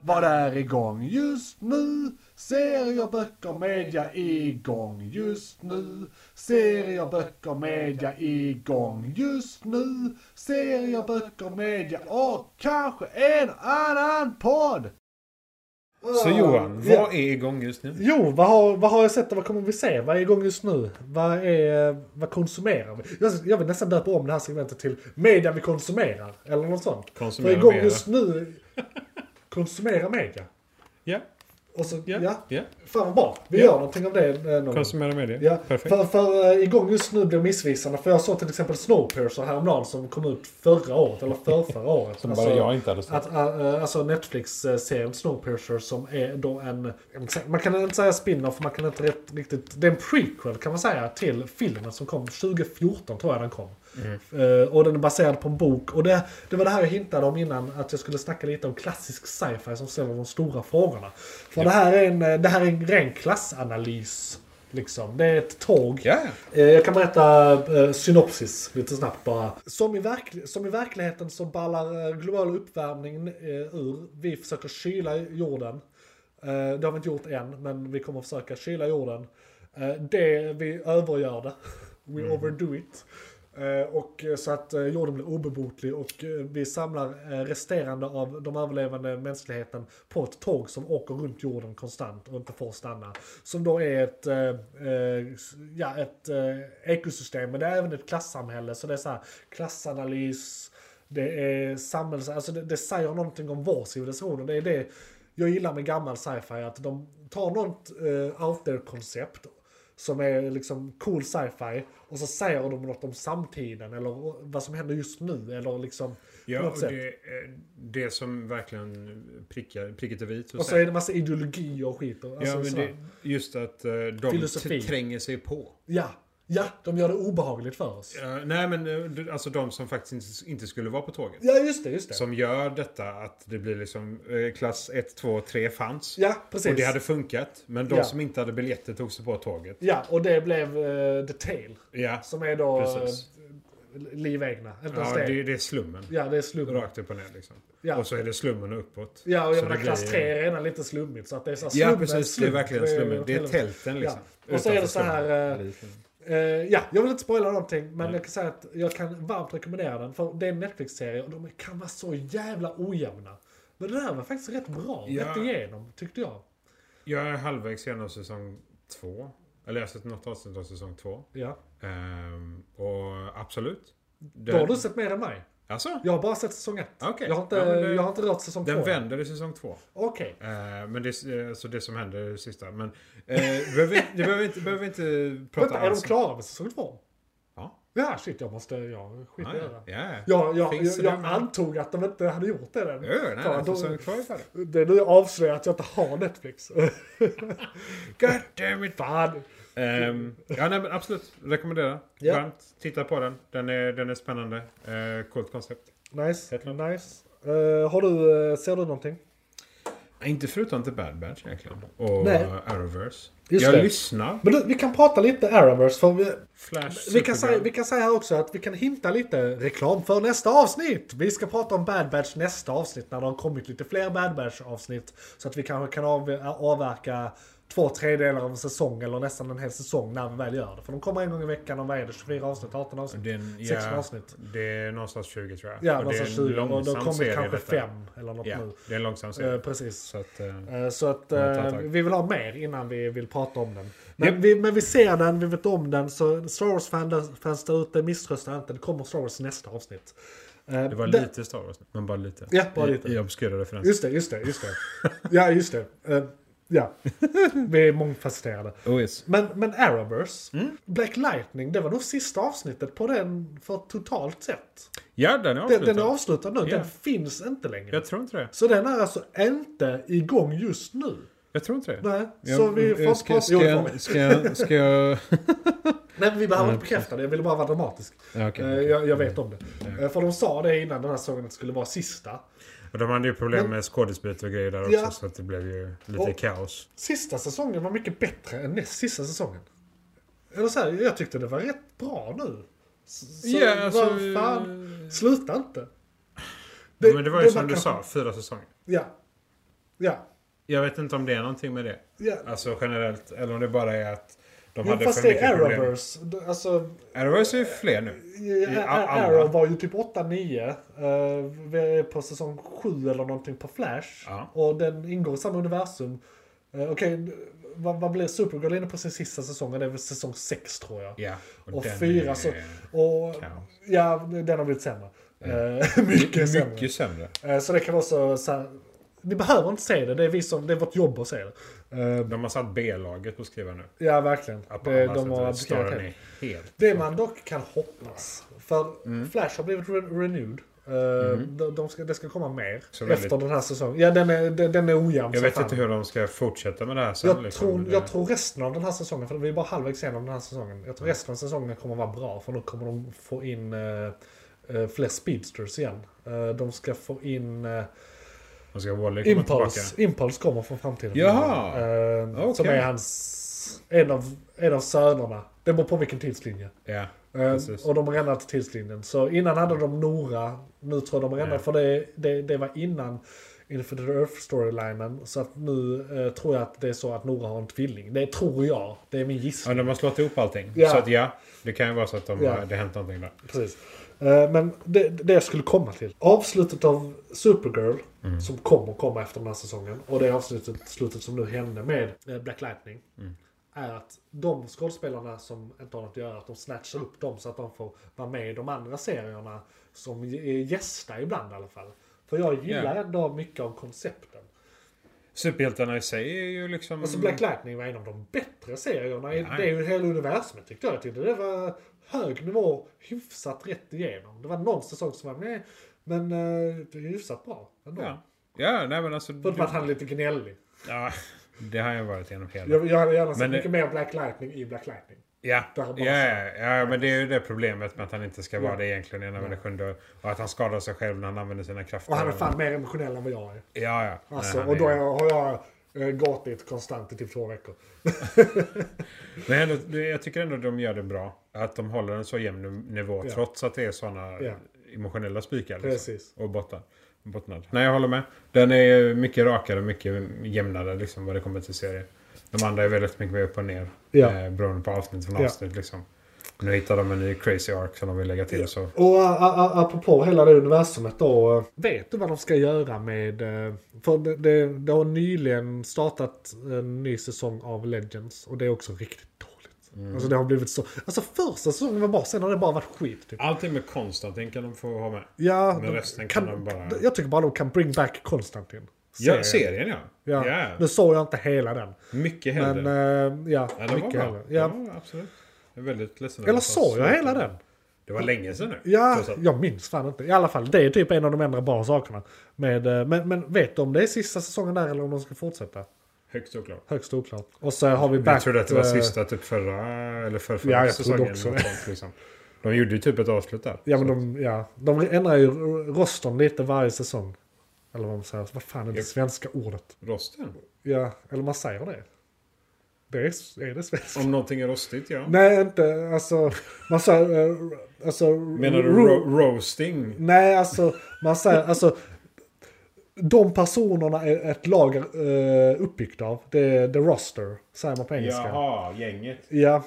Speaker 3: Vad är igång just nu? Serier, böcker, media igång just nu. Serier, böcker, media igång just nu. Serier, böcker, media och kanske en annan podd.
Speaker 1: Så Johan,
Speaker 3: Ja.
Speaker 1: vad är igång just nu?
Speaker 3: Jo, vad har, vad har jag sett och vad kommer vi se? Vad är igång just nu? Vad, är, eh, vad konsumerar vi? Jag, jag vill nästan döpa om det här segmentet till media vi konsumerar. Eller något sånt.
Speaker 1: Konsumera
Speaker 3: För igång
Speaker 1: mera.
Speaker 3: just nu, konsumera media.
Speaker 1: Ja,
Speaker 3: Och så, ja.
Speaker 1: ja, ja.
Speaker 3: Fan vad bra. Vi
Speaker 1: Ja.
Speaker 3: gör någonting av det eh, någon gång.
Speaker 1: Konsumera media.
Speaker 3: Ja,
Speaker 1: Perfekt.
Speaker 3: för, för eh, igång just nu blir missvisande. För jag såg till exempel Snowpiercer häromdagen som kom ut förra året, eller förrförra året.
Speaker 1: Som bara jag inte hade sett.
Speaker 3: Alltså, Att, äh, äh, alltså Netflix-serien Snowpiercer som är då en... Man kan inte säga spin-off, man kan inte rätt, riktigt... Det är en prequel kan man säga till filmen som kom 2014 tror jag den kom. Eh, och den är baserad på en bok. Och det, det var det här jag hintade om innan, att jag skulle snacka lite om klassisk sci-fi som ställer de stora frågorna. För det, här är en, eh, det här är en ren klassanalys. Liksom. Det är ett tåg
Speaker 1: Ja,
Speaker 3: Eh, Jag kan berätta eh, synopsis lite snabbt bara. Som i, verkl- som i verkligheten så ballar eh, global uppvärmning eh, ur. Vi försöker kyla jorden. Eh, Det har vi inte gjort än, men vi kommer försöka kyla jorden. Eh, Det, vi övergör det. We overdo it. Eh, Och eh, så att eh, jorden blir obebotlig och eh, vi samlar eh, resterande av de överlevande mänskligheten på ett tåg som åker runt jorden konstant och inte får stanna. Som då är ett, eh, eh, s- ja, ett eh, ekosystem, men det är även ett klassamhälle. Så det är så här klassanalys, det är samhälls... Alltså det, det säger någonting om vår civilisation och det är det jag gillar med gammal sci-fi. Att de tar något eh, out there-koncept som är liksom cool sci-fi och så säger de något om samtiden eller vad som händer just nu eller liksom på
Speaker 1: ja
Speaker 3: något
Speaker 1: och
Speaker 3: sätt.
Speaker 1: det, är det som verkligen prickar, pricket är vit.
Speaker 3: Och så är det massa ideologi och skit. Och, alltså,
Speaker 1: ja, men
Speaker 3: så
Speaker 1: det,
Speaker 3: här.
Speaker 1: just att eh, de
Speaker 3: Filosofi.
Speaker 1: t- tränger sig på.
Speaker 3: ja, ja, de gör det obehagligt för oss.
Speaker 1: Eh, nej, men eh, d- alltså de som faktiskt inte, inte skulle vara på tåget.
Speaker 3: Ja, just det, just det.
Speaker 1: Som gör detta att det blir liksom eh, klass 1, 2, 3 fanns.
Speaker 3: ja, precis.
Speaker 1: Och det hade funkat. Men de
Speaker 3: Ja.
Speaker 1: som inte hade biljetter tog sig på tåget.
Speaker 3: Ja, och det blev eh, The Tale.
Speaker 1: Ja,
Speaker 3: Som är då eh,
Speaker 1: Precis.
Speaker 3: livegna. Inte
Speaker 1: Ja,
Speaker 3: ens
Speaker 1: det,
Speaker 3: det.
Speaker 1: är- det är slummen.
Speaker 3: Ja, det är slum.
Speaker 1: Rakt upp och ner liksom.
Speaker 3: Ja.
Speaker 1: Och så är det slummen och uppåt.
Speaker 3: Ja, och
Speaker 1: Så
Speaker 3: jag menar
Speaker 1: det
Speaker 3: klass
Speaker 1: blir-
Speaker 3: 3 är redan lite slummigt. Så att det är så här,
Speaker 1: Ja,
Speaker 3: slummen,
Speaker 1: precis.
Speaker 3: slum.
Speaker 1: Det är verkligen slummen. Det är tälten liksom.
Speaker 3: Ja. Och så är det
Speaker 1: Utanför
Speaker 3: så här,
Speaker 1: slummen.
Speaker 3: eh,
Speaker 1: Lite.
Speaker 3: Eh, ja, jag vill inte spoila någonting, men
Speaker 1: Nej.
Speaker 3: jag kan säga att jag kan varmt rekommendera den. För det är en Netflix-serie och de kan vara så jävla ojämna. Men den här var faktiskt rätt bra,
Speaker 1: Ja.
Speaker 3: rätt igenom, tyckte jag.
Speaker 1: Jag är halvvägs genom säsong två. Eller jag har sett något avsnitt av säsong två.
Speaker 3: Ja.
Speaker 1: Ehm, och absolut. Den,
Speaker 3: Då har du sett mer än mig.
Speaker 1: Alltså?
Speaker 3: Jag har bara sett säsong ett.
Speaker 1: Okej.
Speaker 3: Jag, har inte,
Speaker 1: Ja, men det-
Speaker 3: jag har inte rört säsong
Speaker 1: Den
Speaker 3: två. än.
Speaker 1: vänder i säsong två.
Speaker 3: Okej.
Speaker 1: Eh, men det, eh, så det som händer är det sista. Men eh, behöver, vi- det behöver vi inte, behöver vi inte prata
Speaker 3: Vänta, är de
Speaker 1: alls om.
Speaker 3: klara med säsong två?
Speaker 1: alltså- Ja.
Speaker 3: Ja, shit, jag måste... Ja, skit i
Speaker 1: Ja,
Speaker 3: det. där.
Speaker 1: ja. ja.
Speaker 3: Ja, ja, jag,
Speaker 1: Finns det
Speaker 3: jag
Speaker 1: det?
Speaker 3: antog att de inte hade gjort det än.
Speaker 1: Jo, nej,
Speaker 3: Fan,
Speaker 1: nej,
Speaker 3: då-
Speaker 1: säsong två är färdig.
Speaker 3: Det är nu jag avslöjar att jag inte har Netflix.
Speaker 1: God damn it!
Speaker 3: Fan!
Speaker 1: Ehm, ja, nej, men absolut. Rekommendera.
Speaker 3: Ja.
Speaker 1: Varmt. Titta på den. Den är, den är spännande. Uh, coolt koncept.
Speaker 3: Nice.
Speaker 1: Helt klart.
Speaker 3: nice. Eh, har du, eh, ser du någonting?
Speaker 1: Inte förutom till Bad Batch egentligen. Och
Speaker 3: Nej.
Speaker 1: Arrowverse.
Speaker 3: Just
Speaker 1: jag
Speaker 3: det.
Speaker 1: lyssnar.
Speaker 3: Men du, vi kan prata lite Arrowverse. För vi,
Speaker 1: Flash
Speaker 3: vi, kan säga,
Speaker 1: Supergirl.
Speaker 3: vi kan säga här också att vi kan hinta lite reklam för nästa avsnitt. Vi ska prata om Bad Batch nästa avsnitt när det har kommit lite fler Bad Batch avsnitt. Så att vi kanske kan av, avverka två tredjedelar av en säsong eller nästan en hel säsong när vi väl gör det. För de kommer en gång i veckan om vad är det? 24 avsnitt, 18 avsnitt?
Speaker 1: Det är en-
Speaker 3: 16
Speaker 1: ja,
Speaker 3: avsnitt.
Speaker 1: Det är någonstans 20 tror jag.
Speaker 3: Ja,
Speaker 1: Och
Speaker 3: någonstans
Speaker 1: det är en
Speaker 3: 20. Och då
Speaker 1: långsam
Speaker 3: kommer
Speaker 1: serie,
Speaker 3: kanske
Speaker 1: detta.
Speaker 3: fem eller något
Speaker 1: Ja,
Speaker 3: nu.
Speaker 1: det är en långsam serie.
Speaker 3: Eh, precis.
Speaker 1: Så att, eh,
Speaker 3: Eh, Så att
Speaker 1: Ja,
Speaker 3: eh,
Speaker 1: tack, tack.
Speaker 3: vi vill ha mer innan vi vill prata om den. Men,
Speaker 1: Japp.
Speaker 3: vi, men vi ser den, vi vet om den, så Star Wars-fans där ute misströsta inte. Det kommer Star Wars nästa avsnitt. Eh,
Speaker 1: det var
Speaker 3: det-
Speaker 1: lite Star Wars, men bara lite.
Speaker 3: Ja, bara lite.
Speaker 1: I, i obskyra referenser.
Speaker 3: Just det, just det, just det. ja, just det. Eh, ja, vi är mångfacetterade.
Speaker 1: Oh, yes.
Speaker 3: Men, men Arrowverse,
Speaker 1: Mm.
Speaker 3: Black Lightning, det var nog sista avsnittet på den för totalt sett.
Speaker 1: Ja, den är
Speaker 3: Den,
Speaker 1: avslutad.
Speaker 3: den är avslutad nu,
Speaker 1: Ja.
Speaker 3: den finns inte längre.
Speaker 1: Jag tror inte det.
Speaker 3: Så den är alltså inte igång just nu.
Speaker 1: Jag tror inte det.
Speaker 3: Nej,
Speaker 1: Jag,
Speaker 3: så vi får
Speaker 1: jag- ska,
Speaker 3: prata-
Speaker 1: ska,
Speaker 3: Jo, det får vi.
Speaker 1: jag- ska, jag- ska jag...
Speaker 3: Nej men vi behöver inte bekräfta det, jag ville bara vara dramatisk.
Speaker 1: Ja, okej.
Speaker 3: Eh, Jag, jag vet om det. Eh, För de sa det innan den här sången att det skulle vara sista.
Speaker 1: Och De hade ju problem med skådesbyte och grejer där också,
Speaker 3: Ja.
Speaker 1: så att det blev ju lite
Speaker 3: Och-
Speaker 1: kaos.
Speaker 3: Sista säsongen var mycket bättre än näst sista säsongen. Eller så här, jag tyckte det var rätt bra nu. S- Så
Speaker 1: Ja, alltså-
Speaker 3: vad fan, sluta inte.
Speaker 1: men det var ju som du
Speaker 3: kanske-
Speaker 1: sa, fyra säsonger.
Speaker 3: Ja. Ja.
Speaker 1: Jag vet inte om det är någonting med det.
Speaker 3: ja.
Speaker 1: Alltså generellt, eller om det bara är att de
Speaker 3: Men
Speaker 1: hade
Speaker 3: fast
Speaker 1: för
Speaker 3: det
Speaker 1: mycket
Speaker 3: är
Speaker 1: problem.
Speaker 3: Arrowverse. D- Alltså,
Speaker 1: Arrowverse är ju fler nu.
Speaker 3: Ja,
Speaker 1: a- alla.
Speaker 3: Arrow var ju typ 8-9 eh, vi är på säsong 7 eller någonting på Flash.
Speaker 1: Ja.
Speaker 3: Och den ingår i samma universum. Eh, Okej, vad, vad blev Supergirl inne på sin sista säsong? Det är väl säsong 6 tror jag.
Speaker 1: Ja.
Speaker 3: Och
Speaker 1: den
Speaker 3: fyra
Speaker 1: är
Speaker 3: så- Och
Speaker 1: kaos.
Speaker 3: ja, den har blivit sämre. Eh, mycket, sämre.
Speaker 1: Mycket sämre.
Speaker 3: Eh, så det kan vara så, så här, ni behöver inte se det, det är, vi som, det är vårt jobb att se det. Eh,
Speaker 1: De har satt B-laget på att skriva nu.
Speaker 3: ja, verkligen.
Speaker 1: Att
Speaker 3: Det,
Speaker 1: alla
Speaker 3: de
Speaker 1: sätter-
Speaker 3: har abdikerat
Speaker 1: storyn
Speaker 3: helt.
Speaker 1: är helt...
Speaker 3: Det man dock kan hoppas, för
Speaker 1: Mm.
Speaker 3: Flash har blivit re- renewed. Eh, de, de ska, det ska komma mer
Speaker 1: Så
Speaker 3: efter
Speaker 1: väldigt-
Speaker 3: den här säsongen. Ja, den är, den, den är ojämn
Speaker 1: Jag
Speaker 3: som
Speaker 1: vet
Speaker 3: fan.
Speaker 1: inte hur de ska fortsätta med det här sen.
Speaker 3: jag,
Speaker 1: liksom.
Speaker 3: tror,
Speaker 1: Det-
Speaker 3: jag tror resten av den här säsongen, för vi är bara halvvägs igenom den här säsongen. Jag
Speaker 1: Mm.
Speaker 3: tror resten av säsongen kommer vara bra, för då kommer de få in eh, eh, fler speedsters igen. Eh, de ska få in... eh,
Speaker 1: Man ska Wally komma tillbaka.
Speaker 3: Impulse, Impulse kommer från framtiden.
Speaker 1: Jaha.
Speaker 3: Eh,
Speaker 1: Okej.
Speaker 3: Som är hans... En av, en av sönerna. Det beror på vilken tidslinje.
Speaker 1: Ja,
Speaker 3: Eh,
Speaker 1: Precis.
Speaker 3: Och de har ändrat tidslinjen. Så innan hade de Nora, nu tror jag de har ändrat,
Speaker 1: Ja.
Speaker 3: för det, det, det var innan Infinite Earth-storylinen. Så att nu eh, tror jag att det är så att Nora har en tvilling. Det tror jag, det är min
Speaker 1: ja,
Speaker 3: gissning.
Speaker 1: de har slått ihop allting.
Speaker 3: Ja.
Speaker 1: Så att ja, det kan ju vara så att de
Speaker 3: Ja.
Speaker 1: har, det har hänt någonting där.
Speaker 3: Precis. Eh, Men det, det jag skulle komma till. Avslutet av Supergirl, som kommer komma efter den här säsongen, och det avslutet slutet som nu hände med eh, Black Lightning, är att de skådespelarna som inte har något att göra, att de snatchar upp dem så att de får vara med i de andra serierna som är gästar ibland i alla fall. För jag gillar
Speaker 1: Ja.
Speaker 3: ändå mycket av koncepten.
Speaker 1: Superhjältarna i sig är ju liksom...
Speaker 3: Alltså Black Lightning var en av de bättre serierna i
Speaker 1: Ja.
Speaker 3: det är ju hela universumet tyckte jag. Jag tyckte det var hög nivå, hyfsat rätt igenom. Det var någon säsong som var med, men eh, det är hyfsat bra ändå.
Speaker 1: Ja. ja, nej men alltså...
Speaker 3: Förutom att han är lite gnällig.
Speaker 1: ja, det har jag varit genom hela.
Speaker 3: Jag, jag hade gärna sett
Speaker 1: Men eh, det-
Speaker 3: mycket mer Black Lightning i Black Lightning.
Speaker 1: Ja,
Speaker 3: Där
Speaker 1: ja,
Speaker 3: bara
Speaker 1: ja, ja, men det är ju det problemet med att han inte ska vara
Speaker 3: Ja.
Speaker 1: det egentligen innan
Speaker 3: Ja.
Speaker 1: det sjunde. Och att han skadar sig själv när han använder sina krafter.
Speaker 3: Och han är fan mer emotionell än vad jag är.
Speaker 1: Ja, ja. Nej,
Speaker 3: Alltså,
Speaker 1: han
Speaker 3: och då
Speaker 1: är-
Speaker 3: är, har jag Eh, Gått dit konstant i typ två veckor.
Speaker 1: Men ändå, det- jag tycker ändå de gör det bra. Att de håller en så jämn nivå
Speaker 3: Ja.
Speaker 1: trots att det är sådana
Speaker 3: Ja.
Speaker 1: emotionella spikar. liksom.
Speaker 3: Precis.
Speaker 1: Och bottnar. bottnad. Nej, jag håller med. Den är mycket rakare och mycket jämnare liksom, vad det kommer till serier. De andra är väldigt mycket mer upp och ner.
Speaker 3: Ja.
Speaker 1: Eh, beroende på avsnitt från
Speaker 3: Ja.
Speaker 1: avsnitt. Liksom. Nu hittar de en ny crazy arc som de vill lägga till.
Speaker 3: Ja.
Speaker 1: Så.
Speaker 3: Och ä, ä, apropå hela det universumet då. eh, Vet du vad de ska göra med... eh, För det, det, det har nyligen startat en ny säsong av Legends. Och det är också riktigt dåligt.
Speaker 1: Mm.
Speaker 3: Alltså det har blivit så... Alltså första säsongen var bra, sen har det bara varit skit. Typ.
Speaker 1: Allting med Konstantin kan de få ha med.
Speaker 3: Ja,
Speaker 1: Men
Speaker 3: de
Speaker 1: resten kan de bara-
Speaker 3: Jag tycker bara de kan bring back Konstantin.
Speaker 1: Ja, serien ja.
Speaker 3: Ja.
Speaker 1: Ja.
Speaker 3: Nu såg jag inte hela den.
Speaker 1: Mycket hellre.
Speaker 3: Men eh, ja,
Speaker 1: ja, det var
Speaker 3: mycket
Speaker 1: bra.
Speaker 3: hellre.
Speaker 1: Ja.
Speaker 3: Ja.
Speaker 1: Det var absolut. Jag är väldigt ledsen.
Speaker 3: Eller
Speaker 1: att
Speaker 3: såg jag
Speaker 1: slut.
Speaker 3: hela den?
Speaker 1: Det var länge sedan nu.
Speaker 3: Ja,
Speaker 1: trots allt.
Speaker 3: jag minns fan inte. I alla fall, det är typ en av de andra bra sakerna. Med, eh, men, men vet du om det är sista säsongen där eller om de ska fortsätta?
Speaker 1: Högst oklart.
Speaker 3: Högst oklart. Och så har vi back...
Speaker 1: Jag trodde att det var
Speaker 3: eh,
Speaker 1: sista typ förra eller förrförra
Speaker 3: Ja, jag trodde
Speaker 1: säsongen.
Speaker 3: också
Speaker 1: något sånt, liksom. De gjorde ju typ ett avslut där.
Speaker 3: Ja, men de, ja, de ändrar ju rostern lite varje säsong. Eller vad man säger. Vad fan är det
Speaker 1: Ja.
Speaker 3: svenska ordet?
Speaker 1: Rosten?
Speaker 3: Ja, eller man säger det. Det är, är det svenska.
Speaker 1: Om någonting är rostigt, ja.
Speaker 3: Nej, inte alltså... Man säger... eh, Alltså...
Speaker 1: Menar du
Speaker 3: ro-
Speaker 1: ro- roasting?
Speaker 3: Nej, alltså man säger, alltså de personerna är ett lag eh, uppbyggt av, det är the roster, säger man på engelska.
Speaker 1: Jaha, gänget.
Speaker 3: Ja,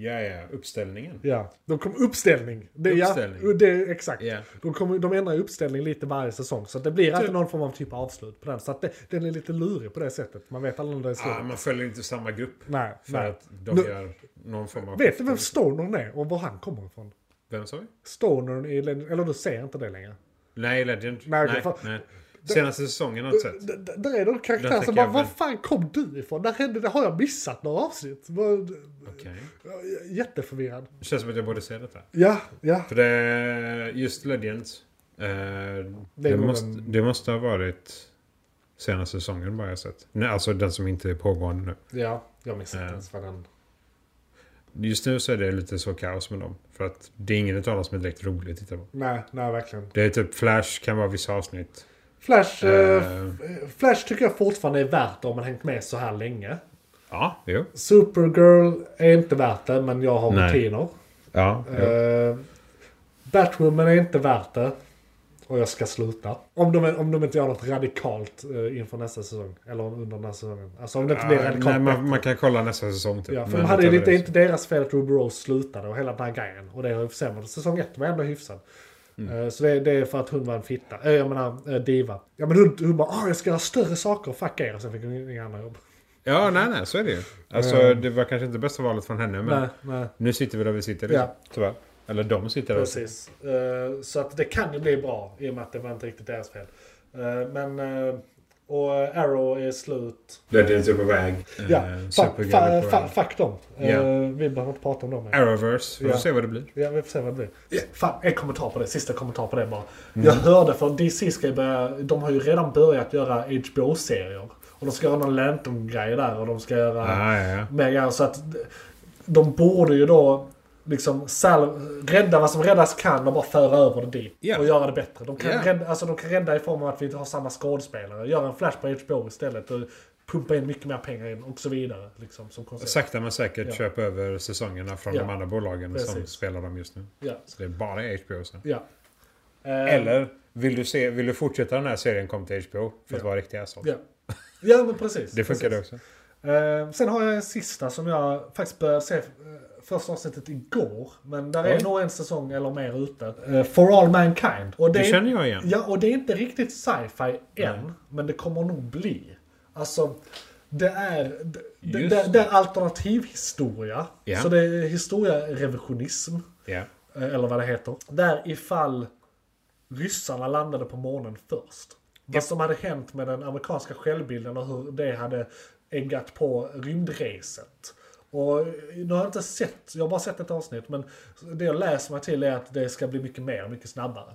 Speaker 1: Ja, ja, uppställningen.
Speaker 3: ja. De kom uppställning. Det, Ja,
Speaker 1: Uppställning.
Speaker 3: det är exakt.
Speaker 1: Ja.
Speaker 3: De, kommer- de ändrar ju uppställning lite varje säsong, så att det blir alltid någon form av typ av avslut på den. Så att det, den är lite lurig på det sättet. Man vet aldrig när det är slut.
Speaker 1: Ah, man följer inte samma grupp.
Speaker 3: nej,
Speaker 1: För
Speaker 3: nej.
Speaker 1: att de
Speaker 3: Nu-
Speaker 1: gör någon form av...
Speaker 3: Vet du vem Stonern är och var han kommer ifrån?
Speaker 1: Vem sa vi?
Speaker 3: Stonern i Legend- eller du ser inte det längre.
Speaker 1: Nej, Legend.
Speaker 3: Nej,
Speaker 1: Nej,
Speaker 3: okej,
Speaker 1: nej,
Speaker 3: fan.
Speaker 1: Senaste säsongen har jag inte sett.
Speaker 3: D- d- Där är någon karaktär
Speaker 1: Den
Speaker 3: som
Speaker 1: tycker
Speaker 3: bara,
Speaker 1: jag
Speaker 3: var
Speaker 1: väl-
Speaker 3: fan kom du ifrån? Där hände det, har jag missat några avsnitt? Vad-
Speaker 1: Okej.
Speaker 3: jag är Jätteförvirrad.
Speaker 1: Det känns som att jag borde se detta.
Speaker 3: Ja, ja.
Speaker 1: För det... Just Legends. Eh, det,
Speaker 3: nog
Speaker 1: måste,
Speaker 3: en-
Speaker 1: det måste ha varit senaste säsongen bara jag har sett. Nej, alltså den som inte är pågående nu.
Speaker 3: Ja, jag missade
Speaker 1: Ja.
Speaker 3: ens vad den...
Speaker 1: Just nu så är det lite så kaos med dem. För att det är ingen utav dem som är direkt rolig att titta på.
Speaker 3: Nej, nej verkligen.
Speaker 1: Det är typ Flash kan vara vissa avsnitt.
Speaker 3: Flash, eh,
Speaker 1: Eh,
Speaker 3: f- Flash tycker jag fortfarande är värt det om man hängt med så här länge.
Speaker 1: ja, jo.
Speaker 3: Supergirl är inte värt det, men jag har
Speaker 1: Nej.
Speaker 3: rutiner.
Speaker 1: Ja, jo.
Speaker 3: Eh, Batwoman är inte värt det. Och jag ska sluta. Om de, om de inte gör något radikalt eh, inför nästa säsong. Eller under den här säsongen. Alltså om det inte blir
Speaker 1: Ja,
Speaker 3: radikalt
Speaker 1: nej,
Speaker 3: bättre.
Speaker 1: man, man kan kolla nästa säsong typ.
Speaker 3: Ja, för
Speaker 1: Men
Speaker 3: de hade ju
Speaker 1: utöver
Speaker 3: lite,
Speaker 1: det-
Speaker 3: inte deras fel att Ruby Rose slutade och hela den här grejen. Och det har ju försämrat. Säsong ett var ändå hyfsad.
Speaker 1: Mm.
Speaker 3: Eh, Så det, det är för att hon var en fitta. Eh, Jag menar, eh, diva. Ja men hon, hon bara, ah, jag ska göra större saker, fuck er. Och sen fick hon inga andra jobb.
Speaker 1: Ja, nej, nej, så är det ju. Alltså, det var kanske inte bästa valet från henne, men
Speaker 3: Eh. Nej, nej.
Speaker 1: nu sitter vi där vi sitter. Liksom, Tyvärr. Eller de sitter där.
Speaker 3: Precis. Eh, Så att det kan ju bli bra i och med att det var inte riktigt deras fel. Eh, Men, eh, och eh, Arrow är slut.
Speaker 1: Legends är på väg.
Speaker 3: Ja,
Speaker 1: Eh,
Speaker 3: fuck,
Speaker 1: Supergirl är
Speaker 3: fa,
Speaker 1: på
Speaker 3: fa,
Speaker 1: väg.
Speaker 3: fuck dem. Eh,
Speaker 1: Ja.
Speaker 3: Vi behöver inte prata om dem mer.
Speaker 1: Arrowverse, vi får
Speaker 3: Ja.
Speaker 1: se vad det blir.
Speaker 3: Ja, vi får se vad det blir. Mm. Fan, en kommentar på det. Sista kommentar på det bara. Jag hörde för DC ska ju börja, de har ju redan börjat göra HBO-serier. Och de ska göra någon Lantern-grej där och de ska göra
Speaker 1: Ah, ja, ja.
Speaker 3: mer grejer. Så att de borde ju då liksom sal- rädda vad som räddas kan och bara föra över det dit.
Speaker 1: Ja.
Speaker 3: Och göra det bättre. De kan,
Speaker 1: Ja.
Speaker 3: rädda, alltså, de kan rädda i form av att vi inte har samma skådespelare. Göra en flash på HBO istället. Och pumpa in mycket mer pengar in och så vidare. Liksom, som koncept.
Speaker 1: Sakta men säkert
Speaker 3: Ja.
Speaker 1: köpa över säsongerna från
Speaker 3: Ja.
Speaker 1: de andra bolagen som
Speaker 3: Precis.
Speaker 1: spelar dem just nu.
Speaker 3: Ja.
Speaker 1: Så det är bara HBO sen.
Speaker 3: ja. Eh,
Speaker 1: Eller vill du, se, vill du fortsätta den här serien kom till HBO för att
Speaker 3: Ja.
Speaker 1: vara riktig asshole?
Speaker 3: Ja. Ja men precis.
Speaker 1: Det funkar det
Speaker 3: precis.
Speaker 1: också.
Speaker 3: Eh, sen har jag en sista som jag faktiskt började se eh, första avsnittet igår. Men där är
Speaker 1: Oj.
Speaker 3: nog en säsong eller mer ute. Eh, For All Mankind. Och
Speaker 1: Det
Speaker 3: är-
Speaker 1: känner jag igen.
Speaker 3: Ja, och det är inte riktigt sci-fi än, men det kommer nog bli. Alltså, det är, det,
Speaker 1: Just
Speaker 3: det,
Speaker 1: det.
Speaker 3: det är alternativ historia.
Speaker 1: Ja.
Speaker 3: Så det är historierevisionism,
Speaker 1: Ja.
Speaker 3: eh, eller vad det heter. Där ifall ryssarna landade på månen först. Vad som hade hänt med den amerikanska självbilden och hur det hade eggat på rymdreset. Och eh, nu har jag inte sett, jag har bara sett ett avsnitt, men det jag läser mig till är att det ska bli mycket mer, mycket snabbare.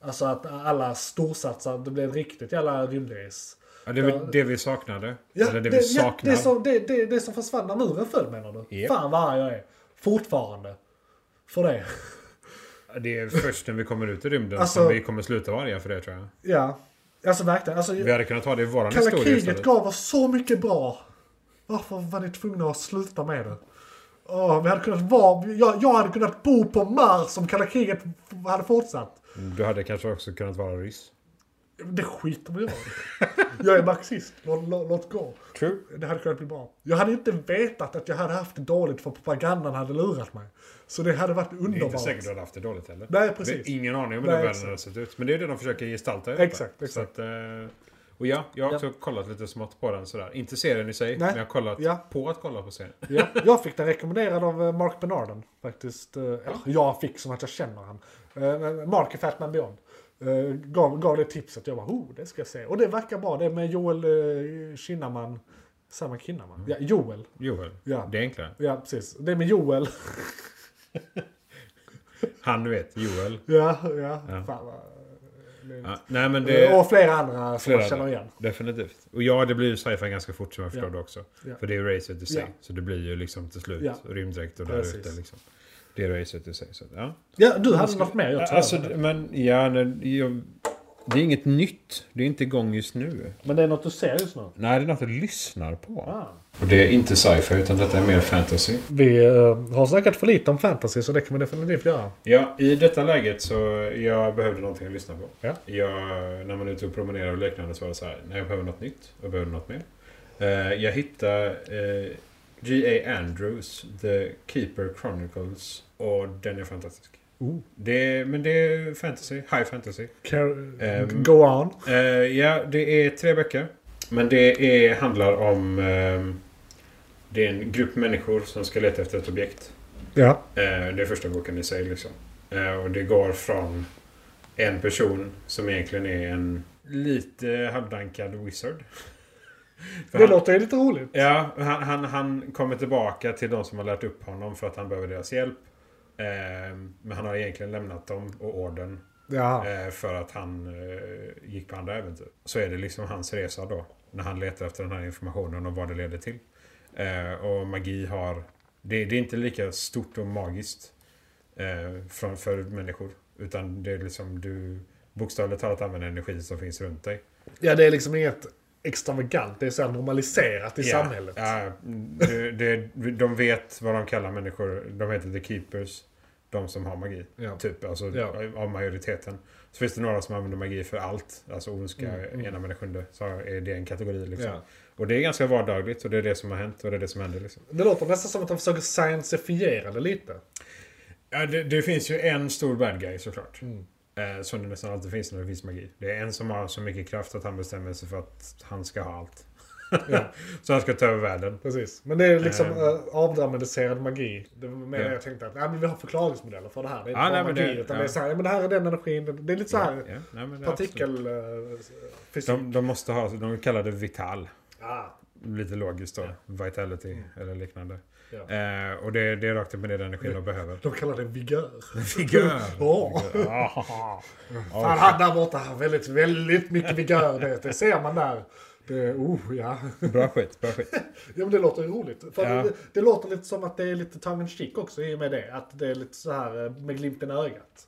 Speaker 3: Alltså att alla storsatsar, det blir ett riktigt jävla rymdrace.
Speaker 1: Ja, det, är väl det vi saknade.
Speaker 3: Ja,
Speaker 1: Eller det,
Speaker 3: det,
Speaker 1: vi
Speaker 3: ja,
Speaker 1: saknar.
Speaker 3: det, som, det, det, det som försvann när muren föll menar du?
Speaker 1: Japp.
Speaker 3: Fan vad arg jag är. Fortfarande. För det.
Speaker 1: Det är först när vi kommer ut i rymden
Speaker 3: Alltså-
Speaker 1: som vi kommer sluta vara arga för det tror jag.
Speaker 3: Ja. Alltså verkligen. Alltså,
Speaker 1: Vi hade kunnat ta det i våran
Speaker 3: Kalla
Speaker 1: historia
Speaker 3: kriget
Speaker 1: istället.
Speaker 3: gav oss så mycket bra. Varför var ni tvungna att sluta med det? Åh, vi hade kunnat vara, jag, jag hade kunnat bo på Mars om kalla kriget f- hade fortsatt.
Speaker 1: Mm, Du hade kanske också kunnat vara ryss.
Speaker 3: Det skiter vi i. Jag är marxist, låt, låt, låt gå.
Speaker 1: True.
Speaker 3: Det hade kunnat bli bra. Jag hade inte vetat att jag hade haft det dåligt för propagandan hade lurat mig. Så det hade varit
Speaker 1: Det är inte
Speaker 3: underbart.
Speaker 1: säkert du hade haft det dåligt heller.
Speaker 3: Nej, precis.
Speaker 1: Vi har ingen aning om hur den
Speaker 3: Nej,
Speaker 1: världen
Speaker 3: exakt.
Speaker 1: hade sett ut. Men det är det de försöker gestalta. i Europa.
Speaker 3: Exakt,
Speaker 1: Så
Speaker 3: exakt.
Speaker 1: att, eh, och ja, jag har också kollat lite smått på den sådär. Inte serien i sig, men jag har kollat
Speaker 3: Ja.
Speaker 1: på att kolla på serien.
Speaker 3: Ja, jag fick den rekommenderad av eh, Mark Bernarden faktiskt. Eh, Eller jag fick som att jag känner han. Eh, men Mark i Fatman Beyond. eh, Gav, gav det tipset. Jag bara, oh, det ska jag se. Och det verkar bra. Det är med Joel eh, Kinnaman. Samma Kinnaman? Ja, Joel.
Speaker 1: Joel,
Speaker 3: Ja.
Speaker 1: det är enklare.
Speaker 3: Ja, precis. Det är med Joel.
Speaker 1: Han du vet, Joel.
Speaker 3: ja, ja.
Speaker 1: Ja.
Speaker 3: Fan, vad...
Speaker 1: Ja. Nej men
Speaker 3: Eh,
Speaker 1: det...
Speaker 3: Och flera andra som
Speaker 1: Flera
Speaker 3: man känner
Speaker 1: andra.
Speaker 3: igen.
Speaker 1: Definitivt. Och ja, det blir ju sci-fi ganska fort som jag förstår
Speaker 3: Ja.
Speaker 1: det också.
Speaker 3: Ja.
Speaker 1: För det är ju racet i sig.
Speaker 3: Ja.
Speaker 1: Så det blir ju liksom till slut
Speaker 3: Ja.
Speaker 1: rymddräkt och där
Speaker 3: Precis.
Speaker 1: ute liksom. Det är racet i sig. Så, att, ja.
Speaker 3: Ja, du hade något mer. Jag tror
Speaker 1: Alltså,
Speaker 3: jag hade.
Speaker 1: men ja, nej, jag, det är inget nytt. Det är inte igång just nu.
Speaker 3: Men det är något du ser just nu.
Speaker 1: Nej, det är något jag lyssnar på.
Speaker 3: Ah.
Speaker 1: Och det är inte sci-fi, utan detta är mer fantasy.
Speaker 3: Vi eh, har snackat för lite om fantasy så det kan vi definitivt göra.
Speaker 1: Ja, i detta läget så jag behövde någonting att lyssna på.
Speaker 3: Ja.
Speaker 1: Jag, när man är ute och promenerar och liknande så var det så här, nej jag behöver något nytt. Jag behöver något mer. Eh, jag hittade eh, G.A. Andrews, The Keeper Chronicles och den är fantastisk.
Speaker 3: Oh.
Speaker 1: Det är, men det är fantasy, high fantasy.
Speaker 3: Car-
Speaker 1: Ehm.
Speaker 3: Go on.
Speaker 1: Eh, ja, det är tre böcker. Men det är, handlar om... ehm, det är en grupp människor som ska leta efter ett objekt.
Speaker 3: Ja.
Speaker 1: Eh, det är första boken i sig liksom. Eh, och det går från en person som egentligen är en lite halvdankad wizard. För
Speaker 3: Det
Speaker 1: han-
Speaker 3: låter ju lite roligt.
Speaker 1: Ja, han, han, han kommer tillbaka till de som har lärt upp honom för att han behöver deras hjälp. Eh, men han har egentligen lämnat dem och orden
Speaker 3: Ja.
Speaker 1: Eh, För att han eh, gick på andra äventyr. Så är det liksom hans resa då. När han letar efter den här informationen och vad det leder till. Eh, Och magi har... Det, det är inte lika stort och magiskt eh, från, för människor. Utan det är liksom du bokstavligt talat använder energin som finns runt dig.
Speaker 3: ja, det är liksom inget extravagant. Det är så här normaliserat i
Speaker 1: Ja,
Speaker 3: samhället.
Speaker 1: Ja, Eh, det, det, de vet vad de kallar människor. De heter the keepers. De som har magi.
Speaker 3: Ja.
Speaker 1: Typ, alltså
Speaker 3: Ja.
Speaker 1: av majoriteten. Så finns det några som använder magi för allt. Alltså ondska,
Speaker 3: Mm, mm.
Speaker 1: ena med det sjunde. Så är det en kategori liksom.
Speaker 3: Ja.
Speaker 1: Och det är ganska vardagligt och det är det som har hänt och det är det som händer liksom.
Speaker 3: Det låter nästan som att de försöker scienceifiera det lite.
Speaker 1: Ja, det, det finns ju en stor bad guy såklart.
Speaker 3: Mm.
Speaker 1: Eh, som det nästan alltid finns när det finns magi. Det är en som har så mycket kraft att han bestämmer sig för att han ska ha allt.
Speaker 3: Ja.
Speaker 1: så han ska ta över världen.
Speaker 3: Precis. Men det är liksom
Speaker 1: Ehm.
Speaker 3: äh, avdramatiserad magi. Det var mer
Speaker 1: Ja.
Speaker 3: jag tänkte att nej, men vi har förklaringsmodeller för det här. Det är inte
Speaker 1: Ja,
Speaker 3: bara
Speaker 1: nej, men
Speaker 3: magi.
Speaker 1: det-
Speaker 3: utan
Speaker 1: ja.
Speaker 3: det är så här, ja, men det här är den energin. det- Det är lite så här
Speaker 1: Ja, nej, men det är absolut.
Speaker 3: partikel... eh, fysik.
Speaker 1: De, de måste ha, de kallar det vital.
Speaker 3: Ah,
Speaker 1: Lite logiskt då. Vitality eller liknande.
Speaker 3: ja.
Speaker 1: Mm. Eh, och det, det är rakt upp med den energin de behöver.
Speaker 3: De kallar det vigör.
Speaker 1: Vigör!
Speaker 3: Ja.
Speaker 1: Ja.
Speaker 3: Fan, han där borta har väldigt, väldigt mycket vigör. Det, det ser man där. Det, oh, ja.
Speaker 1: Bra skit, bra skit.
Speaker 3: Ja men det låter ju roligt. För
Speaker 1: Ja.
Speaker 3: det, det låter lite som att det är lite tongue in cheek också i och med det. Att det är lite så här eh, med glimten i ögat.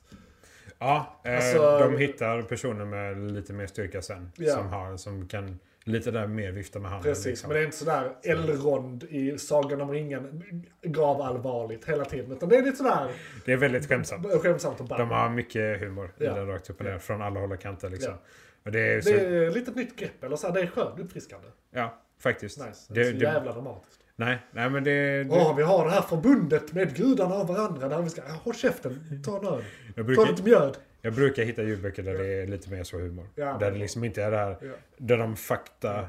Speaker 1: Ja, eh,
Speaker 3: Alltså-
Speaker 1: de hittar personer med lite mer styrka sen.
Speaker 3: Ja.
Speaker 1: Som, har, som kan lite där mer vifta med handen.
Speaker 3: Precis,
Speaker 1: liksom.
Speaker 3: men det är inte sådär Elrond i Sagan om ringen gav allvarligt hela tiden. Utan det är lite sådär
Speaker 1: Det är väldigt skämtsamt.
Speaker 3: skämtsamt och bara.
Speaker 1: De har mycket humor i
Speaker 3: Ja.
Speaker 1: den rakt upp och ner. Från alla håll och kanter liksom.
Speaker 3: Ja.
Speaker 1: Och det är ju så,
Speaker 3: Det är lite ett nytt grepp, eller så här, det är skönt, uppfriskande.
Speaker 1: ja, faktiskt.
Speaker 3: Nice. Det,
Speaker 1: Det,
Speaker 3: är så
Speaker 1: det,
Speaker 3: jävla dramatiskt.
Speaker 1: nej, nej, men det... det
Speaker 3: Åh, vi har det här förbundet med gudarna av varandra där vi ska, ja, håll käften, ta en öl.
Speaker 1: jag
Speaker 3: Ta
Speaker 1: brukar,
Speaker 3: lite mjöd.
Speaker 1: Jag brukar hitta ljudböcker där det är lite mer så humor.
Speaker 3: Ja.
Speaker 1: där det liksom inte är det här,
Speaker 3: Ja.
Speaker 1: där de fakta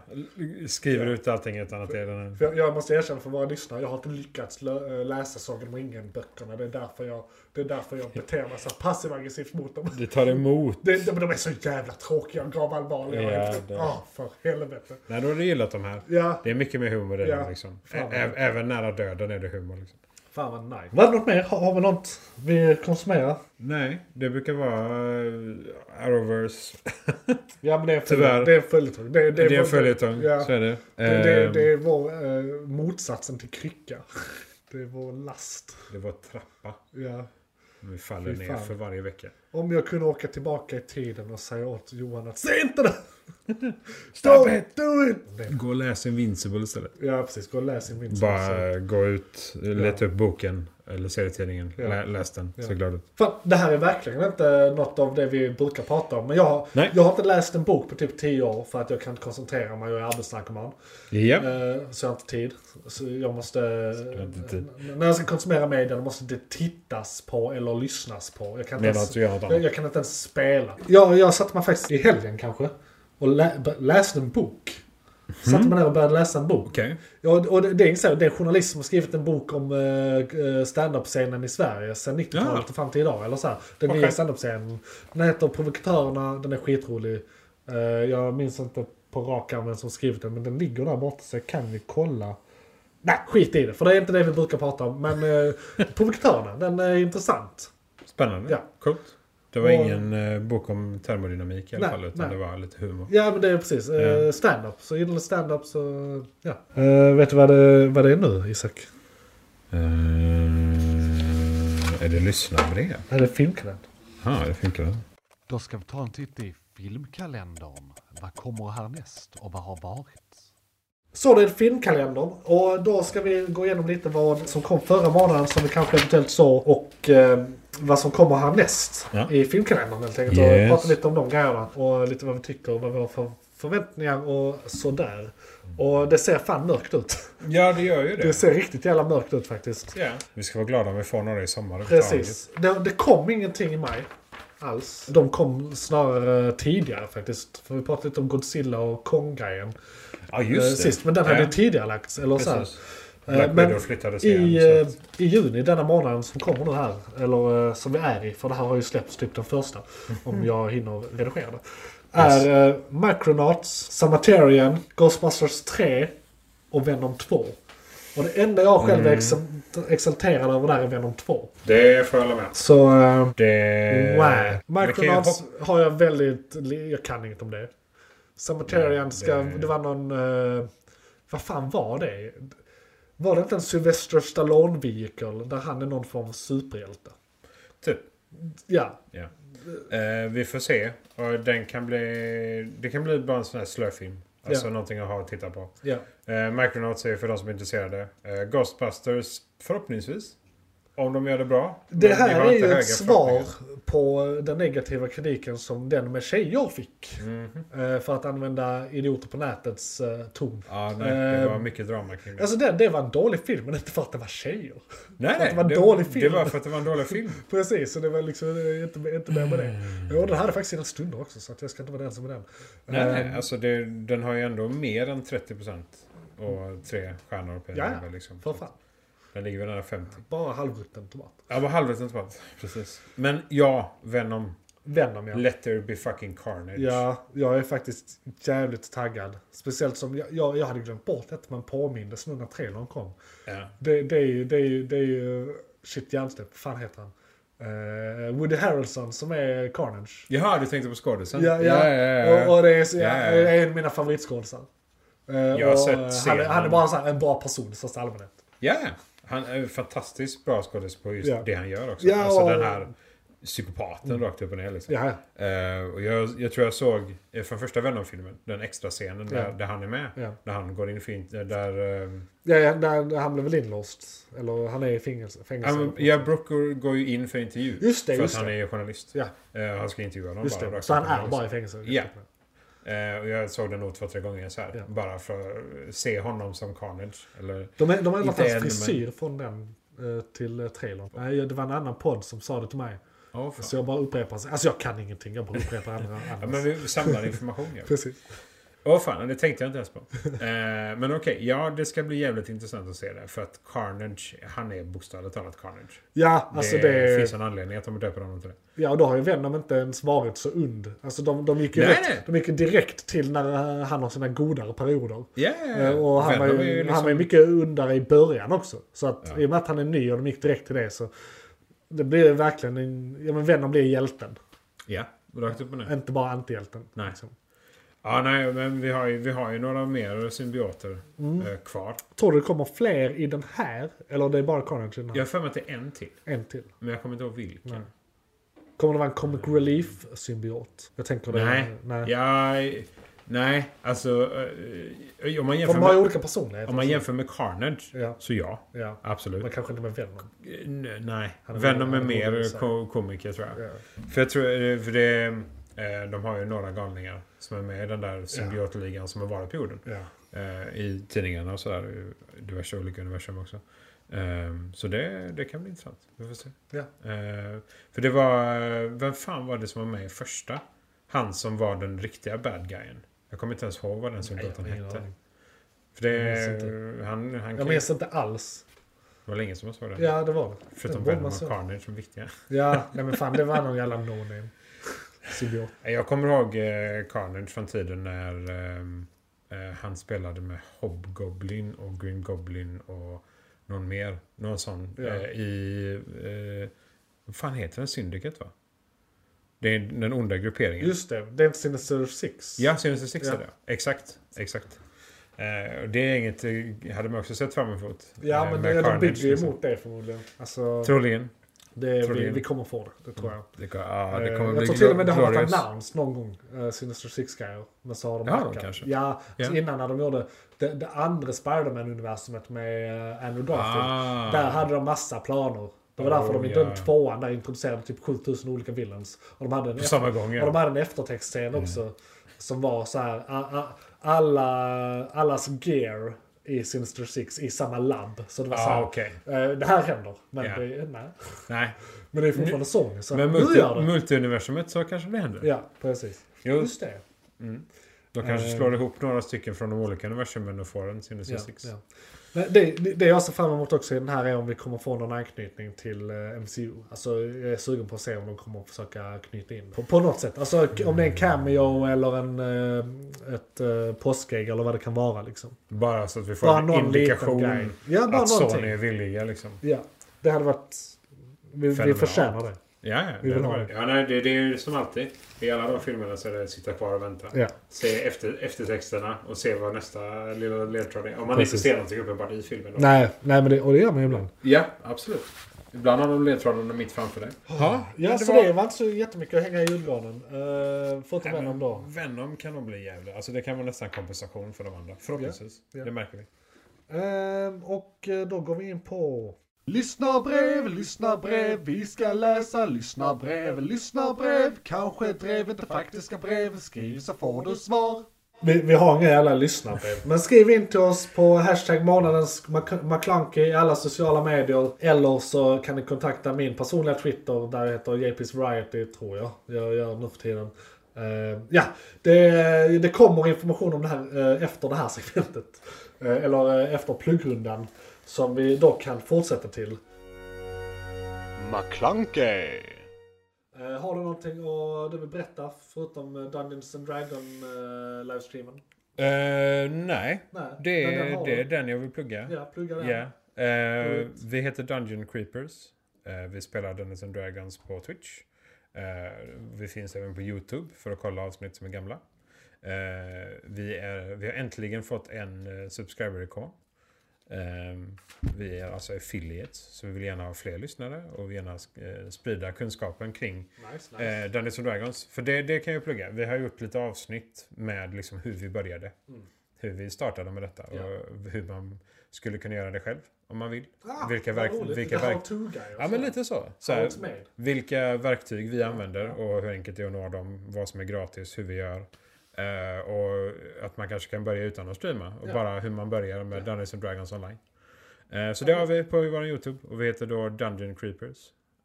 Speaker 1: skriver
Speaker 3: Ja.
Speaker 1: ut allting utan att det är den här.
Speaker 3: För jag, jag måste erkänna för våra lyssnare, jag har inte lyckats lö- äh, läsa Sagan om ringen-böckerna. Det är därför jag, det är därför jag beter mig så här passiv-aggressivt mot dem.
Speaker 1: Det tar emot.
Speaker 3: De, de, de är så jävla tråkiga och gravallvarliga.
Speaker 1: Ja,
Speaker 3: Ja,
Speaker 1: det-
Speaker 3: för helvete.
Speaker 1: Nej, då har du gillat de här.
Speaker 3: Ja,
Speaker 1: Det är mycket mer humor i
Speaker 3: Ja.
Speaker 1: den liksom. Ä-
Speaker 3: Fan, vad
Speaker 1: ä- även nära döden är det humor. Liksom.
Speaker 3: fan vad nice.
Speaker 4: Var det något mer? Har, har vi något vi konsumerar?
Speaker 1: Nej, det brukar vara eh, Arrowverse.
Speaker 3: Ja, men det är en
Speaker 1: Tyvärr.
Speaker 3: följetong. Det är en följetong. Det,
Speaker 1: Det är en
Speaker 3: vår-
Speaker 1: följetong,
Speaker 3: Ja.
Speaker 1: så är det.
Speaker 3: Det, det,
Speaker 1: Ehm,
Speaker 3: det är vår eh, motsatsen till krycka. Det är vår last.
Speaker 1: det var trappa.
Speaker 3: Ja.
Speaker 1: Vi faller
Speaker 3: Fy
Speaker 1: ner
Speaker 3: fan.
Speaker 1: för varje vecka.
Speaker 3: Om jag kunde åka tillbaka i tiden och säga åt Johan att se inte det!
Speaker 1: Stop
Speaker 3: Don't do it!
Speaker 1: Gå och läs Invincible istället.
Speaker 3: Ja precis, gå och läs Invincible.
Speaker 1: Bara eh, gå ut, eh, leta upp boken eller serietidningen.
Speaker 3: Ja.
Speaker 1: Lä, läs den.
Speaker 3: Ja.
Speaker 1: Se glad ut.
Speaker 3: För det här är verkligen inte något av det vi brukar prata om. Men jag, har-
Speaker 1: Nej.
Speaker 3: jag har inte läst en bok på typ 10 år för att jag kan inte koncentrera mig. Jag är arbetsnarkoman.
Speaker 1: Ja.
Speaker 3: Eh, Så jag har inte tid. Så jag måste...
Speaker 1: har inte tid.
Speaker 3: N- När jag ska konsumera media då måste det tittas på eller lyssnas på. Jag kan inte,
Speaker 1: Medan
Speaker 3: ens,
Speaker 1: du gör något
Speaker 3: jag,
Speaker 1: annat.
Speaker 3: jag kan inte ens spela. Jag, jag satte mig faktiskt i helgen kanske och lä, b- läste en bok.
Speaker 1: Mm.
Speaker 3: Satte mig ner och började läsa en bok.
Speaker 1: Okej.
Speaker 3: Ja, och det, det, är så, det är en journalist som har skrivit en bok om uh, standup-scenen i Sverige sedan 90-talet
Speaker 1: Ja.
Speaker 3: och fram till idag. Eller så här, den
Speaker 1: Okej.
Speaker 3: nya standup-scenen. Den heter Provokatörerna, den är skitrolig. Eh, jag minns inte på rak arm vem som skrivit den, men den ligger där borta så jag kan ju kolla. Nej, skit i det, för det är inte det vi brukar prata om. Men uh, Provokatörerna, den är intressant.
Speaker 1: Spännande.
Speaker 3: Ja.
Speaker 1: Coolt. Det var
Speaker 3: Och-
Speaker 1: ingen eh, bok om termodynamik i alla
Speaker 3: Nej,
Speaker 1: fall. Utan det
Speaker 3: nej.
Speaker 1: var lite humor.
Speaker 3: Ja, men det är precis. eh,
Speaker 1: Ja.
Speaker 3: Stand-up. Så gillar du stand-up så... Ja. Eh, vet du vad det, vad det är nu, Isak?
Speaker 1: Eh, är det lyssnarbrev?
Speaker 3: Det är filmkanal.
Speaker 1: Ja, det funkar. det.
Speaker 2: Då ska vi ta en titt i filmkalendern. Vad kommer härnäst och vad har varit?
Speaker 3: Så det är filmkalendern och då ska vi gå igenom lite vad som kom förra månaden som vi kanske eventuellt såg och eh, vad som kommer härnäst
Speaker 1: Ja.
Speaker 3: i filmkalendern helt enkelt.
Speaker 1: Yes.
Speaker 3: Och prata lite om de grejerna och lite vad vi tycker och vad vi har för förväntningar och sådär. Och det ser fan mörkt ut.
Speaker 1: Ja, det gör ju det.
Speaker 3: Det ser riktigt jävla mörkt ut faktiskt.
Speaker 1: Ja. Vi ska vara glada om vi får några i sommar. överhuvudtaget.
Speaker 3: Precis. Det, det kom ingenting i maj. Alls. De kom snarare tidigare faktiskt. För vi pratade lite om Godzilla och Kong-grejen
Speaker 1: Ja,
Speaker 3: eh,
Speaker 1: just det.
Speaker 3: sist. Men den hade
Speaker 1: Ja,
Speaker 3: ju tidigare lagts. Eller så här.
Speaker 1: precis.
Speaker 3: Eh,
Speaker 1: Black
Speaker 3: men
Speaker 1: Widow flyttades igen.
Speaker 3: I,
Speaker 1: så
Speaker 3: eh,
Speaker 1: att-
Speaker 3: I juni denna månaden som kommer nu här, eller eh, som vi är i, för det här har ju släppts typ den första, om jag hinner redigera det.
Speaker 1: Yes.
Speaker 3: Är eh, Micronauts, Samaterian, Ghostbusters 3 och Venom 2. Och det enda jag själv
Speaker 1: Mm.
Speaker 3: är ex- exalterad över där är Venom 2.
Speaker 1: Det får jag hålla med.
Speaker 3: Så... Eh,
Speaker 1: Det...
Speaker 3: wow.
Speaker 1: Men det kan ju
Speaker 3: Micronauts
Speaker 1: hoppa-
Speaker 3: har jag väldigt... li- Jag kan inget om det. Samaterian ska...
Speaker 1: Nej, det-
Speaker 3: Det, var någon... eh, vad fan var det? Var det inte en Sylvester stallone vehicle där han är någon form av superhjälte?
Speaker 1: Typ.
Speaker 3: Ja.
Speaker 1: Ja. Eh, vi får se. Och den kan bli... Det kan bli bara en sån här slöfilm. Alltså
Speaker 3: Ja.
Speaker 1: någonting att ha och titta på.
Speaker 3: ja.
Speaker 1: Eh, Micronauts är ju för de som är intresserade. Eh, Ghostbusters förhoppningsvis. Om de gör det bra. Men
Speaker 3: Det
Speaker 1: vi
Speaker 3: här
Speaker 1: har
Speaker 3: är
Speaker 1: inte
Speaker 3: ju
Speaker 1: höga
Speaker 3: ett svar
Speaker 1: förhoppningar.
Speaker 3: på den negativa kritiken som den med tjejer fick.
Speaker 1: Mhm.
Speaker 3: Eh, För att använda idioter på nätets eh, ton.
Speaker 1: Ja, nej, det var
Speaker 3: Eh,
Speaker 1: mycket drama kring det.
Speaker 3: Alltså det, det var en dålig film, men inte för att det var tjejer.
Speaker 1: nej,
Speaker 3: att det var en
Speaker 1: nej,
Speaker 3: dålig film.
Speaker 1: Det var för att det var en dålig film.
Speaker 3: Precis, så det var liksom det är inte, inte mer med det. Och den hade faktiskt sina stunder också, så att jag ska inte vara den som är den.
Speaker 1: Mm. Nej,
Speaker 3: Eh,
Speaker 1: nej, alltså det, den har ju ändå mer än 30% och tre stjärnor på
Speaker 3: Ja,
Speaker 1: IMDb, liksom.
Speaker 3: för fan.
Speaker 1: Den ligger väl nära 50.
Speaker 3: Bara halvrutten tomat.
Speaker 1: Ja, vad halvrätt inte var. Precis. Men ja, Venom.
Speaker 3: Venom ja.
Speaker 1: Let there be fucking carnage.
Speaker 3: Ja, jag är faktiskt jävligt taggad. Speciellt som jag, jag, jag hade glömt bort detta men påmindes nu när trailern kom.
Speaker 1: Ja.
Speaker 3: Det, det är ju, det är ju, det är ju, shit hjärnsläpp, vad fan heter han? Eh, Woody Harrelson som är Carnage.
Speaker 1: Jaha, du tänkte på skådisen?
Speaker 3: Ja, ja. Och, och det är, så, ja,
Speaker 1: Ja, ja.
Speaker 3: det är en av mina favoritskådisar. Eh,
Speaker 1: Jag har
Speaker 3: och,
Speaker 1: sett
Speaker 3: eh, han, är-
Speaker 1: scenen.
Speaker 3: han är bara så här, en bra person i största allmänhet.
Speaker 1: Ja, han är ju fantastiskt bra skådis på just
Speaker 3: Ja.
Speaker 1: det han gör också.
Speaker 3: Ja,
Speaker 1: alltså
Speaker 3: och-
Speaker 1: den här psykopaten rakt upp och ner liksom.
Speaker 3: Ja, ja.
Speaker 1: Eh, och jag, jag tror jag såg eh, från första Venom-filmen, den extra scenen där,
Speaker 3: Ja.
Speaker 1: där han är med.
Speaker 3: Ja.
Speaker 1: Där han går in fint, eh, där... eh,
Speaker 3: Ja, ja där, han blev väl inlåst. Eller han är i fängelse. fängelse
Speaker 1: Ja, men, ja, Brooker går ju in för intervju.
Speaker 3: Just det,
Speaker 1: för
Speaker 3: just
Speaker 1: att han
Speaker 3: det.
Speaker 1: är journalist.
Speaker 3: Ja,
Speaker 1: Eh, han ska intervjua någon
Speaker 3: just
Speaker 1: bara.
Speaker 3: det.
Speaker 1: rakt
Speaker 3: Så han
Speaker 1: upp och ner,
Speaker 3: är
Speaker 1: liksom.
Speaker 3: bara i fängelse.
Speaker 1: Ja. Eh, och jag såg den nog två, tre gånger så här.
Speaker 3: Ja.
Speaker 1: Bara för att se honom som Carnage. Eller...
Speaker 3: De, är- de har ändrat
Speaker 1: Inte än,
Speaker 3: hans frisyr från den eh, till eh, trailern. Nej, det var en annan podd som sa det till mig.
Speaker 1: Ja, fan.
Speaker 3: Så jag bara upprepar. Alltså jag kan ingenting. Jag bara upprepar andra.
Speaker 1: Ja,
Speaker 3: andras.
Speaker 1: men vi samlar information. ja.
Speaker 3: Precis.
Speaker 1: Åh fan, det tänkte jag inte ens på. Eh, men okej, ja det ska bli jävligt intressant att se det. För att Carnage, han är bokstavligt talat Carnage.
Speaker 3: Ja, alltså
Speaker 1: det,
Speaker 3: det...
Speaker 1: finns en anledning att de döper honom till det.
Speaker 3: Ja, och då har ju Venom inte ens varit så und. Alltså de, de, gick ju
Speaker 1: Nej, nej.
Speaker 3: rätt, de gick ju direkt till när eh, han har sina godare perioder. Eh, Och han var, ju,
Speaker 1: Venom är ju liksom-
Speaker 3: han var ju mycket undare i början också. Så att i och med att han är ny och de gick direkt till det så det blir ju verkligen en, ja men Venom blir hjälten.
Speaker 1: Ja, rakt upp och ner.
Speaker 3: Inte bara antihjälten.
Speaker 1: Nej.
Speaker 3: liksom.
Speaker 1: Ja, nej, men vi har ju, vi har ju några mer symbioter
Speaker 3: Mm.
Speaker 1: eh, kvar.
Speaker 3: Tror du det kommer fler i den här? Eller det är bara Carnage i den här?
Speaker 1: Jag har för mig att det är en till.
Speaker 3: En till.
Speaker 1: Men jag kommer inte ihåg vilken.
Speaker 3: Nej. Kommer det vara en Comic Relief-symbiot? Jag tänker det.
Speaker 1: Nej.
Speaker 3: Nej.
Speaker 1: Ja, nej, alltså... eh, Om man
Speaker 3: För
Speaker 1: jämför,
Speaker 3: de har ju
Speaker 1: med,
Speaker 3: olika personligheter.
Speaker 1: om man jämför med Carnage,
Speaker 3: Ja.
Speaker 1: så ja.
Speaker 3: Ja.
Speaker 1: Absolut.
Speaker 3: Men kanske inte med Venom.
Speaker 1: Eh, n- Nej,
Speaker 3: Han är-
Speaker 1: Venom är
Speaker 3: han är god,
Speaker 1: mer
Speaker 3: så.
Speaker 1: ko- komiker tror jag.
Speaker 3: Ja.
Speaker 1: För jag tror, eh, för det, eh, de har ju några galningar som är med i den där symbiotligan som har varit på jorden.
Speaker 3: Ja.
Speaker 1: eh, I tidningarna och sådär. i Diverse olika universum också. Eh, Så det, det kan bli intressant. Vi får se.
Speaker 3: Ja.
Speaker 1: Eh, För det var, eh, vem fan var det som var med i första? Han som var den riktiga bad guyen. Jag kommer inte ens ihåg vad den
Speaker 3: jag
Speaker 1: soldaten
Speaker 3: har ingen
Speaker 1: hette.
Speaker 3: aning.
Speaker 1: För det,
Speaker 3: Jag minns
Speaker 1: han, han
Speaker 3: Jag
Speaker 1: kan,
Speaker 3: minns inte alls.
Speaker 1: det var länge som jag såg det.
Speaker 3: Ja, det var det.
Speaker 1: Förutom
Speaker 3: det var
Speaker 1: Venom och
Speaker 3: massa-
Speaker 1: Carnage som viktiga.
Speaker 3: Ja, nej men fan det var någon jävla no-name. Symbiot.
Speaker 1: Jag kommer ihåg eh, Carnage från tiden när ehm, eh, han spelade med Hobgoblin och Green Goblin och någon mer. Någon sån.
Speaker 3: Ja.
Speaker 1: Eh, I... Eh, vad fan heter den? Syndicate va? Det är den onda grupperingen.
Speaker 3: Just det, det är inte Sinister Six.
Speaker 1: Ja, Sinister Six
Speaker 3: Ja.
Speaker 1: är det. Exakt. Exakt. Eh, och det är inget eh, hade man också sett fram emot.
Speaker 3: Ja,
Speaker 1: Eh,
Speaker 3: men
Speaker 1: med
Speaker 3: det, de
Speaker 1: Carnage,
Speaker 3: bygger ju
Speaker 1: liksom.
Speaker 3: emot det förmodligen. Alltså,
Speaker 1: Troligen.
Speaker 3: det, vi,
Speaker 1: troligen.
Speaker 3: vi kommer få det, det tror jag.
Speaker 1: Det, kan- ja, det kommer
Speaker 3: Eh,
Speaker 1: bli
Speaker 3: jag tror till och med det har varit
Speaker 1: glorious.
Speaker 3: announced någon gång, eh, Sinister Six-grejer. Men så har de
Speaker 1: Det har de
Speaker 3: hackat.
Speaker 1: kanske.
Speaker 3: Ja,
Speaker 1: Ja.
Speaker 3: så innan när de gjorde det, det andra Spiderman-universumet med eh, Andrew Garfield.
Speaker 1: Ah.
Speaker 3: Där hade de massa planer. Det var
Speaker 1: Oh,
Speaker 3: därför de i
Speaker 1: ja.
Speaker 3: den tvåan där introducerade typ 7000 olika villains. Och de hade en,
Speaker 1: På samma gång, ja. Mm.
Speaker 3: och de hade en eftertextscen också. Som var så här, a, a, alla, allas gear i Sinister Six i samma labb. Så det var
Speaker 1: Ah,
Speaker 3: så här,
Speaker 1: okej.
Speaker 3: eh, det här händer. Men,
Speaker 1: Ja.
Speaker 3: det, nej.
Speaker 1: Nej.
Speaker 3: men det är fortfarande Sony. Så
Speaker 1: Men
Speaker 3: nu Alltså, gör
Speaker 1: multi-
Speaker 3: det.
Speaker 1: multiuniversumet så kanske det händer.
Speaker 3: Ja, precis.
Speaker 1: Jo,
Speaker 3: Just det.
Speaker 1: de kanske slår ihop några stycken från de olika universumen och får en Sinister
Speaker 3: Ja,
Speaker 1: Six.
Speaker 3: ja. Men det, det jag ser fram emot också i den här är om vi kommer få någon anknytning till eh, MCU. Alltså jag är sugen på att se om de kommer att försöka knyta in på, på något sätt. Alltså k- om det är en cameo eller en, eh, ett eh, påskägg eller vad det kan vara liksom.
Speaker 1: Bara så att vi får
Speaker 3: Bara
Speaker 1: en
Speaker 3: någon
Speaker 1: indikation
Speaker 3: liten grej. Ja, bara
Speaker 1: att
Speaker 3: någonting.
Speaker 1: Sony är villiga. Liksom.
Speaker 3: Ja, det hade varit... Vi, vi
Speaker 1: Fenomenalt.
Speaker 3: förtjänar det.
Speaker 1: Ja, ja,
Speaker 3: Vi
Speaker 1: det,
Speaker 3: vill
Speaker 1: var
Speaker 3: ha
Speaker 1: det. ja nej, det, det är ju som alltid. I alla de filmerna så är det att sitta kvar och vänta.
Speaker 3: Ja.
Speaker 1: Se efter, eftertexterna och se vad nästa lilla ledtråd är. Om man
Speaker 3: Precis.
Speaker 1: inte ser någonting uppenbart i filmen. Då.
Speaker 3: Nej, nej men det, och det gör man ju ibland.
Speaker 1: Ja, absolut. Ibland har de ledtrådarna mitt framför dig. Ja,
Speaker 3: Ja,
Speaker 1: men
Speaker 3: så
Speaker 1: var-
Speaker 3: det var inte så jättemycket att hänga i julgranen. Uh, Förutom en om dagen.
Speaker 1: Venom kan nog bli jävla. Alltså det kan vara nästan kompensation för de andra. Förhoppningsvis.
Speaker 3: ja.
Speaker 1: Det märker vi.
Speaker 3: Eh, och eh, då går vi in på...
Speaker 2: Lyssnarbrev, lyssnarbrev, vi ska läsa lyssnarbrev, lyssnarbrev. Kanske drev inte faktiska brev, skriv så får du svar.
Speaker 3: Vi, vi har inga jävla lyssnarbrev. Men skriv in till oss på hashtag månadens Mac- McClunky i alla sociala medier. Eller så kan ni kontakta min personliga Twitter där jag heter JP's Variety tror jag. Jag gör nu för tiden. Eh, ja, det, det kommer information om det här eh, efter det här segmentet. Eh, eller eh, efter pluggrundan. Som vi då kan fortsätta till.
Speaker 2: McClunkey!
Speaker 3: Eh, har du någonting att du vill berätta förutom eh, Dungeons and Dragon eh, livestreamen?
Speaker 1: Eh, nej,
Speaker 3: Nej,
Speaker 1: det
Speaker 3: men den
Speaker 1: är,
Speaker 3: har
Speaker 1: det är
Speaker 3: du.
Speaker 1: den jag vill plugga.
Speaker 3: Ja, plugga den.
Speaker 1: Ja. Eh,
Speaker 3: Coolt.
Speaker 1: vi heter Dungeon Creepers. Eh, vi spelar Dungeons and Dragons på Twitch. Eh, vi finns även på YouTube för att kolla avsnitt som är gamla. Eh, vi, är, vi har äntligen fått en eh, subscriber-ikon. Ehm, vi är alltså affiliates, så vi vill gärna ha fler lyssnare och vill gärna eh, sprida kunskapen kring
Speaker 3: Nice, nice.
Speaker 1: Eh, Dungeons and Dragons. För det, det kan jag plugga. Vi har gjort lite avsnitt med liksom hur vi började. Hur vi startade med detta
Speaker 3: Mm. Ja.
Speaker 1: och hur man skulle kunna göra det själv om man vill.
Speaker 3: Ah,
Speaker 1: vilka
Speaker 3: vad
Speaker 1: verk-
Speaker 3: roligt.
Speaker 1: vilka
Speaker 3: Lite
Speaker 1: verk-
Speaker 3: how-to-guy och
Speaker 1: Ja
Speaker 3: så.
Speaker 1: men lite så. så
Speaker 3: How
Speaker 1: här,
Speaker 3: it's made.
Speaker 1: vilka verktyg vi använder och hur enkelt det är att nå dem. Vad som är gratis, hur vi gör. Eh, och att man kanske kan börja utan att streama. Och
Speaker 3: Ja.
Speaker 1: bara hur man börjar med Dungeons and Dragons online. Eh, så det har vi på vår YouTube och vi heter då Dungeon Creepers.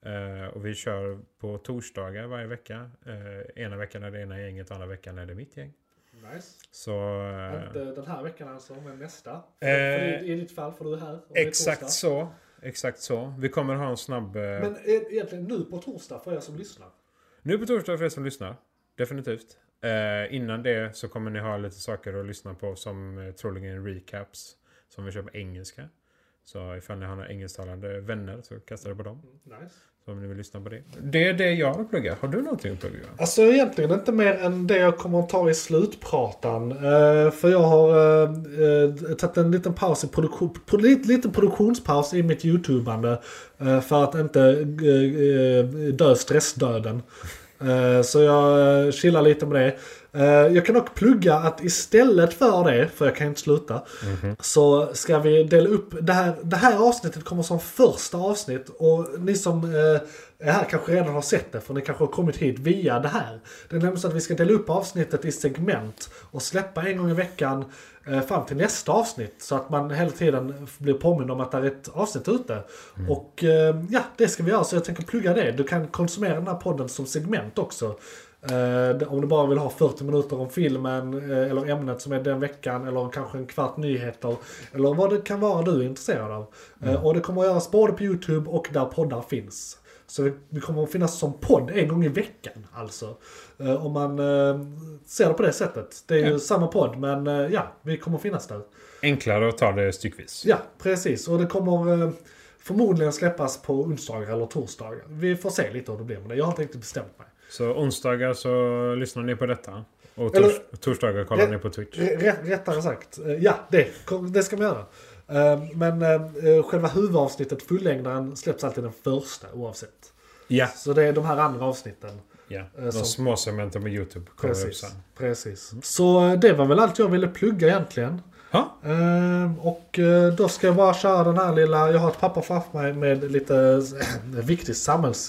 Speaker 1: Eh, och vi kör på torsdagar varje vecka. Eh, ena veckan är det ena gänget, andra veckan är det mitt gäng.
Speaker 3: Nice.
Speaker 1: Så... eh,
Speaker 3: Inte den här veckan alltså, men nästa. För
Speaker 1: Eh,
Speaker 3: det- I ditt fall, för du är här. och det är torsdag.
Speaker 1: exakt så. Exakt så. Vi kommer ha en snabb... eh,
Speaker 3: Men e- egentligen nu på torsdag för er som lyssnar.
Speaker 1: Nu på torsdag för er som lyssnar. Definitivt. Eh, innan det så kommer ni ha lite saker att lyssna på som eh, troligen recaps som vi kör på engelska. Så ifall ni har några engelsktalande vänner så kasta det på dem.
Speaker 3: Nice.
Speaker 1: Så Så om ni vill lyssna på det. Det är det jag har att plugga. Har du någonting att plugga?
Speaker 3: Alltså egentligen inte mer än det jag kommer att ta i slutpratan. Eh, för jag har eh, eh, tagit en liten paus i produktion, pro, lite, liten produktionspaus i mitt youtubande. Eh, för att inte eh, eh, dö stressdöden. Eh, så jag eh, chillar lite med det. Eh, jag kan dock plugga att istället för det, för jag kan inte sluta, så ska vi dela upp det här. Det här avsnittet kommer som första avsnitt och ni som eh, är här kanske redan har sett det, för ni kanske har kommit hit via det här. Det är nämligen så att vi ska dela upp avsnittet i segment och släppa en gång i veckan eh, fram till nästa avsnitt. Så att man hela tiden blir påmind om att det är ett avsnitt ute. Och eh, ja, det ska vi göra. Så jag tänker plugga det. Du kan konsumera den här podden som segment också. Eh, om du bara vill ha 40 minuter om filmen eh, eller ämnet som är den veckan eller kanske en kvart nyheter. Eller vad det kan vara du är intresserad av. Eh, och det kommer att göras både på YouTube och där poddar finns. Så vi, vi kommer att finnas som podd en gång i veckan alltså. Eh, om man eh, ser det på det sättet. Det är ju samma podd men eh, ja, vi kommer att finnas där.
Speaker 1: Enklare att ta det styckvis.
Speaker 3: Ja, precis. Och det kommer eh, förmodligen släppas på onsdagar eller torsdagar. Vi får se lite hur det blir med det. Jag har inte riktigt bestämt mig.
Speaker 1: Så onsdagar så lyssnar ni på detta. Och tors-
Speaker 3: Eller-
Speaker 1: torsdagar kollar
Speaker 3: Ja.
Speaker 1: ni på Twitch.
Speaker 3: R- Rätt, rättare sagt, eh, ja det, kom- det ska man göra. Eh, Men eh, eh, själva huvudavsnittet, fullängdaren, släpps alltid den första oavsett.
Speaker 1: Ja.
Speaker 3: Så det är de här andra avsnitten.
Speaker 1: ja.
Speaker 3: Eh,
Speaker 1: De
Speaker 3: som-
Speaker 1: småsementen på YouTube kommer upp
Speaker 3: Precis.
Speaker 1: sen. Mm.
Speaker 3: precis. Så eh, det var väl allt jag ville plugga egentligen.
Speaker 1: Ja.
Speaker 3: Ehm, och eh, då ska jag bara köra den här lilla, jag har ett papper framför mig med lite eh, viktig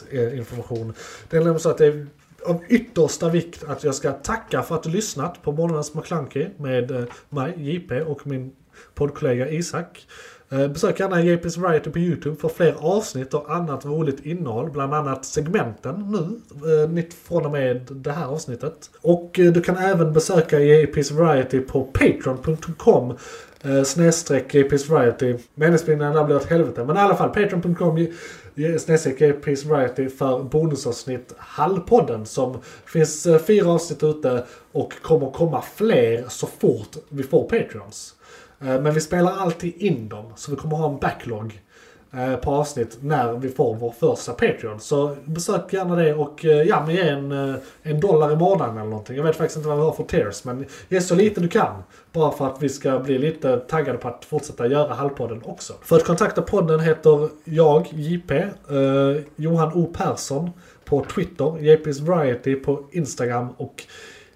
Speaker 3: samhällsinformation. Det är nämligen så att det är av yttersta vikt att jag ska tacka för att du lyssnat på Månadens McKlunky med eh, mig, JP och min poddkollega Isak. Eh, Besök gärna JP's Variety på YouTube för fler avsnitt och annat roligt innehåll. Bland annat segmenten nu, eh, nytt från och med det här avsnittet. Och eh, du kan även besöka JP's Variety på patreon.com eh, snedstreck JP's Variety. Meningsbindningen där blir ett helvete. Men i alla fall, patreon.com eh, snedstreck JP's Variety för bonusavsnitt Hallpodden som finns eh, fyra avsnitt ute och kommer komma fler så fort vi får Patreons. Eh, Men vi spelar alltid in dem, så vi kommer ha en backlog eh, på avsnitt när vi får vår första Patreon. Så besök gärna det och eh, ja, men ge en, eh, en dollar i månaden eller någonting. Jag vet faktiskt inte vad vi har för tears, men ge så lite du kan. Bara för att vi ska bli lite taggade på att fortsätta göra Halvpodden också. För att kontakta podden heter jag, JP, eh, Johan O Persson på Twitter, JP's Variety på Instagram och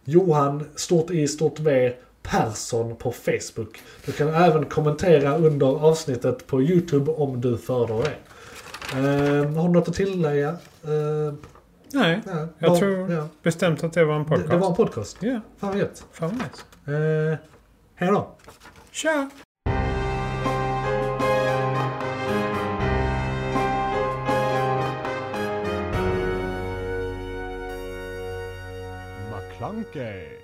Speaker 3: Johan, stort I, stort V, Persson på Facebook. Du kan även kommentera under avsnittet på YouTube om du föredrar det. Eh, har du något att tillägga? Eh,
Speaker 1: Nej.
Speaker 3: ja,
Speaker 1: Jag
Speaker 3: var-
Speaker 1: tror
Speaker 3: ja.
Speaker 1: bestämt att det var en
Speaker 3: det,
Speaker 1: podcast.
Speaker 3: det var en podcast.
Speaker 1: Ja,
Speaker 3: Fan vad gött.
Speaker 1: fan vad nice.
Speaker 3: Eh, hej då.
Speaker 1: Tja!
Speaker 2: McClunkey.